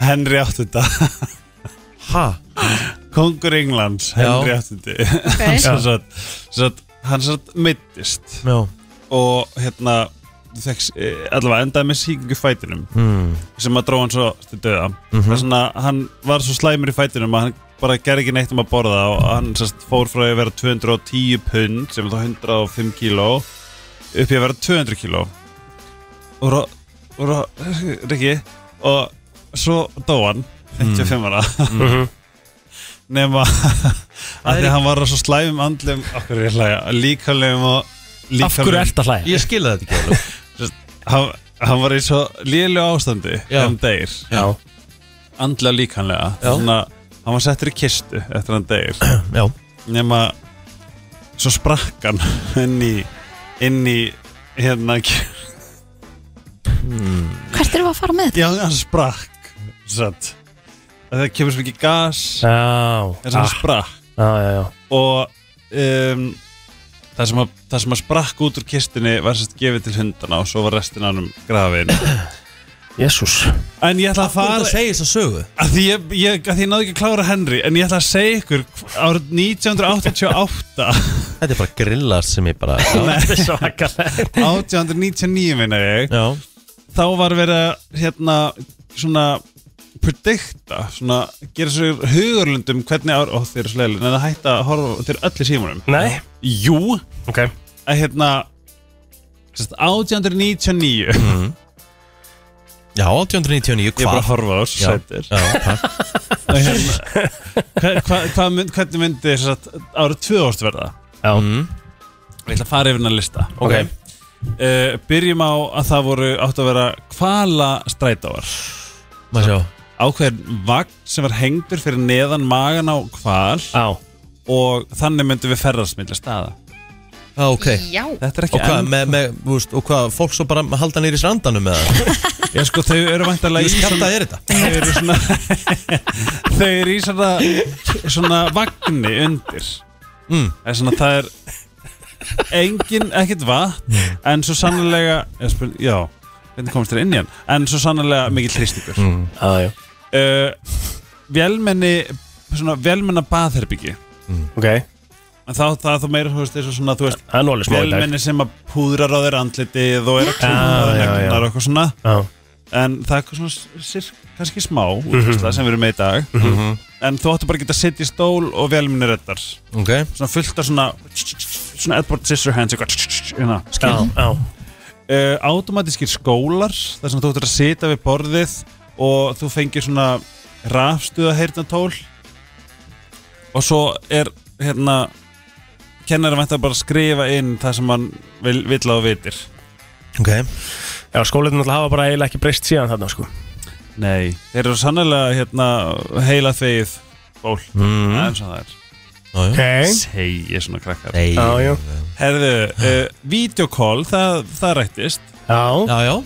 S6: Henry áttunda
S3: Ha?
S6: Kongur Englands,
S3: Já.
S6: Henry áttundi
S3: Ok.
S6: Hann sem sagt, sem sagt, Hann sem sagt meittist
S3: Já.
S6: Og hérna þekks, allavega endaði með sýkingu í fætinum
S3: Mm.
S6: sem að dróða hann svo til döða
S3: Mhm.
S6: það er svona, hann var svo slæmur í fætinum að hann bara gerði ekki neitt um að borða og hann sest, fór frá því að vera 210 pund sem er þá 105 kíló upp í að vera 200 kíló og rá, og rá, Riki og svo dó hann 55 ára
S4: Mhm.
S6: nema
S3: Mm. Það er
S6: að því
S3: ekki-
S6: að hann var á svo slæmum andlum okkur er ég að hlæja, líkalegum og
S3: Af hverju ertu að hlæja? Ég skil það ekki alveg.
S6: Sest, hann, hann var í svo lélu ástandi um
S3: Já.
S6: hann degir
S3: Já.
S6: andla líkanlega
S3: Já.
S6: þannig að hann var settur í kistu eftir hann degir
S3: Já.
S6: nema svo sprakk hann inn í inn í hérna hmm.
S5: hvert erum við að fara með
S6: já hann sprakk satt. það kemur svo mikið gas
S4: já,
S6: þess að hann
S4: Ah.
S6: sprakk
S4: Já, já, já
S6: og um, það, sem að, það sem að sprakk út úr kistinni var sérst gefið til hundana og svo var restin af hann grafin
S4: Jésús
S6: En ég ætla að fara
S3: Þú segir þess að sögu
S6: að því ég, ég, að því ég náði ekki að klára Henry En ég ætla að segja ykkur Árið 1988
S3: Þetta er bara grillast sem ég bara
S6: Þetta er svakalega 1899 minna ég
S3: Já.
S6: Þá var verið að hérna Svona predikta Svona gera sér hugurlundum Hvernig ár, ó þeir eru slegli En það hætta að horfa til öll í símanum
S4: Nei.
S6: Jú
S4: okay.
S6: Að hérna sérst, 1899
S3: Já, 1899, hvað?
S6: Ég er bara að horfa á þessu
S3: Já.
S6: sætir
S3: Já, takk.
S6: Og hérna, hva- hva- hvað mynd, Hvernig myndi þess að árið 2000 verða?
S4: Já
S3: Mm.
S6: Ég ætla að fara yfir hennar lista
S4: Ok.
S6: Eh, Byrjum á að það voru átt að vera kvala strætáar
S3: Má sjá.
S6: Ákveðin vagn sem var hengdur fyrir neðan magan á kval
S4: Já
S6: Og þannig myndum við ferðast milli staða
S3: Já, ok
S6: Já. Þetta er ekki
S3: Og hvað,
S6: enn-
S3: með, með, þú veist, og hvað, fólk svo bara halda nýri strandanum með það?
S6: Já, sko, þau eru væntanlega
S3: í
S6: í
S3: Hvað
S6: svona-
S3: er þetta?
S6: Þau eru svona Þau eru í svona Svona vagni undir
S3: mm.
S6: Það er svona það er Engin, ekkert vatn En svo sannlega ég spyr, Já, hvernig komst þér inn í hann En svo sannlega mikið hristingur
S4: Mm. ah,
S6: uh, Vélmenni Svona vélmenna baðherbyggi
S4: Ok
S6: En þá það þú meira, þú veist, þessu svona, þú veist
S4: Hann var alveg smá í dag. Ah,
S6: Vélmenni sem að púðrar á þeir andlitið og er að klúna
S4: Já,
S6: þeir
S4: já, já.
S6: neglunar og eitthvað svona
S4: Já.
S6: En það er eitthvað svona, sirk, kannski smá
S4: Mhm.
S6: útfæsla sem við erum með í dag
S4: Mhm.
S6: En þú áttu bara að geta að sitja í stól og vélmenni reddar
S3: Ok
S6: Svona fullt af svona, svona Edward Scissorhands eitthvað hérna.
S4: Já, já
S6: uh, Automatískir skólar, þar sem þú áttu að sitja við borðið Og þú fengir svona rafstuða og svo er hérna kennari vænta bara að skrifa inn það sem hann vil, vill að þú vitir
S3: Ok
S4: Já, skólinni náttúrulega hafa bara eiginlega ekki breyst síðan þarna sko
S6: Nei Þeir eru sannlega hérna heila þegið ból
S3: Mm.
S6: Það er eins og það er
S4: Ok.
S6: Segir svona krakkar
S4: Segir. Já, já.
S6: Herðu, uh, videokól, það, það rættist
S4: Já
S3: Já, já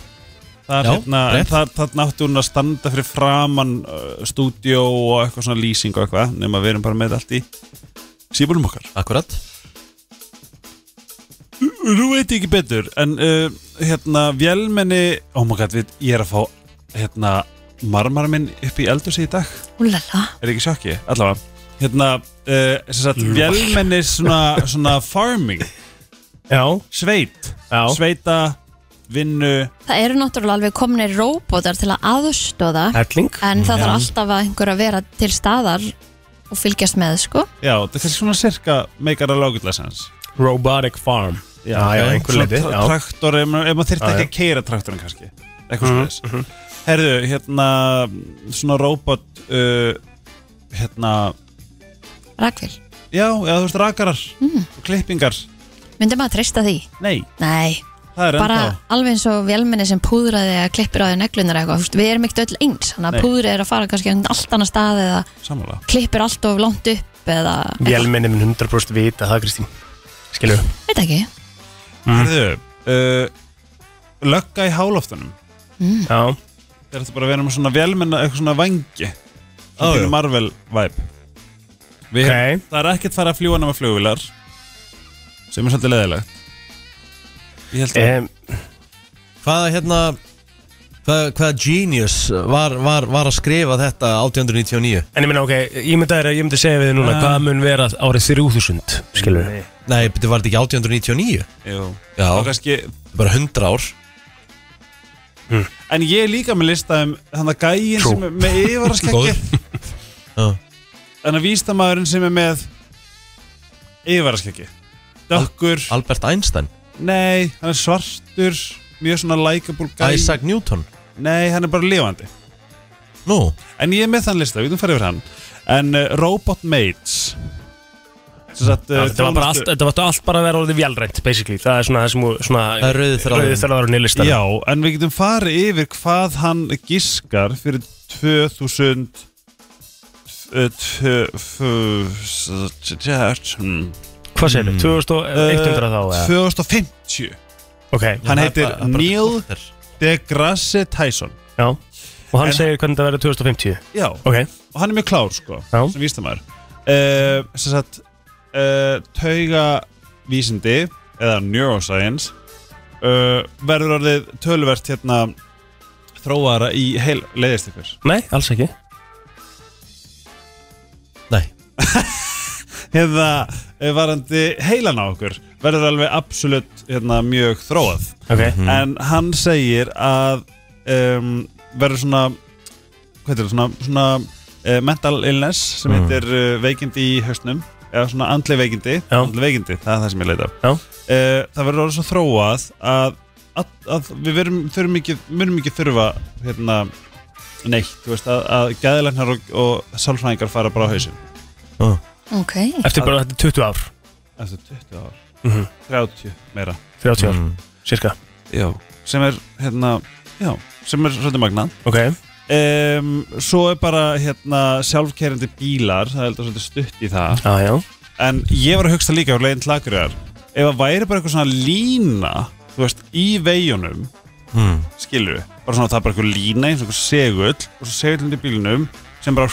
S6: Það,
S3: Já,
S6: já, hérna, en
S3: rétt.
S6: það, það náttu hún að standa fyrir framan uh, stúdíó og eitthvað svona lýsing og eitthvað nema við erum bara með allt í síbúlum okkar
S3: Akkurat
S6: Nú veit ég ekki betur en uh, hérna, vélmenni oh my god, við, ég er að fá hérna, marmara minn upp í eldur í dag
S5: Úlala
S6: er ekki sjokki, allavega hérna, uh, sem sagt,
S4: Lol.
S6: vélmenni svona, svona farming
S4: já.
S6: sveit já. sveita, vinnu
S5: Það eru náttúrulega alveg komnir róbótar til að aðstóða
S6: Helling.
S5: En það
S6: Já.
S5: þarf alltaf að einhver að vera til staðar og fylgjast með sko
S6: já, þetta er svona cirka meikar að lókutlega sens
S4: Robotic farm Já, já, einhver leiti
S6: Svona tra- Traktor, ef maður, ef maður
S4: Já,
S6: þyrfti ekki
S4: já.
S6: að keira traktorinn kannski Eitthvað mm
S4: Mhm,
S6: -hmm. Herðu, hérna Svona robot uh, Hérna
S5: Rakvél
S6: Já, eða þú veist rakarar og klippingar
S5: Myndi maður treysta því?
S6: Nei
S5: Nei
S6: Það er
S5: Bara
S6: ennþá
S5: alveg eins og vélmenni sem púðraði eða klippir á því neglunar eitthvað þú veist, Við erum ekkert öll eins Þannig
S4: Nei.
S5: að púðrið er að fara kannski á allt annað stað eða
S6: Sammála
S5: klippir allt of langt upp eða
S4: Vélmenni minn 100% vita það, Kristín Skilur
S5: Veit ekki
S4: Mhm.
S6: Herðu, uh, lögga í háloftunum
S5: Mm.
S4: Já
S6: Það er þetta bara að vera með svona velmenna Eitthvað svona vangi Það er Marvel vibe Við, okay. Það er ekkert fara að fljúa nema flugvilar Sem er svolítið leðilegt Ég held að
S3: Hvaða hérna Hvaða, hvaða genius var, var, var að skrifa þetta 1899
S4: En ég minna, ok, ég myndi að ég myndi segja við þið núna
S3: Ah.
S4: Hvað mun vera árið 3000, skilur við
S3: Nei, þetta var þetta ekki 1899
S6: Eh, Jú
S3: Já
S6: Og kannski
S3: Bara 100 ár
S6: En ég er líka með lista um þannig að gægin
S3: Trú.
S6: sem er með yfirvaraskeggi Þannig að vístamæðurinn sem er með yfirvaraskeggi Dökkur
S3: Albert Einstein
S6: Nei, hann er svartur Mjög svona likeable gæ
S3: Isaac Newton
S6: Nei, hann er bara lifandi
S3: Nú
S6: En ég er með þann lista, við þum farið yfir hann En uh, Robot Mates Sem sagt,
S4: Já,
S6: uh,
S4: Þetta var bara allt,
S6: þjónustu-
S4: þetta var allt bara að vera orðið vélrænt, basically Það er svona það sem þú- svona
S6: Það er rauði þráðurinn.
S4: Rauði þráðurinn í listan
S6: Já, en við getum farið yfir hvað hann giskar fyrir 2000 eh, tvö- fö- tjert, hmm.
S4: Hvað segirðu, 2100 þá, eða?
S6: Eh, 2050
S4: Ok
S6: Hann heitir Neil deGrasse Tyson
S4: Já, og hann segir hvernig það verður 2050
S6: Já,
S4: Ok.
S6: og hann er mjög klár sko
S4: Já.
S6: sem vístamæður uh, sem sagt uh, tauga vísindi eða neuroscience uh, verður orðið töluvert hérna þróara í heil leiðist ykkur
S4: Nei, alls ekki
S6: hérna eh, varandi heilan á okkur verður alveg absolutt hérna, mjög þróað
S4: Ok.
S6: en hann segir að um, verður svona hvað heitir það, svona, svona uh, mental illness sem
S4: Mhm.
S6: heitir uh, veikindi í hausnum eða svona andli veikindi, andli veikindi það er það sem ég leita
S4: uh,
S6: það verður alveg svo þróað að, að, að við verum, þurfum ekki, munum ekki þurfa hérna neitt, þú veist að, að gæðilegnar og, og sálfræðingar fara bara á hausinn
S5: Ok
S4: Eftir bara þetta 20 ár
S6: eftir 20 ár
S4: Mhm.
S6: 30 meira
S4: 30 ár, mm. cirka
S6: já. sem er hérna já, sem er svolítið magnað
S4: Ok.
S6: um, svo er bara hérna sjálfkerandi bílar það er heldur svolítið stutt í það
S4: ah, já
S6: en ég var að hugsa líka á leiðin tlakriðar ef að væri bara eitthvað svona lína þú veist, í veginum
S3: Mm.
S6: skilur við, bara svona það er bara eitthvað lína eins og eitthvað segull og svo segullin í bílnum sem bara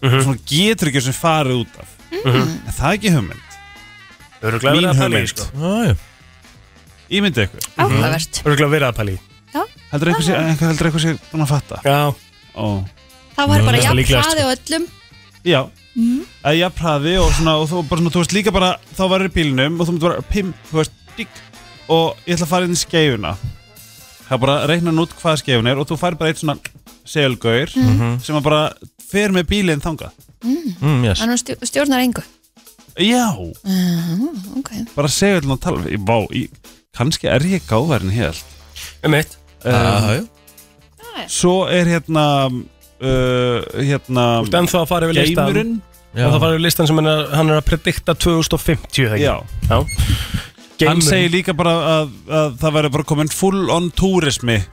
S6: svona getur ekki sem farið út af
S4: Mhm.
S6: en það er ekki hugmynd
S4: Örugglega verið
S6: Mín
S4: að pæla í,
S6: hugmynd.
S4: sko.
S6: Ímyndi ykkur
S5: Áhugavert.
S4: Örgulega verið að pæli
S6: Heldur eitthvað sé, einhver- heldur eitthvað sé búin að fatta
S4: Já
S6: Ó.
S5: Það var
S6: Nú,
S5: bara
S6: það er
S5: jafn
S6: líklegast.
S5: hraði á öllum
S6: Já
S5: Mhm.
S6: Að ég praði og svona og þú, bara, svona, þú veist líka bara þá varir í bílnum og þú myndir bara pim, þú veist, digg og ég ætla að fara inn í skeifuna það er bara að reikna hann út hvað skeifun er og þú fær bara eitt svona segulgaur
S5: Mhm.
S6: sem að bara fer með bílinn þangað
S5: mm.
S3: Hm,
S6: mm,
S5: Þannig að stjó- stjórnar engu
S6: Já,
S5: mm, Ok
S6: bara seguln og tala í, Vá, í, kannski er ég gáðverðin hér
S4: Um eitt
S6: Já, já Eh, Svo er hérna uh,
S4: Þú
S6: hérna
S4: veist, ennþá að fara yfir listan
S6: Geimurinn
S4: Já. Og það fara yfir listan sem hann er, hann er að predikta 2050 þegar
S6: Já. Hann segir líka bara að, að það verður bara komin full on túrismi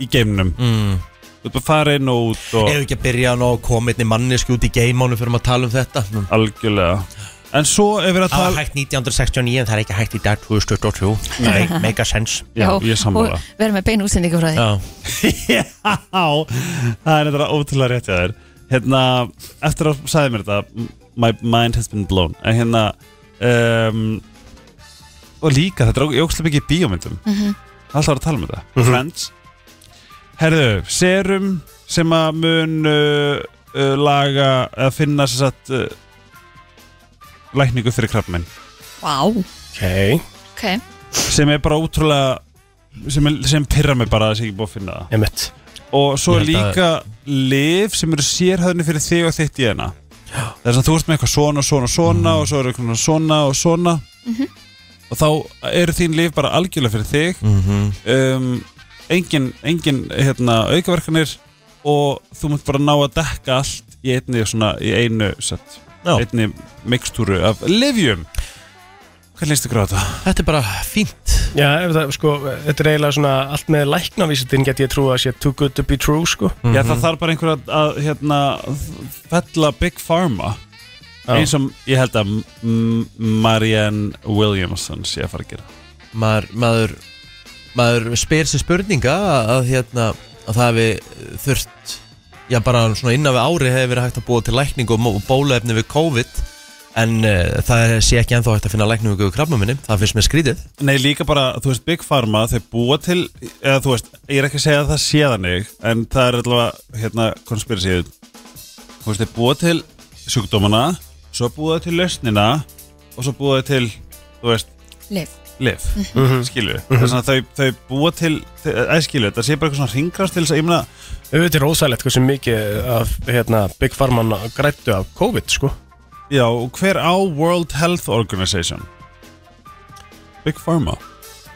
S6: í geimnum mm. Þú ert bara að fara inn og út og...
S3: Ef ekki að byrja nú að koma einni manneski út í geimánu fyrir að tala um þetta
S6: Algjörlega En svo ef við að
S3: tala Það var hægt 1969 en það er ekki hægt í dag 2023
S5: Nei.
S3: Mega sense
S5: og verðum með beinu útsendingu frá því
S6: Já, það er þetta ótrúlega rétt hjá þér Hérna, eftir að sagði mér þetta My mind has been blown En hérna um, Og líka, þetta er ógstlega mikið í bíómyndum
S15: Mhm.
S6: Alltaf var að tala um þetta Friends Herðu, serum sem að mun uh, uh, laga að finna sér satt uh, lækningu fyrir krabbmenn
S5: Vá,
S6: okay.
S5: ok
S6: sem er bara ótrúlega sem, er- sem pyrra mig bara að þessi ekki búið að finna það Einmitt. og svo
S3: Ég held
S6: líka liv sem eru sérhæðni fyrir þig og þitt í hana þess að þú ert með eitthvað svona, svona,
S3: Mhm.
S6: svona og svo eru eitthvað svona og svona og þá eru þín liv bara algjörlega fyrir þig
S3: Mhm.
S6: um, engin, engin hérna, aukaverkanir og þú munt bara ná að dekka allt í, einni, svona, í einu set, einni mikstúru af livjum Hvað leist ykkur á þetta?
S3: Þetta er bara fínt
S4: Já, ef það, sko, þetta er eiginlega svona allt með læknavísitin get ég trú að sé too good to be true, sko
S6: Já, það þarf bara einhver að, að hérna, fella Big Pharma
S4: Já.
S6: eins og ég held að M- Marianne Williamson sé að fara að gera
S3: maður, maður, maður spyr sér spurninga að, að, hérna, að það hefði þurft já bara svona innan við ári hefði verið hægt að búa til lækningu og mó- og bólaefni við COVID en uh, það sé ekki ennþá hægt að finna lækningu við krabbaminni, það finnst mér skrítið
S6: Nei, líka bara, þú veist, Big Pharma þau búa til, eða þú veist, ég er ekki að segja að það sé þannig, en það er allavega, hérna, konspirasíð þú veist, þau búa til sjúkdómana svo búa þau til lausnina og svo búa þau til, þú veist
S5: Lyf.
S6: Liv,
S5: Mhm.
S6: skilju
S4: Mhm.
S6: þess að þau, þau búa til, eða skilju það sé bara eitthvað svona ringrast til þess að, ég meina
S4: Þetta er ósæðilegt hversu mikið af hérna, Big Pharma grættu af COVID, sko
S6: Já, og hver á World Health Organization? Big Pharma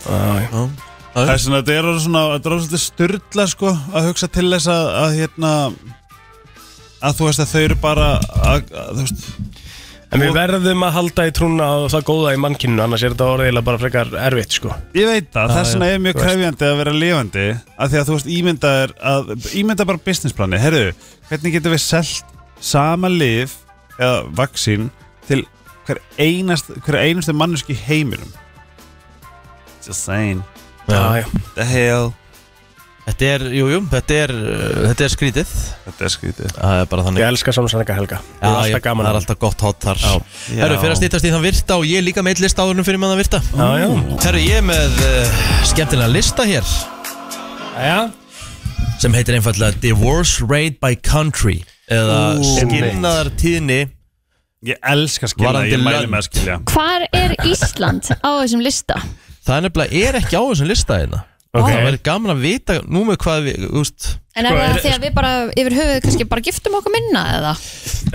S3: Já
S6: Ah, Það er svona, þetta er orðið svona, þetta er orðið svolítið styrla sko að hugsa til þess að, að hérna að þú veist að þau eru bara að, að þú veist
S4: En við verðum að halda í trúna og það góða í mannkinu, annars er þetta orðið eiginlega bara frekar erfitt, sko
S6: Ég veit það,
S4: Já,
S6: þess vegna
S4: já,
S6: er mjög
S4: þú veist.
S6: krefjandi að vera lifandi að því að þú veist ímynda er að, ímynda bara businessplani, herru, hvernig getum við selt sama lif eða vaksín til hver, einast, hver einustu manneski í heiminum Just saying
S3: Já, já.
S6: The hell
S3: Þetta er, jú, jú, þetta er, uh, þetta er skrítið
S6: Þetta er sko, skrítið
S3: Það er bara þannig
S4: Ég elska samsannleika helga
S3: Já, ég-
S4: Það er alltaf gaman
S3: það er alltaf gott hot þar
S4: Já.
S3: Herru, fyrir að stýttast í þann virta og ég er líka meitt list áðurum fyrir maður að virta
S4: Já, já.
S3: Herru, ég er með uh, skemmtilega lista hér
S4: Já
S3: Sem heitir einfallega Divorce Rate by Country Eða
S6: Ú.
S3: skilnaðar tíðni
S6: Ég elska skilja,
S3: Varandi
S6: ég mæli
S3: lönd.
S6: með að skilja
S5: Hvar er Ísland á þessum lista?
S3: Það er nefnilega er ekki á þessum lista hérna
S5: Ok.
S3: Það verður gaman að vita nú með hvað við, úst
S5: En er það því að við bara yfir höfuð kannski bara giftum okkur minna eða?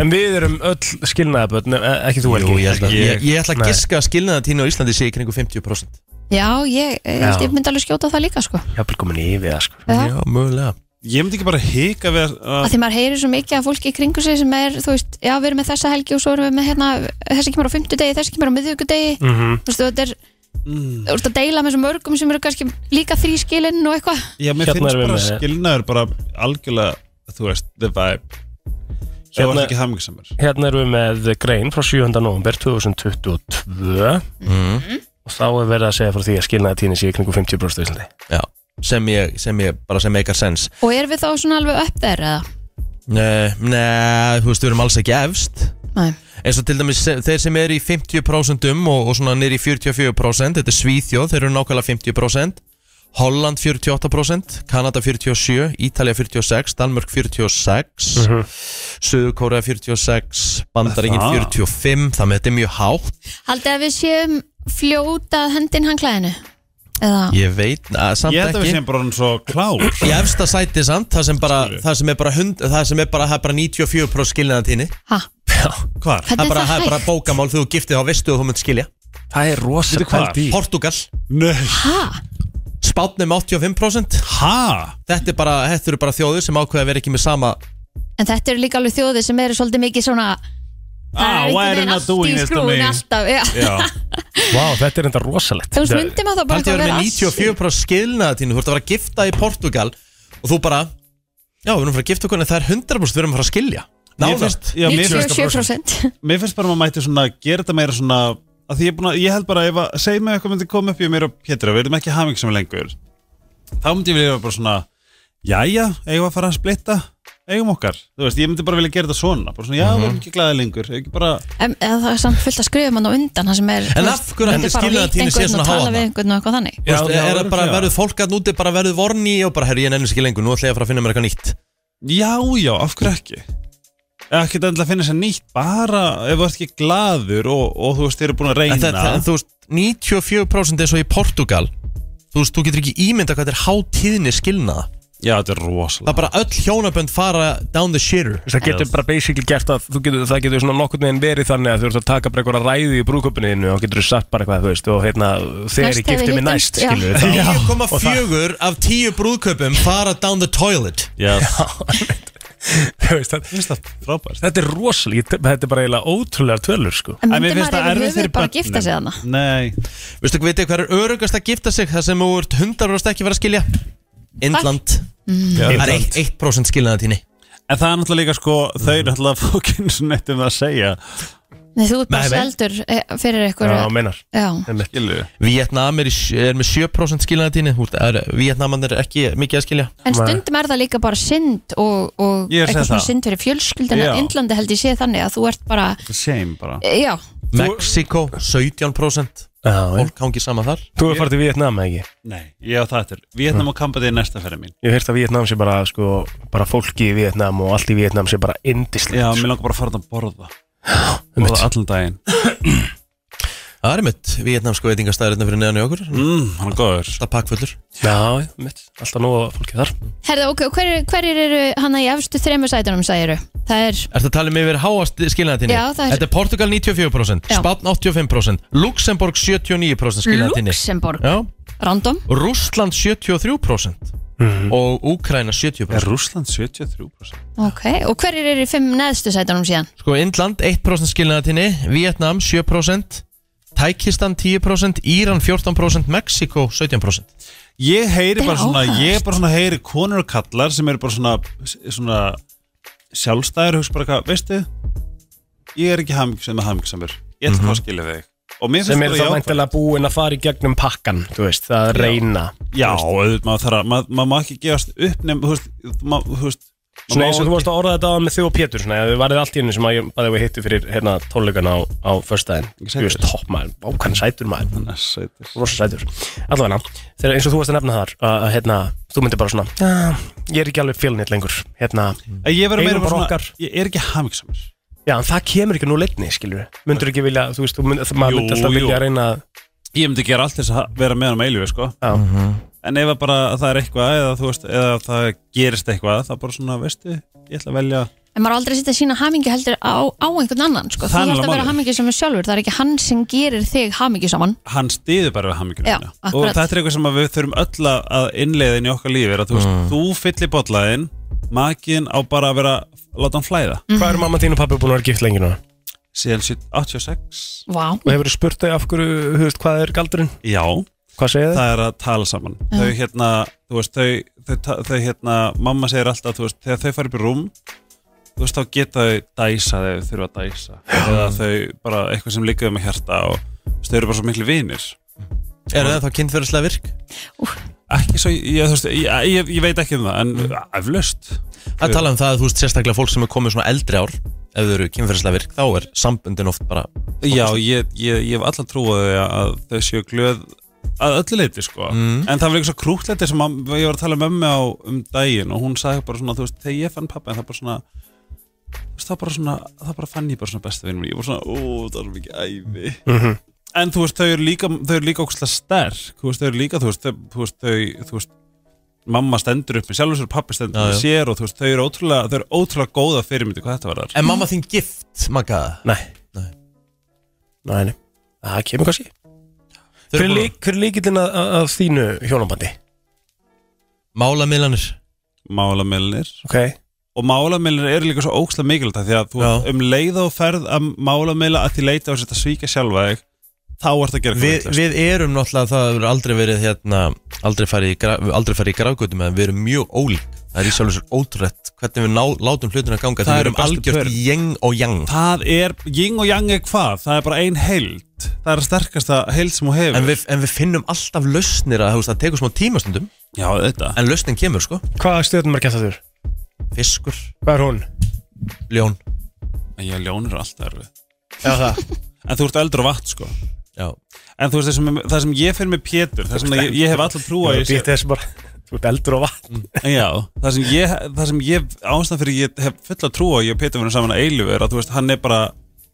S4: En við erum öll skilnaðabötn, ekki þú Helgi
S3: Jú, ég, ætla,
S4: Ekki
S3: ég, ég ætla
S4: Nei.
S3: að giska að skilnaðartíðni á Íslandi sé í kringu 50%
S5: Já, ég, ég, held
S3: Já.
S5: ég myndi alveg skjóta það líka sko
S4: Ég hafði komin yfir það sko
S5: Já.
S3: mögulega
S6: Ég myndi ekki bara hika við
S5: að
S6: að
S5: því maður heyrir svo mikið af fólki í kringu sig sem er, þú veist, já, við erum með þessa helgi og svo erum við með hérna, þessi kemur á fimmtudegi, þessi kemur á miðvíkudegi,
S6: Mhm. Mm.
S5: þú veist, þetta er þú ert að deila með svo mörgum sem eru kannski líka þrískilinn og eitthvað
S6: Já, mér
S4: Hérna
S6: finnst
S4: erum við
S6: bara
S4: með-
S6: skilnaður bara algjörlega, þú veist, the vibe Svo
S4: Hérna-
S6: var ekki hamingsamur
S4: Hérna erum við með grein frá 7. november 2022 og þá er verið að segja frá því að skilnaðatíðin sé í kringu 50% á Íslandi
S3: Já, sem ég, sem ég, bara sem make a sense
S5: og erum við þá svona alveg upp þeir eða?
S3: Nei, nei, þú veist, við erum alls ekki efst
S5: Nei.
S3: eins og til dæmis se- þeir sem eru í 50% og, og svona niður í 44% þetta er Svíþjóð, þeir eru nákvæmlega 50% Holland 48% Kanada 47, Ítalja 46 Danmörk 46 uh -huh. Suðukóra 46 Bandaríkin
S6: Mhm. Það.
S3: 45 þannig að þetta er mjög hátt
S5: Haldið að við séum fljótað hendin hangklæðinu eða?
S3: ég veit, að, samt
S6: Ég held að við
S3: ekki
S6: séum bara hann svo klár
S3: í efsta sæti samt, það sem bara, það sem er bara, hund, það sem er bara, það er bara 94% skilnaðantíni
S5: Ha?
S3: Hvar?
S5: Hvernig
S3: Það er
S5: er
S3: bara,
S5: það
S3: það er bara
S5: hægt?
S3: bókamál þegar þú giftið þá veistu að þú munt skilja
S4: Það er rosa
S3: pælt
S4: pælt
S3: í
S4: í.
S3: Portugal
S5: Ha?
S3: Spátn er með 85%
S6: ha?
S3: Þetta, er bara, þetta eru bara þjóður sem ákveða að vera ekki með sama
S5: En þetta eru líka alveg þjóði sem eru svolítið mikið svona
S6: Ah,
S5: einhvern
S6: why are you
S5: veginn
S6: not
S5: allt
S6: doing
S5: í
S6: this to
S5: skrúfunni
S6: me?
S5: alltaf, já.
S4: Vá, þetta er enda rosalegt
S5: Þú veist, myndi maður þá bara
S3: Pældi að
S5: eitthvað
S3: vera með
S5: vera assi.
S3: 94% skilnaðatínu Þú ert að vera að gifta í Portugal Og þú bara Já, við erum að fara að gifta okkur en það er 100% við erum að fara að skilja
S6: Mér finnst- já, mér finnst-
S5: 97%
S6: Mér finnst bara að maður mæti svona að gera þetta meira svona að því ég, er búin að, ég held bara ef að segja mig eitthvað myndi koma upp í mér og Pétur að við erum ekki hamingisum lengur þá myndi ég vilja vera bara svona jæja, eigum við að fara að splitta eigum okkar, þú veist, ég myndi bara vilja gera þetta svona bara svona, já, við erum
S3: Mhm.
S6: ekki glæðið lengur ekki bara,
S5: En eða það er samt fullt að skrifa mann á undan það sem er
S6: En
S5: þú
S6: af
S5: veist,
S6: hverju
S5: þetta er bara
S6: ætli
S5: að
S3: skilnaðartíðni
S5: líta
S3: sé
S5: einhvern
S3: svona
S5: og tala
S3: háan?
S5: við einhvern og eitthvað þannig
S3: Já, Vist,
S6: já,
S3: er það bara
S6: örugglega.
S3: verður fólk að núti bara verður vorni og bara herri ég nennist ekki lengur nú ætla ég að fara að finna mér eitthvað nýtt
S6: já, já, af hverju ekki ekki endilega að finna sér nýtt bara ef þú ert ekki glaður og, og þú veist, eru búin að reyna
S3: en, það, en þú veist 94% eins og í Portugal þú veist þú getur ekki ímynda hvað þetta er hátíðni skilnaða
S6: Já, þetta er rosalega
S3: Það er bara öll hjónabönd fara down the shitter
S4: Það getur bara basically gert að þú getur, það getur svona nokkurn veginn verið þannig að þú ert að taka bara eitthvað ræði í brúköpunni þínu og getur þú sagt bara eitthvað, þú veist, og hérna þegar
S3: Næst
S4: ég gifti
S3: þegar
S4: mig
S3: við hittumst,
S4: næst, skilur við þá- og það-
S3: 9,4 af 10 brúðköpum fara down the toilet
S6: yes.
S4: Þú veist, það- Þetta er rosalega, ég- þetta er bara eiginlega ótrúlega tölur, sko
S5: En myndi maður yfir höfuð bara gifta sig þarna?
S6: Nei
S3: Vistu ekki vitið hvað er örugast að gifta sig Það sem þú ert 100% ekki verið að skilja Indland
S5: Mm.
S3: Það er
S6: Indland.
S3: eitt- 1% skilnaðatíni
S6: En það er náttúrulega líka sko, þau er náttúrulega fókinn svona eitt um það að segja
S5: Nei, þú ert bara
S3: Nei, nei.
S5: seldur eh, fyrir eitthvað
S4: meinar
S5: Já.
S3: Vietnam er, í sj- er með 7% skilnaðatíni Vietnaman er ekki mikið að skilja
S5: En stundum er það líka bara synd og, og
S3: Ég er að segja
S5: eitthvað svona
S3: það.
S5: synd fyrir fjölskyldan
S3: Já.
S5: að Indlandi held ég sé þannig að þú ert bara eh,
S6: Shame bara
S5: Já,
S3: Mexiko 17% Fólk hangi saman þar
S4: Þú er farið til Vietnam, ekki?
S6: Nei, ég á það eftir Vietnam og Kambadi er næsta ferði mín
S4: Ég hef hérst að Vietnam sé bara, sko, bara fólki í Vietnam og allt í Vietnam sé bara indislegt
S6: Já, mér langar bara að fara þarna að borða Borða allan daginn
S3: Það er mitt Vietnamsku veitingastæðurinn fyrir neðan í okkur
S6: mm, Hann er góður
S3: Alltaf pakkfullur
S4: Já, mitt, alltaf nóg fólki þar
S5: herðu ok, hverjir hver eru hana í efstu þremur sætunum særu? Það er
S3: Ertu að tala um yfir háast skilnaðatíni?
S5: Já, það er-
S3: Þetta er Portugal 94%
S5: Já.
S3: Spán 85% Luxemburg 79% skilnaðatíni
S5: Luxemborg,
S3: Já
S5: random
S3: Rússland 73% og Úkraina 70% Er
S6: Rússland 73%?
S5: Ok, og hverjir eru í fimm neðstu sætunum síðan?
S3: Sko, Indland 1% skilnaðatíni Vietnam 7% Tækistan 10% Íran 14% Mexiko 17%
S6: Ég
S3: Þetta
S6: heyri
S3: er
S6: bara svona,
S3: áhugavert.
S6: ég bara svona heyri konur og kallar sem eru bara svona, svona sjálfstæður, hugsa bara hvað, veistu ég er ekki hamingisam með hamingisamur ég ætla að fá að skilja þig og mér
S4: sem eru
S6: finnst bara
S4: þá
S6: jákvætt.
S4: væntalega búin að fara í gegnum pakkan þú veist, það
S6: Já.
S4: að reyna
S6: Já, auðvitað, maður þarf að, maður ma má ekki gefast upp nefn, þú veist, maður, þú veist
S4: svona eins og þú varst að orða þetta á með þig og Pétur svona, ef þið varðið allt í hennu sem að ég bæði við hittu fyrir hérna tónleikana á, á förstæðin þú veist, topp maður, ákvæm sætur maður
S6: hann er sætur,
S4: rosa sætur allavega, þegar eins og þú varst að nefna þar að, að hérna, þú myndir bara svona "Ah, ég er ekki alveg fjölnit lengur hérna,
S6: að ég verður
S4: eigum
S6: meira bara svona,
S4: okkar
S6: ég er ekki hamingisamur
S4: já, en það kemur ekki nú leitni, skilur myndur ekki vilja, þú veist, þú mynd, maður myndi alltaf vilja reyna að-
S6: Ég myndi gera allt þess að vera með hann með eilu, sko
S4: Mhm.
S6: En ef að bara það er eitthvað, eða þú veist, eða það gerist eitthvað, það er bara svona, veistu, ég ætla að velja
S5: En maður á aldrei að setja sína hamingi heldur á, á einhvern annan sko.
S6: Það
S5: Þú
S6: er
S5: ætti að
S6: alveg
S5: vera
S6: málið.
S5: hamingi sem er sjálfur Það er ekki hann sem gerir þig hamingi saman
S6: hann stiður bara við hamingjuna
S5: Já,
S6: og
S5: akkurat.
S6: þetta er eitthvað sem að við þurfum öll að- að innleiða inn í okkar lífi er að þú veist,
S4: Mm.
S6: þú fyllir bollaðinn makin á bara að vera láta hann flæða
S4: hvað eru mamma þín og pappi búin að vera gift lengi núna?
S6: síðan 86
S5: Vá
S4: og hefur spurt þau af hverju, þú veist, hvað er galdurinn
S6: já,
S4: hvað segir
S6: það er að tala saman
S4: Já.
S6: þau hérna, þú veist, þau, þau, þau, þau hérna, mamma segir alltaf, þú veist, þegar þau fara upp í rúm þú veist, þá geta þau dæsa þegar þau þurfa að dæsa eða þau bara eitthvað sem líkaðu með hjarta og þú veist, þau eru bara svo miklu vinir
S3: Er það þá kynntverðslega virk?
S6: ekki svo, ég, þú veist, ég, ég, ég veit ekki um það en aflöst
S3: Það tala um það að þú veist sérstaklega fólk sem er komið svona eldri ár ef þau eru kynferðislega virk þá er sambundin oft bara
S6: Já, ég, ég, ég hef alltaf trúið að þau séu glöð að öllu leiti sko
S3: Mm.
S6: en það var eitthvað svo krútleiti sem að, ég var að tala með mig á um daginn og hún sagði bara svona, þú veist, þegar ég fann pappa en það bara svona þú veist, það bara svona, það bara fann ég bara svona besta vinnum ég var svona, ó, það er svo mikið æfi
S4: Mhm.
S6: en þú veist, þau eru líka þau eru líka ókslega sterk, þú veist, þau eru líka þú veist, þau, þú veist, þau, þú veist mamma stendur upp með sjálfur sér, pappi stendur
S3: Já,
S6: upp með
S3: já.
S6: sér og þú veist, þau eru ótrúlega, þau eru ótrúlega góða fyrirmyndi hvað þetta var
S3: Er mamma þín gift, Magga?
S4: Nei Nei, nei. það kemur kannski
S3: Þau
S4: Hver
S3: eru
S4: er
S3: búin
S4: lík- hver er líkillinn að, að- að þínu hjónabandi?
S3: Málamiðlanir
S6: Málamiðlanir
S4: okay.
S6: Og málamiðlanir eru líka svo ógstlega mikilvægt af Því að þú um leið og ferð að málamiðla að því leita og setja svíka sjálfa þig þá ert að gera eitthvað
S3: við,
S6: vitlaust.
S3: við erum náttúrulega, það hefur aldrei verið hérna, aldrei farið í, graf, aldrei farið í grafgötum en við erum mjög ólík það er í sjálfur sér ótrúlegt hvernig við ná, látum hlutin að ganga
S6: Það
S3: því við
S6: eru
S3: erum
S6: bestu pör.
S3: algjört jeng og jang
S6: Það er, ying og yang er hvað? Það er bara ein heild Það er að sterkasta heild sem hún hefur
S3: en við, en við finnum alltaf lausnir að þú veist, það tekur smá tímastundum
S6: Já, þetta
S3: En lausnin kemur, sko
S4: Hvaða stjórnum er gett það þurr?
S3: Fiskur
S4: Hvað er hún?
S3: Ljón
S6: Já, ljón eru alltaf erfið
S4: Já, það.
S6: En þú ert eldur og vatn, sko
S3: Já
S6: En þú veist, það sem, það sem ég fyrir með Pétur Það sem ég, ég hef alltaf trúa
S4: Ég býtti þessu bara Þú ert eldur og vatn
S6: Já, það sem ég, það sem ég ástæðan fyrir ég hef fulla trú á að ég og Pétur verðum saman að eilu er að þú veist, hann er bara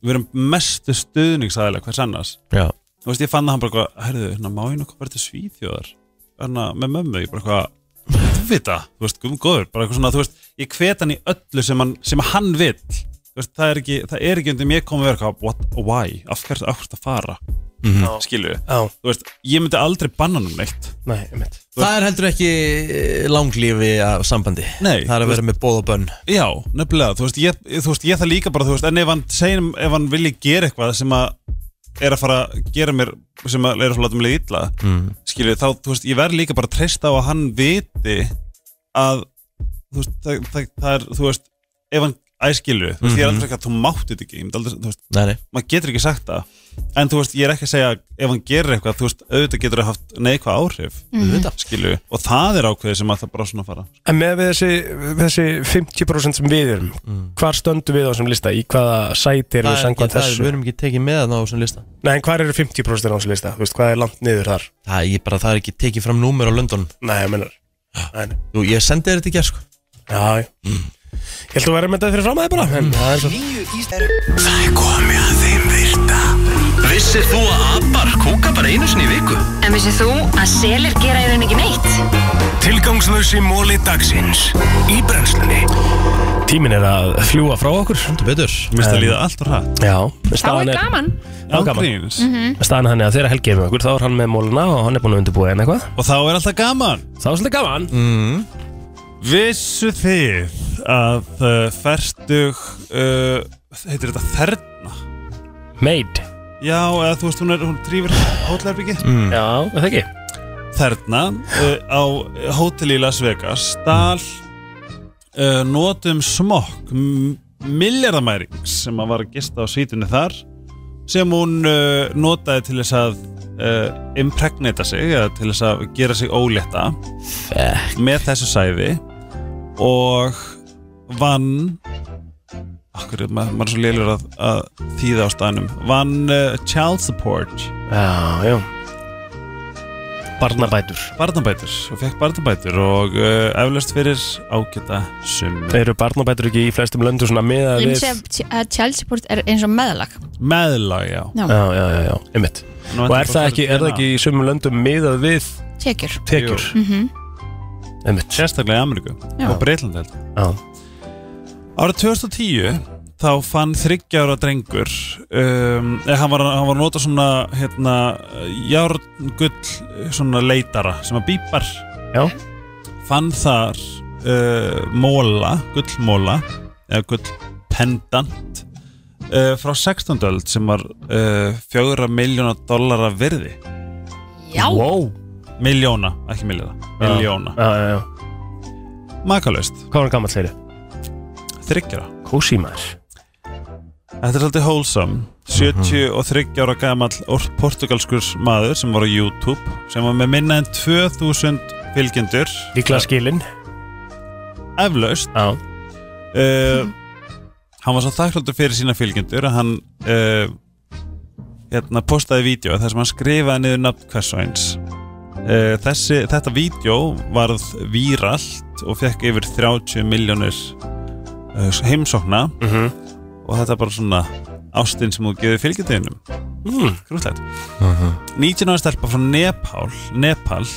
S6: við erum mestu stuðningsæðilega hvers annars
S3: Já.
S6: Þú veist, ég fann að hann bara eitthvað, herðu, hérna, má ég nokkuð verið til svíþjóðar hérna, með mömmu, ég bara eitthvað þú veit það, þú veist, gum góður bara eitthvað svona, þú veist, ég hvet hann í öllu sem hann, sem hann vill þú veist, það er ekki, það er ekki undir mér komið verið eitthvað what, why, af hverju, af hverju að fara
S3: Mhm.
S6: -hmm. skilu, þú veist, ég myndi aldrei banna hann um neitt
S4: Nei, einmitt
S3: það er heldur ekki eh, langlífi af sambandi
S6: Nei,
S3: það er
S6: þú
S3: að vera
S6: veist-
S3: með bóð og bönn
S6: Já, nefnilega, þú veist, ég, þú veist, ég það líka bara, þú veist, en ef hann, segjum, ef hann vilji gera eitthvað sem að er að fara að gera mér, sem að er að fara að láta mér líða illa,
S4: Mm.
S3: Mhm.
S6: skilju, þá, þú veist, ég verð líka bara að treysta á að hann viti að, þú veist, það, það, það er, þú veist, ef hann, æskilju, þú veist, ég er
S3: Mhm.
S6: aldrei ekki að þú mátti þetta ekki, ég myndi aldrei, þú veist,
S3: Nei, nei.
S6: maður getur ekki sagt það, en þú veist, ég er ekki að segja að ef hann gerir eitthvað, þú veist, auðvitað getur það haft neikvað áhrif,
S4: Mhm. Auðvitað.
S6: skilju, og það er ákveðið sem að það bara svona að fara. sko.
S4: En með við þessi, við þessi 50% sem við erum Hvar stöndum við á þessum lista? Í hvaða sæti
S3: Það
S4: erum við
S3: er ekki-
S4: sangvað
S3: það er-
S4: þessu?
S3: við erum ekki tekið með þarna á þessum lista
S4: Nei, en hvar eru 50% á þessum lista? Þú veist, hvað er langt niður þar?
S3: Það er, ég bara, það er ekki tekið fram númer á London
S4: Nei, ég menar
S3: Jú, ég sendi þér þetta í gerð, sko
S4: Já, já Ég held að vera með þetta fyrir fram að þið bara En það er svo
S12: Það er komið að þeim virta Vissir þú að abar kúka bara einu sinni í viku?
S11: En vissið þú að selir gera í rauninni ekki neitt?
S12: Tilgangslösi móli dagsins Í brennslunni
S4: Tímin er að fljúa frá okkur Þú
S3: betur
S6: Mér finnst að líða allt og hratt
S4: Já staðan er- Já, gaman
S6: Ágríns. Mhm.
S4: Staðan hann er að þegar Helgi er með okkur Þá er hann með móluna og hann er búin að undirbúa en eitthvað
S6: Og þá er alltaf gaman
S4: Þá er svolítið gaman
S6: mm. Vissu þið að uh, ferstug uh, heitir þetta þerna
S4: Maid
S6: Já, eða þú veist hún, er, hún trýfur hótelherbyggi
S4: Mm. Já, er það ekki
S6: Þerna uh, á hótel í Las Vegas stál uh, notum smokk milljarðamæring sem að var að gista á sítunni þar sem hún uh, notaði til þess að uh, impregnata sig eða til þess að gera sig ólétta Fuck. með þessu sæði og vann Akkur, maður, maður er svo lélur að, að þýða á staðnum vann uh, child support
S4: já, já barnabætur
S6: barnabætur og fekk barnabætur og uh, eflaust fyrir ágæta summi
S4: Þeir eru barnabætur ekki í flestum löndu svona miða
S5: Ég
S4: við
S5: myndi segja að child support er eins og meðalag
S6: meðlag, já
S5: Já.
S4: Já, já, já, já, einmitt
S6: Nú
S4: Og er
S6: ætla ég bara
S4: það
S6: að
S4: ekki,
S6: fara
S4: er það
S6: í
S4: ekki í sumum löndum miðað við
S5: Tekjur
S4: Tekjur.
S5: Mhm.
S4: Einmitt.
S6: sérstaklega í Ameríku
S5: Já.
S6: og Breitlandi held ég.
S4: Já.
S6: Árið 2010 þá fann 30 ára drengur um, eða hann var, hann var að nota svona hérna, járngull svona leitara sem að bípar
S4: Já.
S6: fann þar uh, móla, gullmóla eða gullpendant uh, frá 16. öld sem var uh, 4 miljónar dollara virði
S5: Já.
S4: Wow.
S6: Miljóna, ekki miljóna
S4: Já.
S6: Miljóna
S4: Já, já, já
S6: Makalaust
S4: Hvað var hann gammal þeirri?
S6: Þryggjara
S4: Kósi maður
S6: Þetta er svolítið wholesome 73 ára gamall or- portugalskur maður sem var á YouTube sem var með minna en 2000 fylgjendur
S4: Líkla skilin
S6: Eflaust
S4: Já
S6: Eh, Hann var svo þakkláttur fyrir sína fylgjendur að hann uh, hérna, postaði vídeo þar sem hann skrifaði niður nafn hvers og eins uh, þessi, Þetta vídeo varð víralt og fekk yfir 30 miljónir uh, heimsókna
S4: -hmm.
S6: og þetta er bara svona ástinn sem þú gefur fylgjendeginum
S4: mm.
S6: Krúllegt 19 ára stelpa frá Nepal Nepal,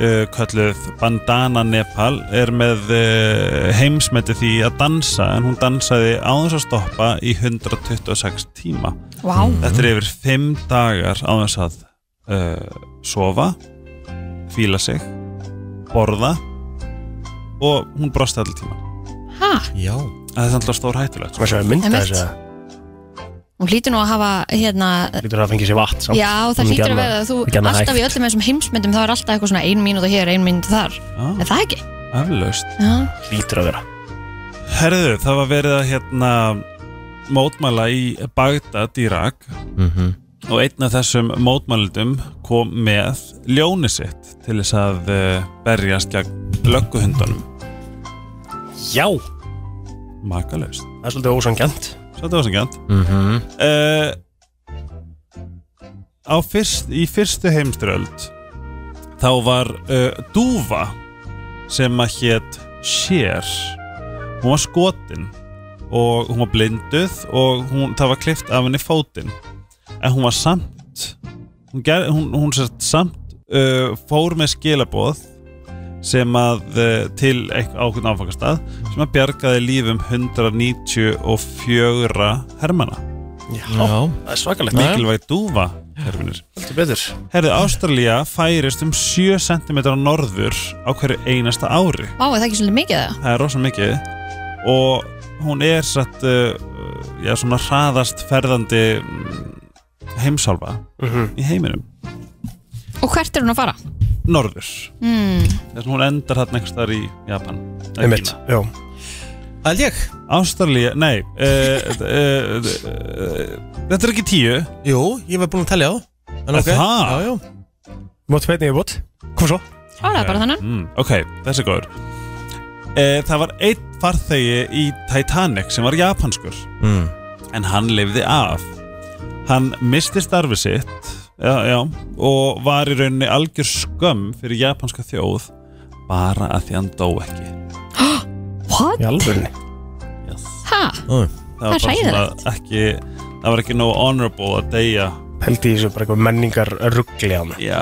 S6: uh, kalluð Bandana Nepal er með uh, heimsmeti því að dansa en hún dansaði á þess að stoppa í 126 tíma
S5: Vá.
S6: Þetta er yfir 5 dagar á þess að uh, sofa fíla sig borða og hún brosti allir tíma
S5: Ha?
S3: Já
S6: Það er alltaf stór hættulegt
S4: Maður sér að mynda
S5: Einmitt.
S4: þessu
S5: Hún hlýtur nú að hafa hérna
S4: Lítur að fengi sér vatn samt
S5: Já, það hlýtur að vera að þú alltaf í öllum þessum heimsmyndum þá er alltaf eitthvað svona ein mínúta hér, ein mínúta þar Er það ekki?
S6: Aflaust
S5: Já.
S4: Lítur að vera
S6: Herðu, það var verið að hérna mótmæla í Bagdad í Irak
S3: Mhm.
S6: og einn af þessum mótmælundum kom með ljóni sitt til þess að eh, berjast gegn lögguhundunum
S4: Já
S6: Makalaust
S4: Það er svolítið ósangjant
S6: Svolítið ósangjant
S3: Mhm.
S6: uh, á fyrst, í fyrstu heimströld þá var uh, dúfa sem að hétt Sér hún var skotin og hún var blinduð og hún, það var klift af henni fótinn en hún var samt hún, ger, hún, hún sérst samt uh, fór með skilaboð sem að uh, til ákveðn áfangastað sem að bjargaði um lífum 194 hermana
S4: Já, það er svakalegt.
S6: Mikilvæg dúfa herfinir
S4: Heldur betur
S6: Herðu, Ástralía færist um 7 cm á norður á hverju einasta ári
S5: Vá, er það ekki svolítið mikið það?
S6: það er rosa mikið og hún er satt uh, já, svona hraðast ferðandi mm, heimsálfa í heiminum,
S5: Og hvert er hún að fara?
S6: norður
S5: Mm.
S6: þess að hún endar þarna einhvers þar í Japan eða
S4: Einmitt,
S6: Kína.
S4: já
S3: Held ég
S6: Ástralía, nei uh, uh, uh, uh, Þetta er ekki tíu
S3: Jú, ég var búin að tellja á En
S6: Er
S3: ok.
S6: það?
S3: Já, já
S4: Mátt feitni ég bótt Kom svo
S5: Ó, það er bara þannig
S6: mm, Ok, þessi er góður e, Það var einn farþegi í Titanic sem var japanskur
S3: Mm.
S6: En hann lifði af Hann misti starfi sitt já, já, Og var í rauninni algjör skömm fyrir japanska þjóð Bara að því hann dó ekki
S5: What?
S4: alvörni
S5: Ha? Það er hræðilegt
S6: ekki, Það var ekki nógu honorable að deyja
S4: Held í þessu bara eitthvað menningar ruggli á mig
S6: Já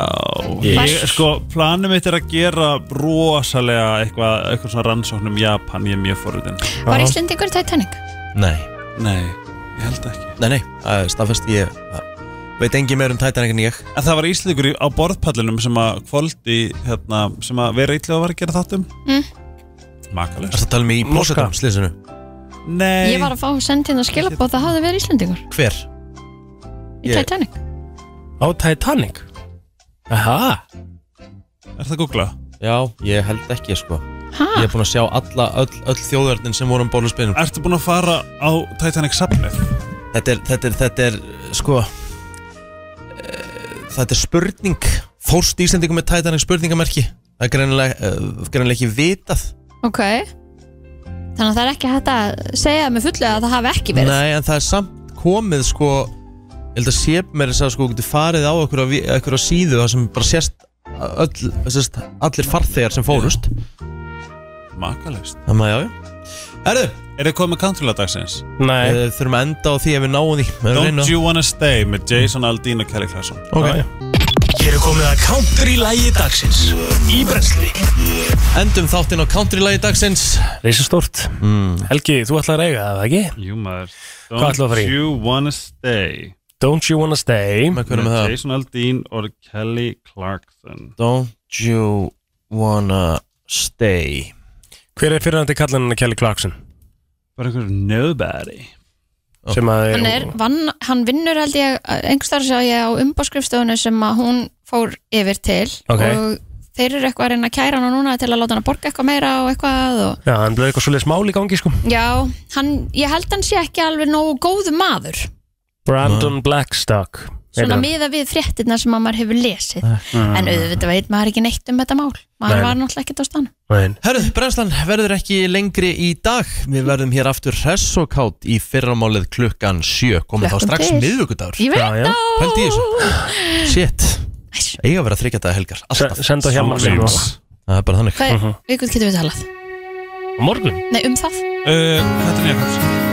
S4: Ég
S6: Ég, sko, planum mitt er að gera rosalega eitthvað, eitthvað svona rannsóknum Japan, ég er mjög forutinn
S5: Var Íslendingur Titanic?
S3: Nei
S6: Nei, ég held ekki
S3: Nei, nei, uh, staðfest ég uh, Veit engi meir um Titanic en ég
S6: En það var íslíkur á borðpallinum sem að kvöldi, hérna, sem að vera eitthvað var að gera um. þáttum
S5: Mm.
S6: Makalust
S3: Það tala mig í plósatum slísinu
S6: Nei
S5: Ég var að fá send hérna skilabóð það hafði verið Íslendingur
S3: Hver?
S5: í
S3: Ég-
S5: Titanic
S4: Á Titanic Aha
S6: Er það að googla?
S3: Já, ég held ekki sko
S5: ha?
S3: Ég er búin að sjá alla, öll, öll þjóðverðin sem voru um bóluspinum
S6: Ertu búin að fara á Titanic safnið?
S3: Þetta er, þetta er, þetta er, sko uh, Þetta er spurning Fórst Íslendingum með Titanic spurningamerki Það er greinilega, uh, greinilega ekki vitað
S5: Ok Þannig að það er ekki hægt að segja með fullu að það hafi ekki verið
S3: Nei, en það er samt komið sko Ég held að sé mér þess að sko þú getur farið á einhverja vi- einhverja síðu Það sem bara sést öll, sést allir farþegar sem fórust
S6: Makalust
S3: Þannig að já, já Herðu
S6: Er þið komið countrylag dagsins?
S4: Nei
S3: Við þurfum að enda á því ef við náum því Við erum að reyna.
S6: Don't you wanna stay með Jason Aldean og Kelly Clarkson
S3: Ok.
S12: Hér er komið að counter í lægi dagsins Í brensli
S3: Endum þáttinn á country-lagi dagsins
S4: Reisa stórt mm.
S6: Hmm.
S4: Helgi, þú ætlar að eiga það, eða ekki?
S6: Jú maður
S4: Hvað ætlum við að fara í?
S6: Don't you wanna stay
S4: Don't you wanna stay
S3: Með hvernig með það?
S6: Jason Aldean og Kelly Clarkson
S3: Don't you wanna stay
S4: Hver er fyrirhandi kallaninn Kelly Clarkson?
S6: Bara einhver nobody
S4: Sem að
S5: Hann, er, vann, hann vinnur held ég einhverstaðar sá ég á umbáskrifstofunni sem að hún fór yfir til
S4: Ok.
S5: og þeir eru eitthvað að reyna að kæra hana núna til að láta hana borga eitthvað meira og eitthvað og...
S4: Já, hann bleið eitthvað svolítið mál í gangi sko
S5: Já, hann, ég held hann sé ekki alveg nógu góðu maður
S4: Brandon Blackstock heitir
S5: svona
S4: hann.
S5: miða við fréttirna sem að maður hefur lesið
S4: Mm.
S5: en auðvitað veit maður ekki neitt um þetta mál maður
S3: Nei.
S5: var náttúrulega ekkert á stann
S3: Herru, brennslan verður ekki lengri í dag Við verðum hér aftur hress og kátt í fyrramálið klukkan sjö Komum þá
S5: Klökkum
S3: strax
S5: til.
S3: miðvikudagur
S5: Ég veit Já, já. það.
S3: Pældu í þessu Shit Eiga að vera þryggjata helgar Alltaf
S4: Senda hjá mann sem
S3: Samvegs. Það er bara þannig
S5: hvað er, við getum við talað
S4: Morgun
S5: nei um það
S6: Eh, Þetta er nýja kapsum